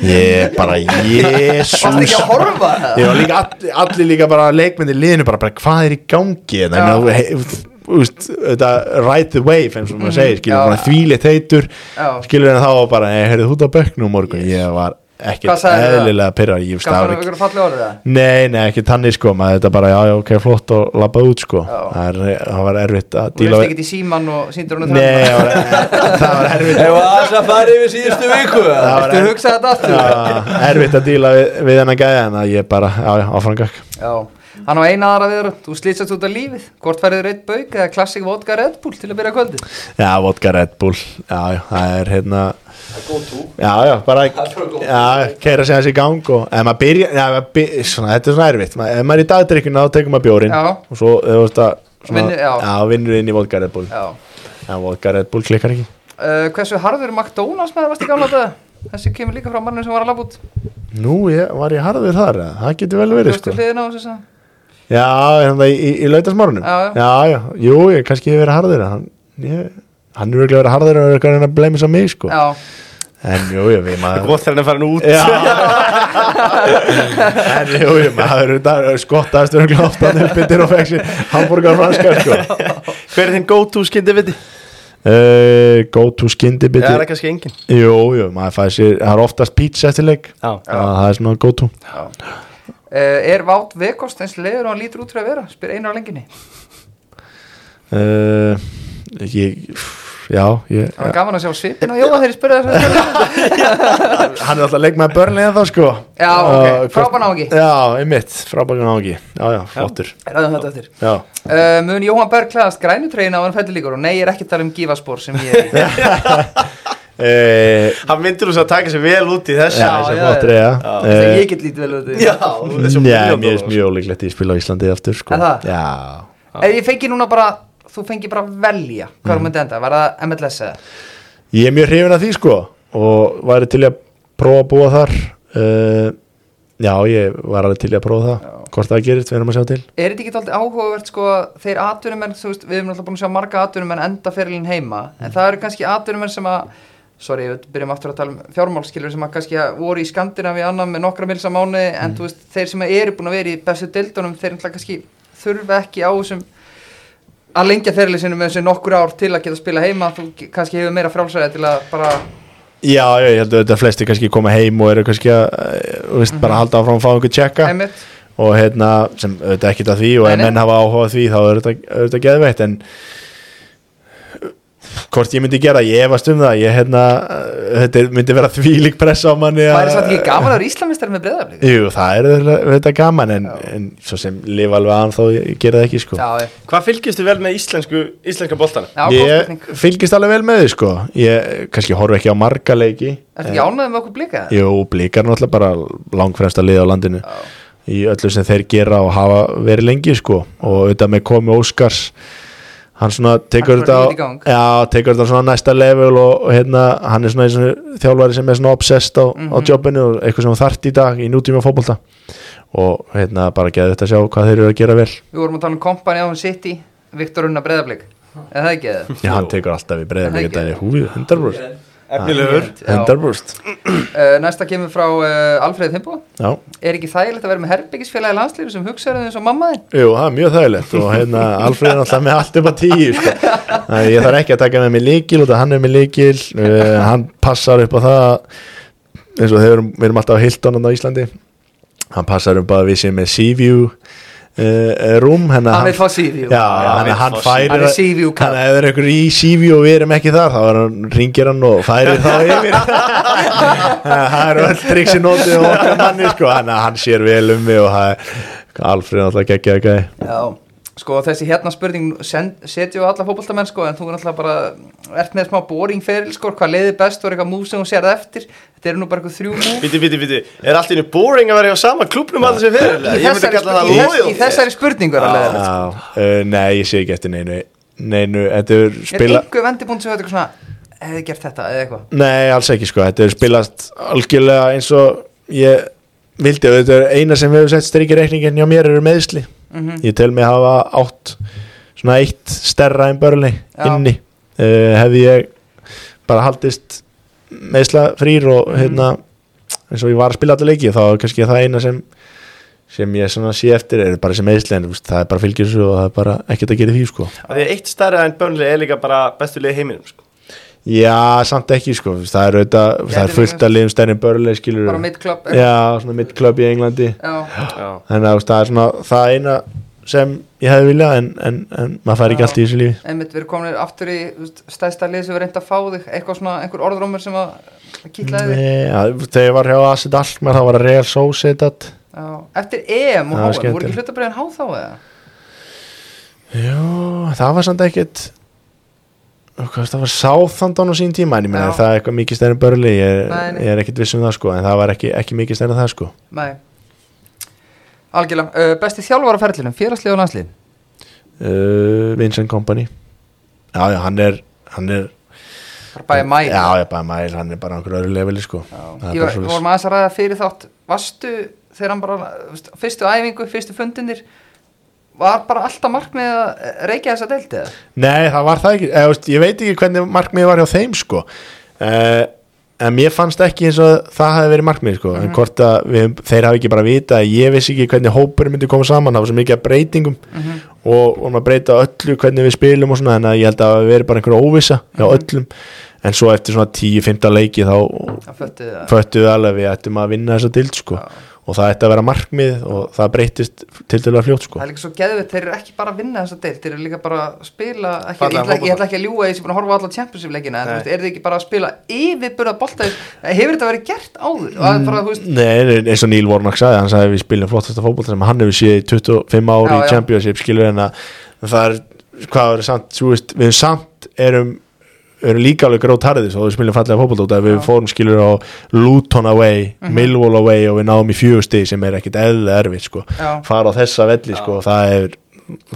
Speaker 4: ég bara,
Speaker 5: varstu
Speaker 4: jésús
Speaker 5: ekki að horfa það?
Speaker 4: ég var líka, all, allir líka bara leikmyndi liðinu bara, bara hvað er í gangi hérna?" en
Speaker 5: Já.
Speaker 4: það er right the wave eins og maður segir, skilur
Speaker 5: Mhm, Já.
Speaker 4: bara þvíleitt heitur
Speaker 5: Já.
Speaker 4: skilur en þá var bara, hey, heyrðu þú út á bekknum á morgun ég var
Speaker 5: Hvað
Speaker 4: ekkert
Speaker 5: sagðirðu það?
Speaker 4: eðlilega pyrrar, ég veist
Speaker 5: Gaf
Speaker 4: það
Speaker 5: hann
Speaker 4: var
Speaker 5: um
Speaker 4: ekki
Speaker 5: ykkur falli orðið það?
Speaker 4: Nei, nei, ekki tannig sko maður þetta bara, já, já, ok, flott og labbað út sko
Speaker 5: Já.
Speaker 4: það, er, það var erfitt að
Speaker 5: Þú
Speaker 4: díla
Speaker 5: veist
Speaker 4: við-
Speaker 5: ekki í síman og síndur hann
Speaker 4: Nei, það var- það var erfitt
Speaker 3: Ef að það fari yfir síðustu viku eða?
Speaker 4: það var
Speaker 5: Þú hugsaði þetta aftur?
Speaker 4: Já, erfitt að díla við, við hennar gæja en að ég bara, já, já, áframgak
Speaker 5: Já, hann á eina aðra viður Þú slýtsast út af lífið, hvort færið reitt bauk eða klassik vodka Red Bull til að byrja kvöldi
Speaker 4: Já, vodka Red Bull, já, já, það er hérna Já, já, bara já, keira sig hans í gang og ef maður byrja, já, maður byrja svona, þetta er svona erfitt, Ma, ef maður er í dagdrykkuna þá tekur maður bjórin
Speaker 5: Já.
Speaker 4: og svo, þú veist að svona,
Speaker 5: Vinnur- já.
Speaker 4: vinnur inn í vodka Red Bull
Speaker 5: Já,
Speaker 4: en vodka Red Bull klikkar ekki
Speaker 5: uh, hversu harður McDonalds með varst í gamla þetta? Þessi kemur líka frá mannum sem var að lafa út
Speaker 4: Nú, ég, var ég harður þar, eða? það getur vel verið
Speaker 5: Bjóstu
Speaker 4: sko.
Speaker 5: hliðina á þessu sem
Speaker 4: Já, hérna í, í, í lautasmárunum
Speaker 5: Já, já.
Speaker 4: já, já, jú, ég kannski hef verið harður en Hann, ég, hann er ekki verið harður og er eitthvað að reyna að bleimi svo mig sko.
Speaker 5: Já,
Speaker 4: En jú, ég veit maður
Speaker 2: Gott þegar hann er farin út
Speaker 4: Já En jú, ég maður Það er skottaðast verið glóft Hann er bitir og fekk sér Hamburgar franskar sko.
Speaker 2: Hver er þinn go-to skyndiviti?
Speaker 4: uh, Go to skyndi
Speaker 2: Já, það
Speaker 4: bitir
Speaker 2: er kannski engin
Speaker 4: Jú, jú, maður fæði sér Það er oftast pizza eftir leik
Speaker 2: Já.
Speaker 4: Það er svona go to
Speaker 5: uh, er Vátt Vekost eins leiður og hann lítur út fyrir að vera? Spyr einar á lenginni
Speaker 4: uh, Ég Já, ég
Speaker 5: Það var gaman að sjá svipin og jóa þeirri spyrja þessu spurningu.
Speaker 4: hann er alltaf leik með börnlega þá sko
Speaker 5: Já, ok.
Speaker 4: Uh, hvort-
Speaker 5: Frábær náungi.
Speaker 4: Já, einmitt, frábær náungi Já, já, flottur
Speaker 5: Ræðum þetta eftir
Speaker 4: Já,
Speaker 5: uh, Mun Jóhann Berg klæðast grænutreina á hann fællilíkur og nei, ég er ekki að tala um gífaspor sem ég er í
Speaker 4: Eh,
Speaker 2: Hann myndir þú svo að taka sér vel út í þessu
Speaker 4: já þessi
Speaker 5: já,
Speaker 4: flottur, já
Speaker 5: Þegar
Speaker 4: Eh,
Speaker 5: ég get lítið vel auðvitað
Speaker 2: Já, þú ert svo milljón
Speaker 4: Já, mér er
Speaker 2: dollara.
Speaker 4: mjög ólíklegt að ég spila á Íslandi aftur sko
Speaker 5: Er það?
Speaker 4: Já
Speaker 5: Ef ég fengi núna bara, þú fengi bara velja Hvað mm. myndi enda, var það MLS eða?
Speaker 4: Ég er mjög hrifin af því sko og væri til í að prófa að búa þar uh, Já, ég var alveg til í að prófa það Hvort það gerist, við erum að sjá til
Speaker 5: Er þetta ekki alltaf áhugavert sko þeir atvinnumenn, þú veist, við erum alltaf búin að sjá marga atvinnumenn enda fyrirlin heima en það eru kannski atvinnumenn sem að sorry, við byrjum aftur að tala um fjármálskilur sem að kannski að voru í Skandinavi annan með nokkra mils að mánu en þú veist, þeir sem að eru búin að vera í bestu deildunum þeir alltaf kannski þurfa ekki á þessum að lengja fyrirlin sinni með þessu nokkur ár til að geta spila heima þú kannski hefur meira frálsæði til að bara
Speaker 4: Já, já, ég held að þetta flesti kannski koma heim og eru kannski að, eh, þú veist, bara halda áfram að fá einhver tjekka
Speaker 5: einmitt
Speaker 4: og hérna, sem auðvitað ekkert að því og
Speaker 5: Nei,
Speaker 4: ef
Speaker 5: nei.
Speaker 4: menn hafa áhuga á því þá er þetta, er þetta geðveitt en eh, hvort ég myndi gera ég efast um það, ég hérna eh, þetta myndi vera þvílík pressa á manni að-
Speaker 5: Það er samt ekki gaman að vera Íslamistar með breyðarblik
Speaker 4: Jú, það er auðvitað- auðvitað gaman en, en svo sem lifa alveg aðan þá ég gera það ekki sko
Speaker 5: Já, já,
Speaker 2: Hvað fylgistu vel með íslensku, íslenska boltan?
Speaker 5: já, góð
Speaker 4: ég
Speaker 5: spurning
Speaker 4: fylgist alveg vel með því sko ég kannski horfi ekki á marga leiki
Speaker 5: Er ekki ánæðið með okkur blika?
Speaker 4: Jú, blíkar náttúrulega bara langfremsta lið á landinu í öllu sem þeir gera og hafa verið lengi sko og auðvitað með komi Óskars hann svona tekur
Speaker 5: Hann bara rífur í
Speaker 4: þetta
Speaker 5: gang.
Speaker 4: á- já, tekur þetta á svona næsta level og, og hérna, hann er svona, eins og þjálfari sem er svona obsessed á, á
Speaker 5: Mhm.
Speaker 4: jobbinu og eitthvað sem hún þart í dag í nútíma fótbolta og hérna bara geði þetta að sjá hvað þeir eru að gera vel
Speaker 5: Við vorum að tala um kompani á hún City Viktor Unna Breðablík Eða það ekki eða?
Speaker 4: já, hann tekur alltaf í breyðum
Speaker 5: Það er
Speaker 4: ekki
Speaker 5: ekki.
Speaker 4: þetta er húfið, 100%
Speaker 2: Efnilegur
Speaker 5: Já.
Speaker 4: 100%
Speaker 5: Eh, Næsta kemur frá uh, Alfreð Fimbo
Speaker 4: já,
Speaker 5: Er ekki þægilegt að vera með herbyggisfélagi landslýri sem hugsaður þau eins og mamma þinn?
Speaker 4: Jú, það er mjög þægilegt og hérna Alfred er alltaf með allt upp að tíu sko. Þannig að ég þarf ekki að taka með mig líkil og það hann er með líkil uh, hann passar upp á það eins og þeir eru, við erum alltaf á Hilton þarna á Íslandi hann passar upp á að við séum með Seaview uh, room hennar,
Speaker 5: Hann vil fá Seaview.
Speaker 4: já,
Speaker 5: Já,
Speaker 4: hann,
Speaker 2: vill
Speaker 4: hann
Speaker 2: fá
Speaker 4: færir
Speaker 5: Hann er Seaview kall.
Speaker 4: hann er einhver í Seaview og við erum ekki þar þá er hann, ringir hann og færir þá yfir það er öll triksi nótið og okkar manni sko hann, hann sér vel um mig og það er Alfred alltaf geggja gæ
Speaker 5: Já Sko þessi hérna spurning send, setjum við alla fótboltamenn sko en þú er alltaf bara ert með smá boring feril sko hvað leiði best og er eitthvað múf sem hún sér eftir þetta eru nú bara eitthvað þrjú múf
Speaker 2: Viti, viti, viti Er allt innu boring að vera á sama klubnum að þessi fyrir? Ég myndi kalla það
Speaker 5: í,
Speaker 2: lojal
Speaker 5: í þessari spurningu er alveg leiðilegt.
Speaker 4: Já, uh, nei, ég sé ekki eftir neinu neinu, þetta er
Speaker 5: Er
Speaker 4: spila
Speaker 5: einhver vendibúnd sem hefur eitthvað svona hefði gert þetta eða eitthvað
Speaker 4: nei, alls ekki sko, þetta er spilast algjörlega eins og ég vildi og þetta er eina sem hefur sett strikir reikningin hjá mér eru meðsli ég tel mig hafa átt svona eitt stærra en börli
Speaker 5: Já.
Speaker 4: inni uh, hefði ég bara haldist meðsla frýr og hérna eins og ég var að spila alltaf leiki þá er kannski það eina sem sem ég svona sé eftir er bara sem meðsli en þú veist, það er bara fylgjur svo og það er bara ekkert að gera í því sko
Speaker 2: Af því að eitt stærra en Burnley er líka bara bestu lið í heiminum sko.
Speaker 4: Já, samt ekki sko þú veist, Það er, auðvitað, það er
Speaker 5: verið.
Speaker 4: fullt að liðum stærri börlega skilur
Speaker 5: bara mitt klubb
Speaker 4: Já, svona mitt klubb í Englandi
Speaker 5: Já,
Speaker 4: Þannig að þú veist, það er svona það eina sem ég hefði viljað en, en, en maður fær ekki
Speaker 5: Já.
Speaker 4: allt í þessu lífi
Speaker 5: einmitt við erum komin aftur í þú veist, stærsta lið sem við reynda að fá þig eitthvað svona, einhver orðrómur sem að kýtlaði þig
Speaker 4: Nei, já, Þegar ég var hjá Asset Alkmaar þá var að Real Sociedad
Speaker 5: Já. eftir EM
Speaker 4: Það var
Speaker 5: og HM, voru
Speaker 4: skemmtilegt.
Speaker 5: ekki hlutabræðin háð þá eða?
Speaker 4: Jú, það var samt ekkit Hvað, það var Southampton á sín tíma en ég meina
Speaker 5: Já.
Speaker 4: er það eitthvað mikið stærri börli ég, er-
Speaker 5: Nei, nei.
Speaker 4: ég er ekkit viss um það sko en það var ekki, ekki mikið stærri en það sko
Speaker 5: Nei Algjörlega, uh, besti þjálfar á ferlinum, félagslið og landslið
Speaker 4: uh, Vincent Company Já, já, hann er, hann er
Speaker 5: bara bæja mæl
Speaker 4: Já, ég bara mæl, hann er bara á einhverju öðru leveli sko Það er
Speaker 5: Ég
Speaker 4: bara
Speaker 5: var,
Speaker 4: svoleiðis.
Speaker 5: vorum aðeins að ræða fyrir þátt Vastu þegar hann bara þú veist, Fyrstu æfingu, fyrstu fundinir Var bara alltaf markmið að reykja þessa deildi eða?
Speaker 4: Nei, það var það ekki eða, þú veist, Ég veit ekki hvernig markmið var hjá þeim sko uh, En mér fannst ekki eins og það hafi verið markmið sko
Speaker 5: Mhm.
Speaker 4: En hvort að við, þeir hafi ekki bara vita að Ég vissi ekki hvernig hópur myndi koma saman Það var svo mikið að breytingum
Speaker 5: Mhm.
Speaker 4: Og vorum að breyta öllu hvernig við spilum og svona En ég held að það hafi verið bara einhverja óvissa Hjá
Speaker 5: Mhm.
Speaker 4: öllum En svo eftir svona 10-15 leiki þá
Speaker 5: Það föttuðu það
Speaker 4: föttuðu alveg við ættum að vinna þessa dild sko. og það ætti að vera markmið og það breytist til dæla fljótt sko.
Speaker 5: Það er líka svo geðvitt, þeir eru ekki bara að vinna þessa deild, þeir eru líka bara að spila, ekki, ég,
Speaker 2: Fallegan
Speaker 5: ætla, ekki- ég
Speaker 2: fótbolta.
Speaker 5: ætla ekki að ljúa því sem búin að horfa á alla Champions League leikina, en þú
Speaker 2: Nei.
Speaker 5: veist, eru þið ekki bara að spila yfirburða bolta, hefur þetta verið gert áður, og það
Speaker 4: Mm.
Speaker 5: er bara, þú veist,
Speaker 4: Nei, nei, eins og Neil Warnock sagði, hann sagði við spilum flottasta fótbolta sem hann hefur séð í 25 ári
Speaker 5: Já, já.
Speaker 4: í Championship, skilur en að það er, hvað er samt, þú veist við erum samt, erum erum líka alveg grót harðið, svo við spilum fallega fótbolta út af við fórum skilur á Luton away
Speaker 5: Mhm.
Speaker 4: Millwall away og við náum í fjögusti sem er ekkit eðla erfitt, sko
Speaker 5: Já.
Speaker 4: fara á þessa velli, sko, það er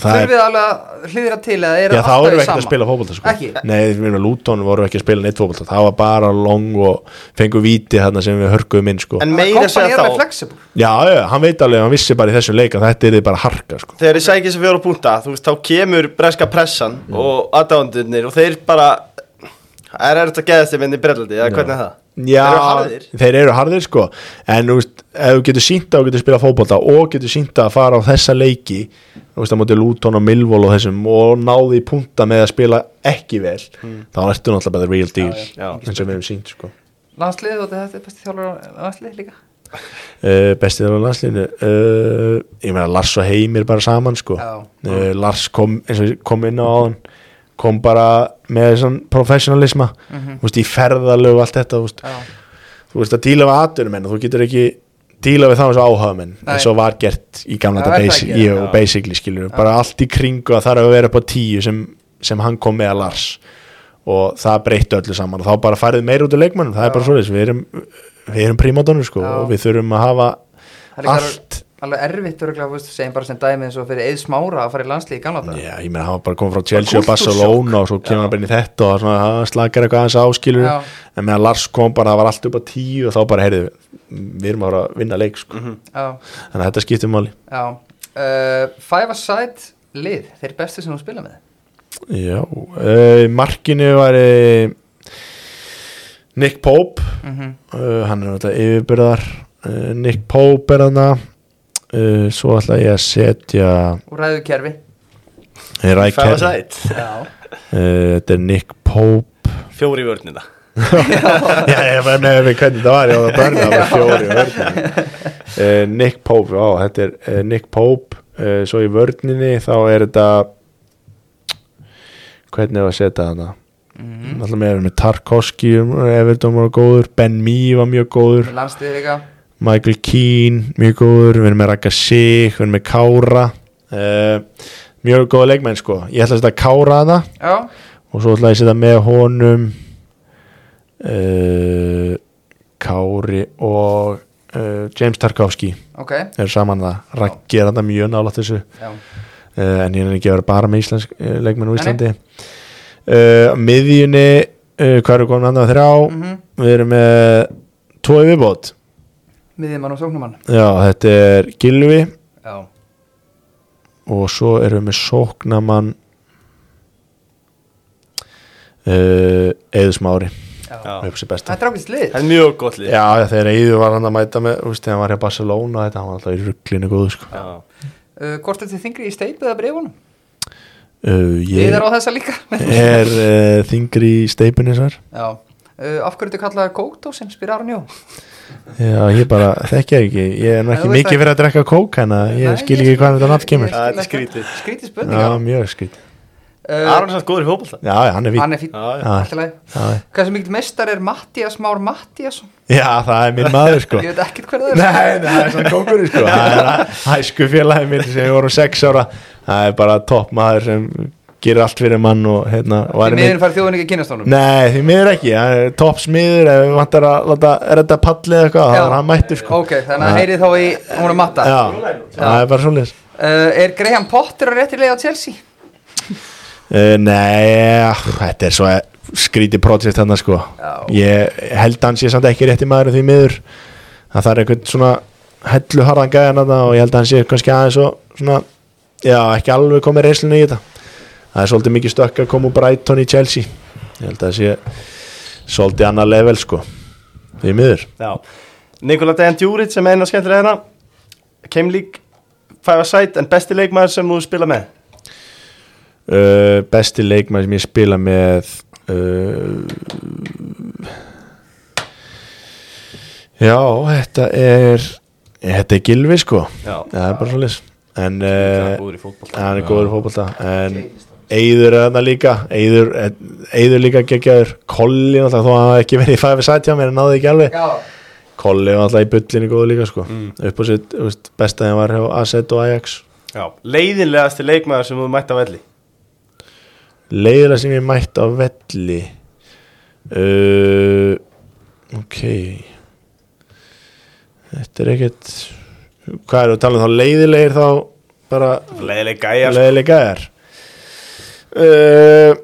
Speaker 4: það er
Speaker 5: þurfið alveg að hlýðra til eða eru
Speaker 4: Já, þá erum
Speaker 5: alltaf í
Speaker 4: við ekkert að
Speaker 5: sama?
Speaker 4: spila fótbolta sko.
Speaker 5: Ekki?
Speaker 4: Nei, við erum að Lúton vorum við ekki að spila neitt fótbolta Það var bara long og fengu víti þarna sem við hörkuðum inn sko.
Speaker 2: En meira að
Speaker 5: Kompany
Speaker 2: segja
Speaker 5: er alveg
Speaker 2: þá
Speaker 5: flexible
Speaker 4: Já, já, hann veit alveg, hann vissi bara í þessum leik að þetta er bara harka sko.
Speaker 2: Þegar þið sækja sem fjóra púnta, þú veist, þá kemur breska pressan og aðdándunir og þeir bara Það er erfitt að geðast þeim inn í brellandi, eða hvernig er það?
Speaker 4: Já,
Speaker 2: Þeir eru harðir
Speaker 4: þeir eru harðir sko En þú veist, ef þú getur sínt að þú getur spila fótbolta og getur sínt að fara á þessa leiki þú veist, að móti Lúton og Milvól og þessum og náði í punta með að spila ekki vel þá ertu náttúrulega bara the real deal
Speaker 2: Mm. já.
Speaker 4: eins og við hefum sínt sko
Speaker 5: landslið og þetta er besti þjálfur landslið líka
Speaker 4: uh, bestið á landsliðinu uh, ég meina Lars og Heimir bara saman sko
Speaker 5: Já.
Speaker 4: uh, Lars kom, eins og ég kom inn á áðan kom bara með svona professionalisma þú veist, í ferðalög og allt þetta þú veist,
Speaker 5: Mhm. Já.
Speaker 4: þú veist að díla við aðdurum en þú getur ekki díla við þá eins og áhafa menn
Speaker 5: Nei.
Speaker 4: eins og var gert í gamla
Speaker 5: Það
Speaker 4: þetta
Speaker 5: er það
Speaker 4: basic,
Speaker 5: ekki,
Speaker 4: ég, og basically skilur bara allt í kringu að það er að vera upp á tíu sem, sem hann kom með að Lars og það breytti öllu saman og þá bara færið meir út úr leikmannum, það er bara svoleiðis við erum, við erum prímadónur sko
Speaker 5: Já.
Speaker 4: og við þurfum að hafa
Speaker 5: Það er ekki
Speaker 4: allt
Speaker 5: alveg erfitt örgulega, veist, segjum bara sem dæmi eins og fyrir Eið Smára að fara í landslið í gamla dag
Speaker 4: Já, ég meina, hann var bara komið frá Chelsea og
Speaker 5: Kultúrsjokk.
Speaker 4: Barcelona og svo kemur hann bara inn í þetta og svona, hann slakar eitthvað aðeins áskilur
Speaker 5: Já.
Speaker 4: en meðan Lars kom bara, það var allt upp á tíu og þá bara, heyrðu, við erum að fara að vinna leik sko.
Speaker 5: Mhm. Já,
Speaker 4: þannig að þetta skiptir máli
Speaker 5: já uh, Five a side lið, þeir bestu sem hún spila með
Speaker 4: Já, uh, markinu var uh, Nick Pope
Speaker 5: mm -hmm.
Speaker 4: uh, hann er náttúrulega yfirbyrðar uh, Nick Pope er hann uh, svo ætla ég að setja
Speaker 5: og ræðu kerfi
Speaker 4: er
Speaker 2: Fæða
Speaker 4: uh,
Speaker 2: sætt
Speaker 5: Já,
Speaker 4: Eh, þetta er Nick Pope
Speaker 2: Fjóri vörnina
Speaker 4: já, ég var með með hvernig þetta var ég var að börna það var fjóri vörninni uh, Nick Pope, já, þetta er uh, Nick Pope, uh, svo í vörninni þá er þetta hvernig er að setja þetta alltaf með, með Tarkovski Everton var góður, Ben Mee var mjög góður
Speaker 5: landslið líka
Speaker 4: Michael Keane, mjög góður við erum með Raka Sig, við erum með Kára uh, mjög góða leikmenn sko, ég ætla að setja Kára að það
Speaker 5: Já,
Speaker 4: og svo ætla ég að setja með honum uh, Kári og uh, James Tarkovski
Speaker 5: ok
Speaker 4: er saman það, Raggi er þetta mjög nálátt þessu
Speaker 5: Já,
Speaker 4: uh, en ég er ekki að vera bara með íslensk uh, leikmenn úr
Speaker 5: Nei, nei.
Speaker 4: Íslandi uh, miðjunni uh, hvað eru komin andan þrjá
Speaker 5: Mhm.
Speaker 4: við erum með tvo í viðbót
Speaker 5: miðjumann og sóknumann
Speaker 4: Já, þetta er Gilvi
Speaker 5: Já,
Speaker 4: og svo erum við með sóknamann uh, Eður Smári
Speaker 5: já,
Speaker 2: Já.
Speaker 4: upp sér besta
Speaker 5: Þetta er ákveðst lið
Speaker 2: Það er mjög gott lið
Speaker 4: Já, já, þegar Eður var hann að mæta með þú veist, þegar hann var hjá Barcelona þetta, hann var alltaf í rugglinu góðu sko.
Speaker 2: Já.
Speaker 5: uh, Hvort er þetta þingri í steipu eða breifunum?
Speaker 4: uh,
Speaker 5: Ég
Speaker 4: Ég
Speaker 5: er á þessa líka
Speaker 4: er uh, þingri í steipinu svar
Speaker 5: Já, uh, af hverju þetta kallaði kókdósin, spyr Aron Jó
Speaker 4: Já, ég bara, þekki það ekki Ég er nú
Speaker 5: Nei,
Speaker 4: ekki
Speaker 5: þú veist
Speaker 4: mikið
Speaker 5: það-
Speaker 4: fyrir að drekka kók hana
Speaker 5: Nei,
Speaker 4: ég skil
Speaker 5: ég
Speaker 4: ekki
Speaker 5: skil-
Speaker 4: hvað þetta nátt kemur
Speaker 5: ég-
Speaker 2: Það er skrítið
Speaker 5: Skrítið
Speaker 4: Já,
Speaker 5: spurningar
Speaker 4: mjög skil
Speaker 2: Aron er samt góður í fótbolta
Speaker 4: Já, já, hann er fín
Speaker 5: Hann er fín,
Speaker 2: Já, já.
Speaker 5: allt í lagi
Speaker 4: Já,
Speaker 5: Hversu mikið mestar er Mattias Már Mattiasson?
Speaker 4: Já, það er minn maður sko
Speaker 5: Ég veit ekkert hver það er
Speaker 4: Nei, nei, það er svona kongur sko. Það er hæsku félagi minn sem við vorum sex ára Það er bara topp maður sem gerir allt fyrir mann og hérna og er
Speaker 5: Því miður
Speaker 4: minn-
Speaker 5: fær þjóðin ekki að kynast honum
Speaker 4: Nei, því miður ekki, það er topp smiður ef við vantar að láta redda pallið eða eitthvað,
Speaker 5: Já.
Speaker 4: það er hann mættur sko
Speaker 5: Ok, þannig að heyrið þá í hún að matta uh,
Speaker 4: Já, það er bara svoleiðis uh,
Speaker 5: Eh, Er Graham Potter á réttri leið á Chelsea?
Speaker 4: Eh, Nei, ah, þetta er svo skrítið projekt þarna sko
Speaker 5: Já.
Speaker 4: Ég held að hann sé samt ekki rétti maður því miður Það þarf einhvern svona hellu harðan gæðan þarna og ég held að hann sé kannski aðeins og svona Já, ekki alveg komið reyslunni í þetta Það er svolítið mikið stökk að koma úr Brighton í Chelsea Ég held að það sé svolítið annað level sko Því miður
Speaker 2: Já Nikola Dejan Djuric sem er eina skemmtilega hérna Kem lík Fæfa sætt en besti leikmaður sem þú spila með
Speaker 4: Uh, besti leikmann sem ég spila með uh, Já, þetta er Þetta er Gilvi sko
Speaker 2: Já.
Speaker 4: Það er bara svolítið En uh,
Speaker 2: í fótbolta
Speaker 4: hann er góður í fótbolta En Eyður er þarna líka Eyður, Eyður líka geggjaður Kolli náttúrulega þó að hann hafi ekki verið í fæfi sætt hjá mér en náði ekki alveg
Speaker 5: Já,
Speaker 4: Kolli var alltaf í bullinni góður líka sko Upp á sitt þú veist, besta þeim var hjá Asset og Ajax
Speaker 2: Já Leiðinlegasti leikmaður sem þú mætt á velli
Speaker 4: leiðilega sem ég mætt á velli uh, ok þetta er ekkert hvað er að tala um þá leiðilegir þá bara
Speaker 2: Leðileg gæjar sko.
Speaker 4: leiðilega gæðar uh,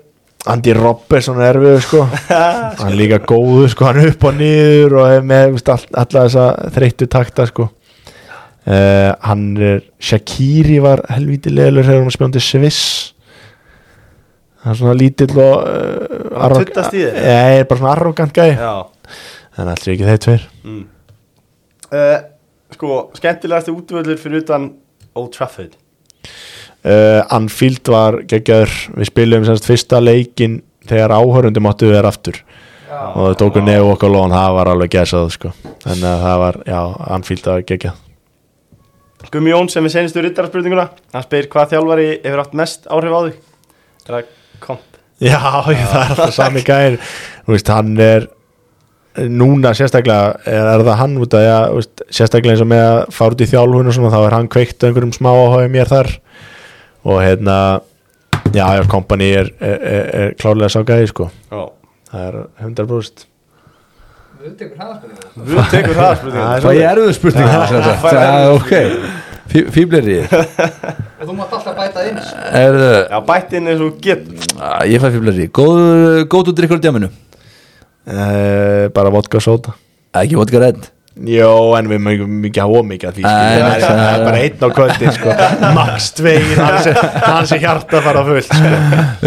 Speaker 4: Andy Robertson er erfið sko. hann er líka góður sko. hann er upp og niður og er með veist, all, alla þessa þreyttu takta sko. uh, hann er Shakiri var helvítið leiðilegur þegar hann spjóndi Sviss hann er svona lítill og uh, arrog-
Speaker 2: tuddast í þér?
Speaker 4: Nei, er bara svona arrogant gæði
Speaker 2: Já
Speaker 4: en allir ekki þeir tveir
Speaker 2: mm. uh, Sko, skemmtilegasti útvöldur fyrir utan Old Trafford
Speaker 4: uh, Anfield var geggjaður við spilum semst fyrsta leikin þegar áhörundum áttu við aftur og það tóku nefn okkar lón það var alveg gæsað sko. þannig að það var, já, Anfield var geggjað
Speaker 2: Gummi Jón sem við senistu rittarspurninguna Hann spyr hvað þjálfari hefur haft mest áhrif á þig Er það komp?
Speaker 4: já, það er alltaf sami gæðir þú veist, hann er núna sérstaklega er, er það hann út að já, þú veist, sérstaklega eins og með að fara út í þjálfun og svona, þá er hann kveikt á einhverjum smá áhuga í mér þar og hérna já, já, kompani er, er, er, er klárlega sá gæði sko,
Speaker 2: Já
Speaker 4: það er 100%
Speaker 5: Við tekur hraðaspurningu
Speaker 2: Þú tekur það spurninguna
Speaker 3: Það er erfið spurning
Speaker 2: það fær
Speaker 3: Það er
Speaker 2: erfiðu
Speaker 3: ok Fí- Fíblir í
Speaker 5: Og þú mátt alltaf bæta inn sko.
Speaker 3: er,
Speaker 2: Já, bætt inn eins og þú getur
Speaker 3: Ég fæ fíblir í Góð góður drikkur í djáminu
Speaker 4: Eh, bara vodka og sóta
Speaker 3: Ekki vodka redd
Speaker 4: Jó, en við mögum ekki hafa ómikið að því
Speaker 3: Nei,
Speaker 4: skilur.
Speaker 3: nei,
Speaker 4: það er- það er
Speaker 3: nei.
Speaker 4: bara einn á kvöldi sko. Max tvegin, hans er, hans er hjarta að fara fullt sko.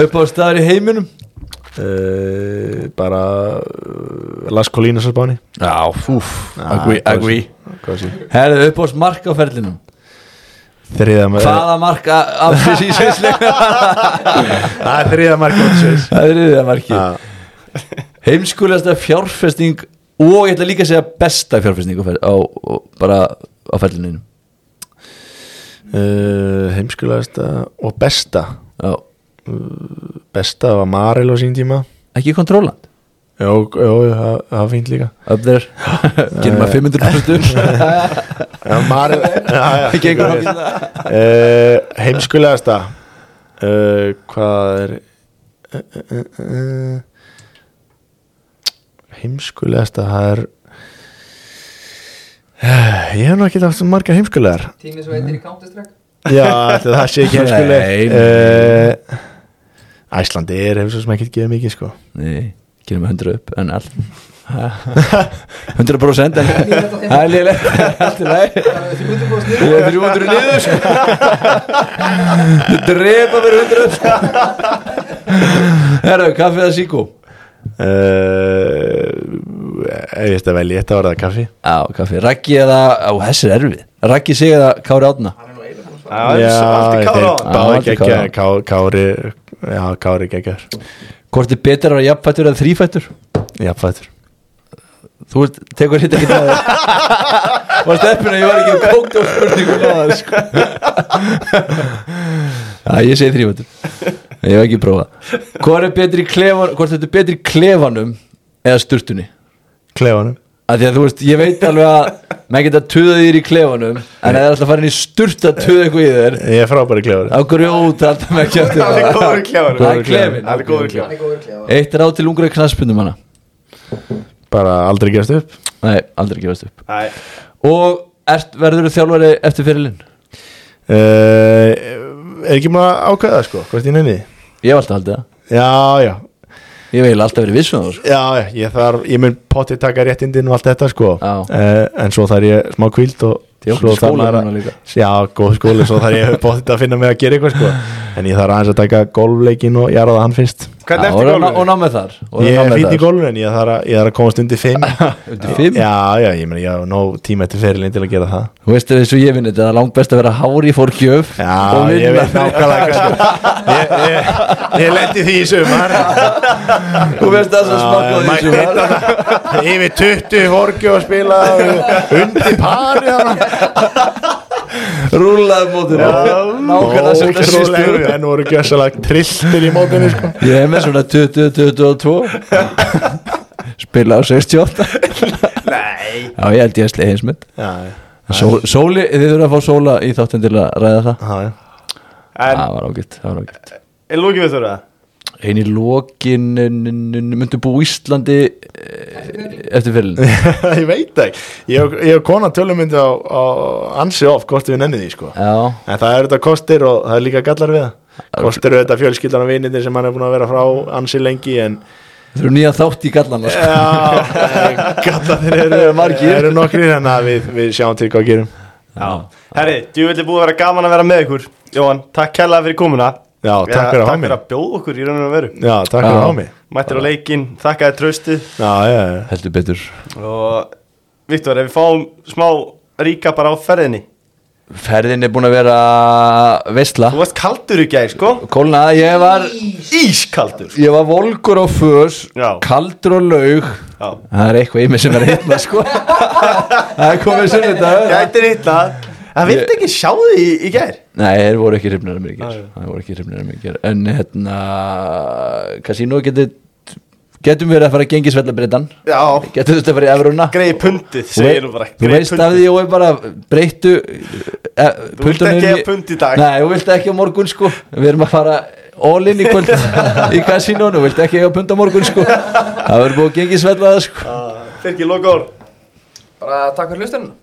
Speaker 3: Upp á staðar í heiminum
Speaker 4: uh, Bara uh, Las Colinas á Spáni
Speaker 3: Já, fúf Agree,
Speaker 4: Ah,
Speaker 3: agree
Speaker 4: Hvað sé- hvað sé?
Speaker 3: Herðu upp á mark á ferlinum
Speaker 4: Þriða mar-
Speaker 3: Hvaða mark a- af þessi sérsleika
Speaker 4: Það er þriða markið
Speaker 3: Það er yfir það marki
Speaker 4: Ah.
Speaker 3: Heimskulegasta fjárfesting Og ég ætla líka að segja besta fjárfesting á, fer- á, á, Bara á ferlinum
Speaker 4: uh, Heimskulegasta og besta
Speaker 3: Já
Speaker 4: Besta var Maril á sín tíma
Speaker 3: Ekki kontróland
Speaker 4: Jó, jó, það það var fínt líka
Speaker 3: Up there Gerum að 500%
Speaker 4: Já, Maril
Speaker 3: Ekki einhver hafði það
Speaker 4: uh, heimskulegasta uh, hvað er uh, uh, uh, heimskulegasta það er Eh, ég hef nú ekki átt svo marga heimskulegar
Speaker 5: Tími svo eitir í counterstrike
Speaker 4: já, ætli það sé ekki
Speaker 3: Nei,
Speaker 4: heimskuleg
Speaker 3: nei.
Speaker 4: uh, Æslandi er hefur svo sem ekki gefið mikið sko
Speaker 3: Nei, gerum að 100 upp en allt 100% en Það er liðilegt Allt í lagi
Speaker 5: Það er 300% niður.
Speaker 3: Ég er 300 niður sko. Þau drepa fyrir 100 Herra, kaffi eða síkó
Speaker 4: uh, ef ég ætti að velja þetta var það kaffi
Speaker 3: Já, kaffi, raggi eða Á, þessi er erfið Raggi sig eða Kári Átna
Speaker 2: Já, já allt í kára á hann
Speaker 3: Já,
Speaker 4: báði
Speaker 3: allt í
Speaker 4: geggja
Speaker 3: kára.
Speaker 4: Kári, já, Kári geggja
Speaker 3: Hvort er betur að vera jafnfættur eða þrífættur?
Speaker 4: jafnfættur
Speaker 3: Þú ert, tekur hitt ekki með þér Var steppinu, ég var ekki um kókt og spurningu með það sko.
Speaker 2: sko.
Speaker 3: Já, ég segi þrýfættur Ég hef ekki prófað Hvort er betri í klefan, hvort þetta er betri í klefanum eða sturtunni?
Speaker 4: klefanum
Speaker 3: að því að þú veist, ég veit alveg að maður geta tuðað þér í klefanum en það er alltaf farin í sturt að tuða eitthvað í þér
Speaker 4: Ég er frábæri klefari
Speaker 3: á hverju óta alltaf með kjöftu
Speaker 2: Hann er góður í klefanum.
Speaker 3: það er klefin
Speaker 2: Það er góður klefan
Speaker 5: Hann er góður klefa
Speaker 3: eitt er á til ungra knaspundum hana
Speaker 4: Bara aldrei gefst upp
Speaker 3: nei, aldrei gefast upp
Speaker 2: Nei,
Speaker 3: og ert, verður þú þjálfari eftir fyrirlin
Speaker 4: uh, Er ekki maður að ákveða sko Hvort ég nenni því?
Speaker 3: ég hef alltaf haldið það
Speaker 4: Já, já,
Speaker 3: ég hef eiginlega alltaf verið viss um það sko.
Speaker 4: já, já ég, þarf, ég mun potti taka réttindin og allt þetta sko
Speaker 3: Já.
Speaker 4: Eh, En svo þarf ég smá kvíld og
Speaker 3: Ég
Speaker 4: svo
Speaker 3: átti skóla
Speaker 4: maður
Speaker 3: núna líka.
Speaker 4: Já, góð skóli, svo þarf ég potti að finna mig að gera eitthvað sko En ég þarf aðeins að taka golfleikin og jarða hann fyrst
Speaker 2: hvernig
Speaker 3: Já,
Speaker 2: eftir
Speaker 3: og, ná- og
Speaker 2: gólfið?
Speaker 3: námið þar og
Speaker 4: Ég er
Speaker 3: námið
Speaker 4: fýtt í
Speaker 3: þar.
Speaker 4: golfinu en ég þarf að, ég þarf að komast undir fimm
Speaker 3: Undir fimm?
Speaker 4: Já, já, ég meni, ég hef nóg tíma eftir ferilinn til að gera það
Speaker 3: þú veist eins og ég vinn þetta það er langt best að vera hári fór kjöf
Speaker 4: Já,
Speaker 3: og
Speaker 4: ég veit
Speaker 3: vinna
Speaker 4: nákvæmlega hvað sko. Ég, ég, ég lendi því í sumar
Speaker 3: þú veist það sem
Speaker 4: Já,
Speaker 3: smakkaði
Speaker 4: mætti
Speaker 3: þessu var
Speaker 4: þetta Yfir 20 horki og spila Undir pari þarna.
Speaker 3: Rúlaði mótið Nákvæmlega sem það
Speaker 4: Ótrúlegu,
Speaker 3: sýstu
Speaker 4: En voru gjössalega trilltir í mótinu sko.
Speaker 3: Ég er með svona 20-22 Spila á 68
Speaker 2: Nei
Speaker 3: Já ég held ég að slið heimsmynd
Speaker 4: Já, já,
Speaker 3: Sól, Sóli, þið þurfum að fá sóla í þáttin til að ræða það
Speaker 4: já, já.
Speaker 2: En
Speaker 3: Það var ágætt, það var ágætt
Speaker 2: er lókið við þurra?
Speaker 3: Einn í lokin n- n- n- Myndu bú Íslandi eh, eftir fyrirlin
Speaker 4: ég veit það ekki ég, og- ég og kona tölum myndi á, á ansi of hvort við nenni því sko
Speaker 3: Já,
Speaker 4: en það eru þetta kostir og það er líka gallar við það kostir eru þetta fjölskyldan og vinindir sem hann er búin að vera frá ansi lengi en
Speaker 3: þú eru nýja þátt í gallan sko.
Speaker 4: já, gallarnir eru margir eru nokkrir en að við, við sjáum til hvað gerum
Speaker 2: Herri, djúvillig búið að vera gaman að vera með ykkur Jóhann, takk kærlega fyrir komuna
Speaker 4: já, takk
Speaker 2: Já,
Speaker 4: fyrir að hafa
Speaker 2: Takk fyrir
Speaker 4: mig
Speaker 2: að bjóða okkur í raun og veru
Speaker 4: já, takk fyrir að
Speaker 3: Já.
Speaker 4: hafa mig
Speaker 2: Mættir á leikinn, þakkaði tröstið
Speaker 4: já, já, já
Speaker 3: heldur betur
Speaker 2: Og Viktor, ef við fáum smá ríka bara á ferðinni
Speaker 3: Ferðin er búin að vera veistla
Speaker 2: Þú varst kaldur í gær, sko
Speaker 3: Kólna, ég var
Speaker 2: Ískaldur
Speaker 3: Ég var volgur á fös
Speaker 2: Já.
Speaker 3: Kaldur á laug
Speaker 2: Já.
Speaker 3: Það er eitthvað í mig sem er heitna sko Það er komið sunnudag
Speaker 2: Gæti rýtla Það
Speaker 3: Ég-
Speaker 2: vildi ekki sjá þig í, í gær
Speaker 3: Nei, þeir voru ekki hrifnir af mér í ger Það voru ekki hrifnir af mér í ger En hérna Casino getur Getum verið að fara að gengi svella breytan
Speaker 2: Já,
Speaker 3: Getum þetta að fara í Evruna
Speaker 2: greiði pundið, segir nú bara
Speaker 3: Þú
Speaker 2: greiði
Speaker 3: veist af því ég er bara breyttu e,
Speaker 2: Þú vilt ekki hafa pund í dag.
Speaker 3: Nei, þú vilt ekki á morgun sko Við erum að fara all in í kvöld í kasínónu, þú vilt ekki hafa pund á morgun sko Það verður búið að gengi svella það sko
Speaker 2: Fylgji lokaður
Speaker 5: bara takk fyrir hlustunum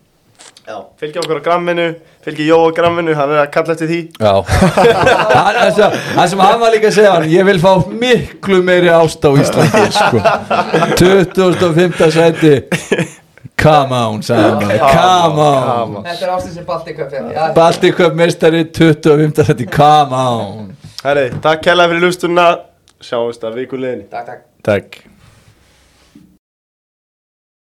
Speaker 2: Já, fylgji okkur á gramminu Fylgji Jó á gramminu, hann er að kalla eftir því
Speaker 3: Já Það það sem- það sem hann var líka að segja hann Ég vil fá miklu meiri ást á Íslandi sko 2005. sæti Come on, sagði hann Come on
Speaker 5: Þetta er ástin sem Balti kaupið
Speaker 3: Baltic Cup meistari 25. sæti Come on
Speaker 2: Herri, takk kærlega fyrir lustunna Sjáumst að vikuleginni
Speaker 5: Takk, takk
Speaker 4: takk